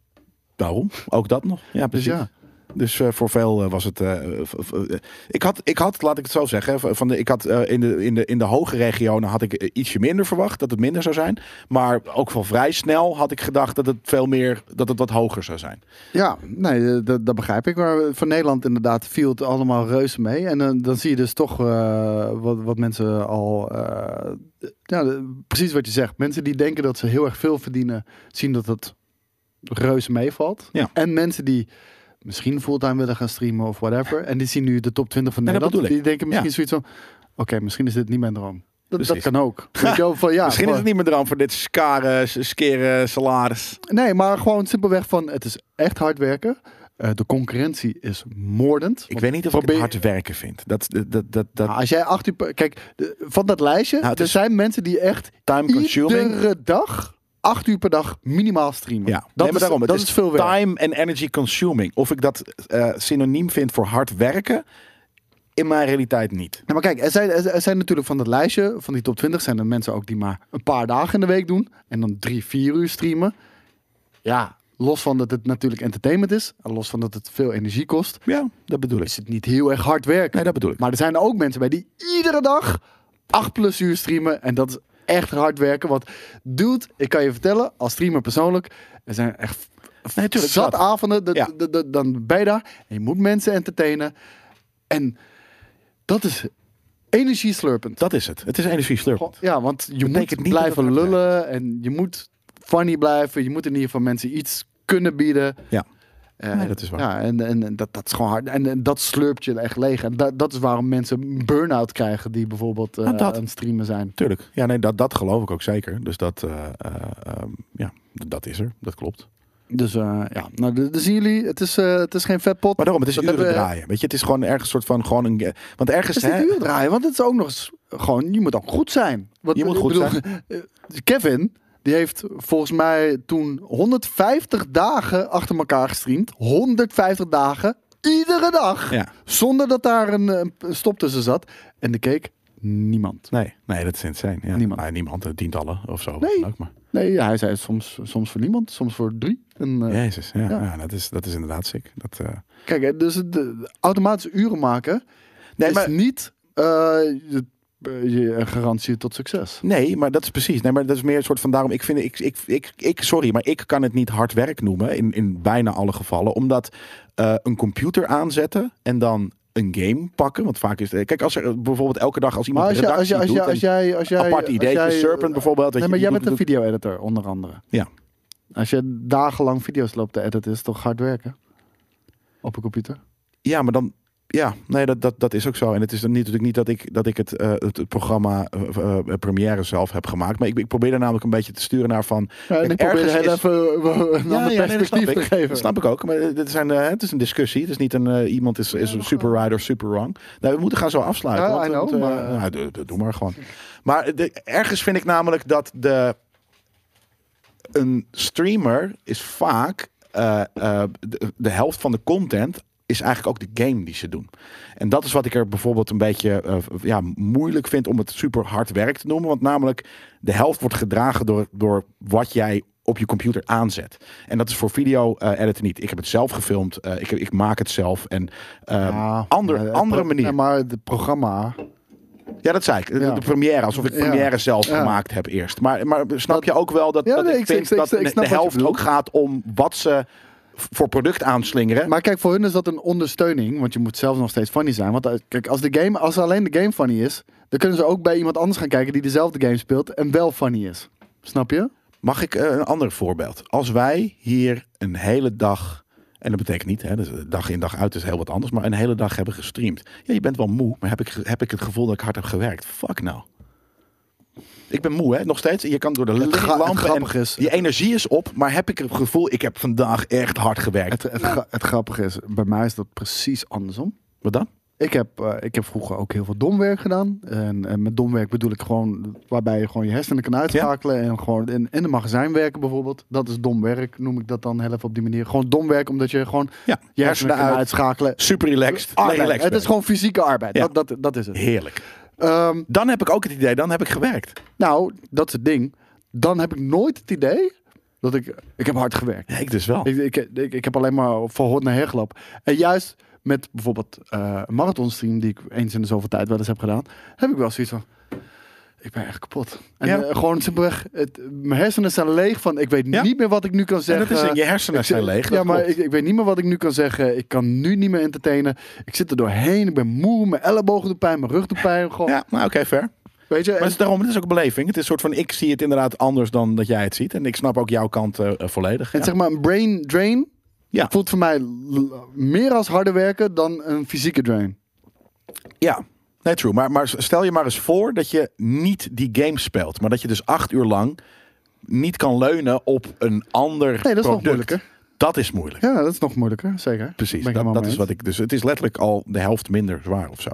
daarom. Ook dat nog. Ja, precies. ja. Dus eh, voor veel eh, was het. eh, eh, v- v- eh, ik, had, ik had, laat ik het zo zeggen, hè, van de, ik had, eh, in, de, in, de, in de hoge regionen had ik eh, ietsje minder verwacht dat het minder zou zijn. Maar ook van vrij snel had ik gedacht dat het veel meer, dat het wat hoger zou zijn. Ja, nee, eh, dat, dat begrijp ik. Maar voor Nederland inderdaad viel het allemaal reuze mee. En dan dan zie je dus toch eh, wat, wat mensen al... eh, ja, de- precies wat je zegt. Mensen die denken dat ze heel erg veel verdienen... zien dat het reuze meevalt. Ja. En mensen die misschien fulltime willen gaan streamen of whatever... en die zien nu de top 20 van Nee, dat Nederland... bedoel die ik. denken misschien Ja. zoiets van... oké, misschien is dit niet mijn droom. Dat, dat Precies. kan [laughs] ook. Weet je wel, van, ja, Misschien is van- het niet meer droom voor dit skare, s- skere salaris. Nee, maar gewoon simpelweg van het is echt hard werken. Eh, de concurrentie is moordend. Ik Want weet niet of probeer- ik het hard werken vind. Dat, dat, dat, dat, Nou, als jij acht uur. per- Kijk, de- van dat lijstje. Nou, het er is- zijn mensen die echt time consuming. iedere dag. acht uur per dag minimaal streamen. Ja, dat, nee, maar is, daarom, het dat is, veel werk. Time en energy consuming. Of ik dat eh, synoniem vind voor hard werken, in mijn realiteit niet. Nou, maar kijk, er zijn, er er zijn natuurlijk van dat lijstje, van die top 20, zijn er mensen ook die maar een paar dagen in de week doen. En dan drie, vier uur streamen. Ja, los van dat het natuurlijk entertainment is. En los van dat het veel energie kost. Ja, dat bedoel ik. Is het niet heel erg hard werken. Nee, dat bedoel ik. Maar er zijn er ook mensen bij die iedere dag 8 plus uur streamen. En dat is echt hard werken. Want dude, ik kan je vertellen, als streamer persoonlijk, er zijn echt Nee, tuurlijk, zat zat. avonden. dat- Ja. dat- dat- dan ben je daar. En je moet mensen entertainen. En dat is energieslurpend. dat is het. Het is energie slurpend. Ja, want je Betekent moet niet dat het blijven hard lullen. En je moet funny blijven. Je moet in ieder geval mensen iets kunnen bieden. Ja. Eh, Nee, dat is waar. Ja, en, en, en dat, dat is gewoon hard. En, en dat slurpt je echt leeg. En dat, dat is waarom mensen burn-out krijgen die bijvoorbeeld eh, Ja, Nou, dat. aan het streamen zijn. Tuurlijk. Ja, nee, dat, dat geloof ik ook zeker. Dus dat, eh, eh, ehm, ja, d- dat is er. Dat klopt. Dus eh, ja, nou, d- dus zien jullie, het is, eh, het is geen vetpot. Maar daarom, het is Dat uren hebben we- draaien. Weet je, het is gewoon ergens soort van gewoon een... ge- Want ergens... Het is hè, niet uur draaien, want het is ook nog eens gewoon, je moet ook goed zijn. Want, Je moet ik goed [laughs] zijn. Kevin, die heeft volgens mij toen 150 dagen achter elkaar gestreamd. 150 dagen, iedere dag. Ja. Zonder dat daar een, eh, een stop tussen zat. En de keek niemand. Nee, nee, dat is insane. Ja. Niemand. Nou, niemand. eh, Tientallen of zo. Nee. Nee. Ook maar. Nee, hij zei soms, soms voor niemand, soms voor drie. En, eh, Jezus, ja, Ja. ja. dat, is, dat is inderdaad sick. Dat, eh, Kijk, hè, dus het, de, automatisch uren maken Nee, is maar- niet eh, je, je- een garantie tot succes. Nee, maar dat is precies. Nee, maar dat is meer een soort van daarom. Ik vind, ik, ik, ik, ik sorry, maar ik kan het niet hard werk noemen in, in bijna alle gevallen, omdat eh, een computer aanzetten en dan een game pakken, want vaak is het, kijk als er bijvoorbeeld elke dag als Maar iemand als, een jij, als, redactie jij, als, doet, jij, als jij... Als jij apart als ideetje, jij- Serpent bijvoorbeeld, weet Nee, je, maar jij je bent een doet- video-editor, onder andere. ja, Als je dagenlang video's loopt te editen, is het toch hard werken? Op een computer? ja, maar dan ja, nee, dat, dat, dat is ook zo. En het is dan niet, natuurlijk niet dat ik, dat ik het, eh, het, het programma eh, eh, première zelf heb gemaakt. Maar ik, ik probeer daar namelijk een beetje te sturen naar van. Ja, en kijk, ik probeer ergens heel is- even eh, [laughs] een ander nee, dat perspectief snap te ik. geven. Dat snap ik ook. Maar eh, dit zijn, eh, het is een discussie. Het is niet een eh, iemand is, is een super right of super wrong. Nou, we moeten gaan zo afsluiten. Ja, want I we know, moeten, maar- eh, nou, doe- doe- doe maar gewoon. Maar de- ergens vind ik namelijk dat de een streamer is vaak eh, eh, de, de helft van de content is eigenlijk ook de game die ze doen. En dat is wat ik er bijvoorbeeld een beetje eh, ja, moeilijk vind om het super hard werk te noemen. Want namelijk de helft wordt gedragen door, door wat jij op je computer aanzet. En dat is voor video eh editen niet. Ik heb het zelf gefilmd. eh, ik, heb- ik maak het zelf. En eh, Ja, ander, maar het andere pro- manier. Ja, maar het programma... Ja, dat zei ik. De- Ja. De première, alsof ik de Ja. première zelf Ja. gemaakt heb eerst. Maar, maar snap je ook wel dat, Ja, dat nee, ik, ik- vind ik- ik- dat ik snap de wat je helft bedoelt. ook gaat om wat ze v- voor product aanslingeren? Maar kijk, voor hun is dat een ondersteuning, want je moet zelf nog steeds funny zijn. Want eh, kijk, als, de game, als alleen de game funny is, dan kunnen ze ook bij iemand anders gaan kijken die dezelfde game speelt en wel funny is. Snap je? Mag ik eh, een ander voorbeeld? Als wij hier een hele dag, en dat betekent niet, hè, dus dag in dag uit is heel wat anders, maar een hele dag hebben gestreamd. Ja, je bent wel moe, maar heb ik, ge- heb ik het gevoel dat ik hard heb gewerkt? Fuck nou. Ik ben moe, hè? Nog steeds. Je kan door de gra- het lampen en grappige is- je energie is op, maar heb ik het gevoel, ik heb vandaag echt hard gewerkt. Het, het, gra- het grappige is, bij mij is dat precies andersom. Wat dan? Ik heb, eh, ik heb vroeger ook heel veel domwerk gedaan. En, en met domwerk bedoel ik gewoon waarbij je gewoon je hersenen kan uitschakelen. En gewoon in, in een magazijn werken bijvoorbeeld. Dat is domwerk, noem ik dat dan heel even op die manier. Gewoon domwerk, omdat je gewoon Ja, je hersenen Ah, kan hersenen uit. uitschakelen. Super relaxed. Arbeid. Relaxed het is gewoon fysieke arbeid. Ja. Dat, dat, dat is het. Heerlijk. Ehm, Dan heb ik ook het idee, dan heb ik gewerkt. nou, dat is het ding. Dan heb ik nooit het idee dat ik... Ik heb hard gewerkt. Ja, ik dus wel. Ik, ik, ik, ik heb alleen maar van hot naar her gelopen. En juist met bijvoorbeeld eh, een marathonstream die ik eens in de zoveel tijd wel eens heb gedaan, heb ik wel zoiets van. Ik ben echt kapot. En Ja. eh, gewoon simpelweg, het, mijn hersenen zijn leeg van, ik weet Ja. niet meer wat ik nu kan En zeggen. dat is, je hersenen zijn leeg. eh, Ja, dat maar klopt. ik, ik weet niet meer wat ik nu kan zeggen. Ik kan nu niet meer entertainen. Ik zit er doorheen. Ik ben moe. Mijn ellebogen doen pijn. Mijn rug doet pijn. Gewoon, Ja, nou oké, fair. Weet je? Maar en- het is daarom, het is ook een beleving. Het is een soort van, ik zie het inderdaad anders dan dat jij het ziet. En ik snap ook jouw kant eh, eh, volledig. En Ja. zeg maar, een brain drain Ja. voelt voor mij l- meer als harder werken dan een fysieke drain. Ja, nee, true. Maar, maar stel je maar eens voor dat je niet die game speelt. Maar dat je dus acht uur lang niet kan leunen op een ander product. Nee, dat is nog moeilijker. Dat is moeilijk. Ja, dat is nog moeilijker, zeker. Precies, Ben ik helemaal dat, dat mee is eens. wat ik... Dus het is letterlijk al de helft minder zwaar of zo.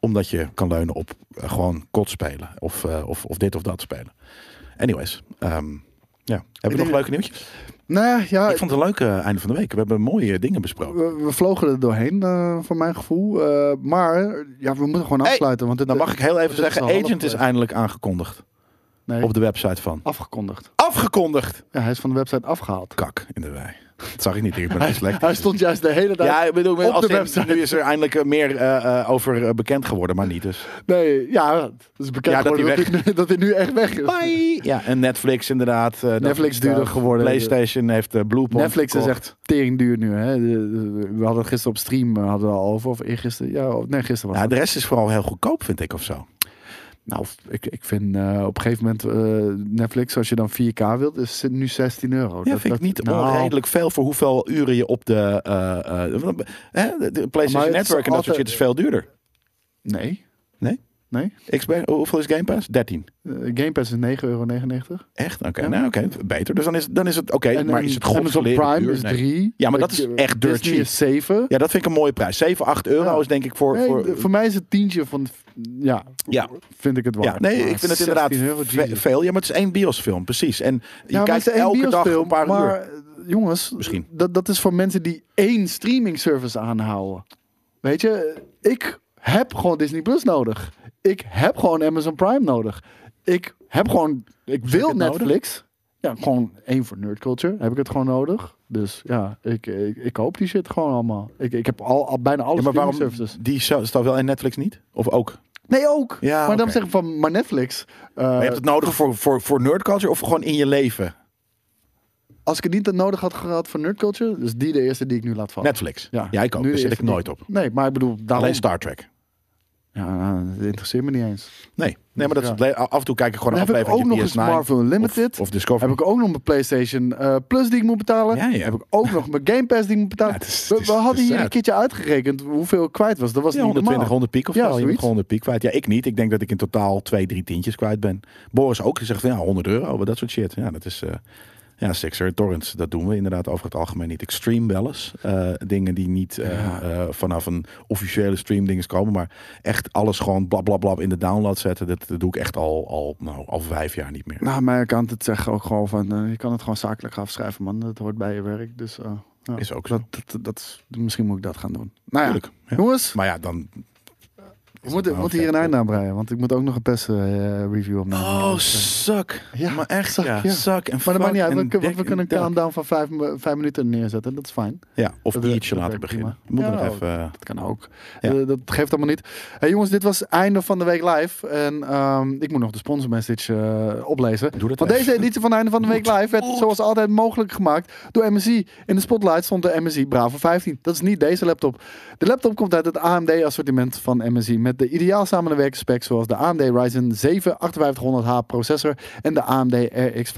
Omdat je kan leunen op eh, gewoon kot spelen. Of, eh, of, of dit of dat spelen. Anyways, ehm, ja. Hebben we nog denk- leuke nieuwtjes? Nou ja, ik vond het een leuke einde van de week. We hebben mooie dingen besproken. we, we vlogen er doorheen, eh, voor mijn gevoel. Eh, maar ja, we moeten gewoon Hey, afsluiten. want het, Dan mag ik heel even het is zeggen, al half Agent is geweest. eindelijk aangekondigd. Nee, Op de website van. afgekondigd. Afgekondigd! Ja, hij is van de website afgehaald. Kak in de wei. Dat zag ik niet. Ik ben een slecht. [laughs] Hij stond juist de hele dag... Ja, ik bedoel, op als de in, website. nu is er eindelijk eh, meer eh, eh, over eh, bekend geworden, maar niet dus. Nee, ja, dat is bekend Ja, dat geworden hij dat, hij nu, dat hij nu echt weg is. Bye! Ja, en Netflix inderdaad. eh, dat Netflix is, eh, duurder geworden. PlayStation heeft eh, Blueprint Netflix is gekocht. echt tering duur nu. Hè? De- de- We hadden het gisteren op stream eh, hadden we al over. Of eergisteren. Ja, of- nee, gisteren was Ja, het. de rest is vooral heel goedkoop, vind ik, of zo. Nou, ik, ik vind eh, op een gegeven moment eh, Netflix, als je dan 4K wilt, is het nu 16 euro. Ja, vind ik niet nou, onredelijk veel voor hoeveel uren je op de, eh, eh, want, eh, de- de Maar PlayStation het is Network en dat soort altijd- shit is veel duurder. Nee. Nee? Nee. Xbox, hoeveel is Game Pass? 13. Eh, Game Pass is 9,99 euro. Echt? Oké, Ja. nou oké, beter. Dus dan is, dan is het oké, En maar een is het Amazon godverleren Prime duur? is Nee. 3. Ja, maar dat is echt dirt Disney cheap. is 7. Ja, dat vind ik een mooie prijs. 7, 8 euro Ja. is denk ik voor... Nee, voor, de- voor mij is het tientje van... Ja, Ja. vind ik het waard. ja, nee, Maar ik vind het inderdaad 16 Ah, euro, ve- Jesus. veel. Ja, maar het is één biosfilm, precies. En je maar kijkt het is één elke dag biosfilm, een paar maar, uur. eh, jongens, Misschien. Dat, dat is voor mensen die één streaming service aanhouden. Weet je, ik heb gewoon Disney Plus nodig. Ik heb gewoon Amazon Prime nodig. Ik heb gewoon, ik wil het nodig? Netflix. Ja, gewoon één voor nerd culture. Heb ik het gewoon nodig. Dus ja, ik, ik, ik koop die shit gewoon allemaal. Ik, ik heb al, al bijna alle Ja, maar streaming waarom services. die zo- staat wel en Netflix niet? Of ook? Nee, ook. Ja, maar dan oké. zeg ik van, maar Netflix. eh, Maar je hebt het nodig voor, voor, voor nerdculture of gewoon in je leven? als ik het niet nodig had gehad voor nerd culture, dus die de eerste die ik nu laat vallen. Netflix. Ja, ik nu ook. Daar de zit ik eerste nooit op. die- Nee, maar ik bedoel, daarom... Alleen Star Trek. Ja, dat interesseert me niet eens. Nee, nee maar dat is het le- af en toe kijk ik gewoon Dan een heb ik aflevering ook nog eens PS9 Marvel Unlimited. Of, of Discovery. Heb ik ook nog mijn PlayStation eh, Plus die ik moet betalen. Ja, ja. Heb ik ook nog mijn Game Pass die ik moet betalen. Ja, het is- we, het is- we het hadden is hier een sad. keertje uitgerekend hoeveel ik kwijt was. Dat was Ja, niet 120, normaal. 100 piek of Ja, zo. Je bent zoiets. gewoon 100 piek kwijt. Ja, ik niet. Ik denk dat ik in totaal twee, drie tientjes kwijt ben. Boris ook. Die zegt van ja, 100 euro. maar Dat soort shit. Ja, dat is... eh ja, Sixer, Torrents, dat doen we inderdaad over het algemeen niet. Ik stream wel eens eh, dingen die niet eh, eh, vanaf een officiële stream dingen komen, maar echt alles gewoon blablabla in de download zetten. Dat, dat doe ik echt al, al, nou, al vijf jaar niet meer. Nou, mijn accountant zegt ook gewoon van, eh, je kan het gewoon zakelijk afschrijven man. Dat hoort bij je werk. Dus eh, ja. Is ook zo. dat, dat, dat is- misschien moet ik dat gaan doen. Nou ja, Tuurlijk, ja. jongens, Maar ja, dan. we moeten, we moeten hier een einde aan breien. Want ik moet ook nog een PES eh, review opnemen. Oh, Dus, eh, zak. Ja, maar echt, zak, ja. ja. Zak en Maar dat maakt niet uit, fuck we en kunnen, dik we kunnen een en dat. countdown van vijf, mi- vijf minuten neerzetten. Dat is fijn. Ja, of Dat- ietsje dat later werkt beginnen. prima. Moeten we Ja, nog even. eh, Dat kan ook. Ja. Eh, dat geeft allemaal niet. Hey jongens, dit was het einde van de week live. En ehm, ik moet nog de sponsormessage eh, oplezen. Doe dat Want even. deze editie van het einde van de week live werd zoals altijd mogelijk gemaakt door MSI. In de spotlight stond de MSI Bravo 15. Dat is niet deze laptop. De laptop komt uit het AMD assortiment van MSI. Met de ideaal samenwerkende specs zoals de AMD Ryzen 7 5800H processor en de AMD RX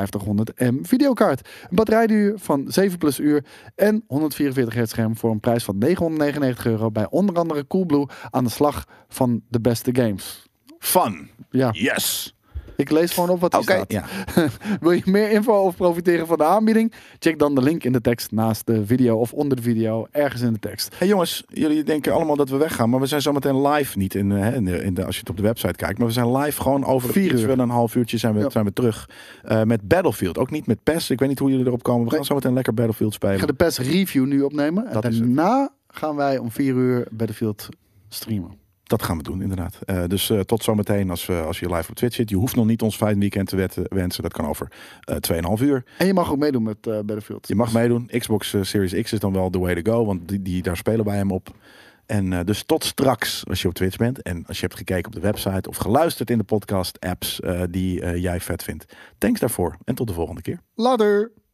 5500M videokaart. Een batterijduur van 7 plus uur en 144 hertz scherm voor een prijs van 999 euro bij onder andere Coolblue aan de slag van de beste games. Fun. Ja, Yes. Ik lees gewoon op wat er Oké, staat. ja. Wil je meer info of profiteren van de aanbieding? Check dan de link in de tekst naast de video of onder de video, ergens in de tekst. Hey jongens, jullie denken allemaal dat we weggaan, maar we zijn zometeen live niet in, eh, hè, in de, in de, als je het op de website kijkt, maar we zijn live gewoon over Vier iets uur. wel een half uurtje zijn we, Ja. zijn we terug eh, met Battlefield. Ook niet met PES. Ik weet niet hoe jullie erop komen. We gaan Nee. zometeen lekker Battlefield Ik ga spelen. de PES review nu opnemen. En Dat is het. daarna gaan wij om vier uur Battlefield streamen. Dat gaan we doen inderdaad. Eh, dus eh, tot zometeen als, we- als je live op Twitch zit. Je hoeft nog niet ons fijn weekend te wet- wensen. Dat kan over eh 2,5 uur. En je mag ook meedoen met eh, Battlefield. Je mag meedoen. Xbox eh, Series X is dan wel the way to go, want die, die, daar spelen wij hem op. En eh, dus tot straks als je op Twitch bent. En als je hebt gekeken op de website of geluisterd in de podcast apps eh, die eh, jij vet vindt. Thanks daarvoor en tot de volgende keer. Later!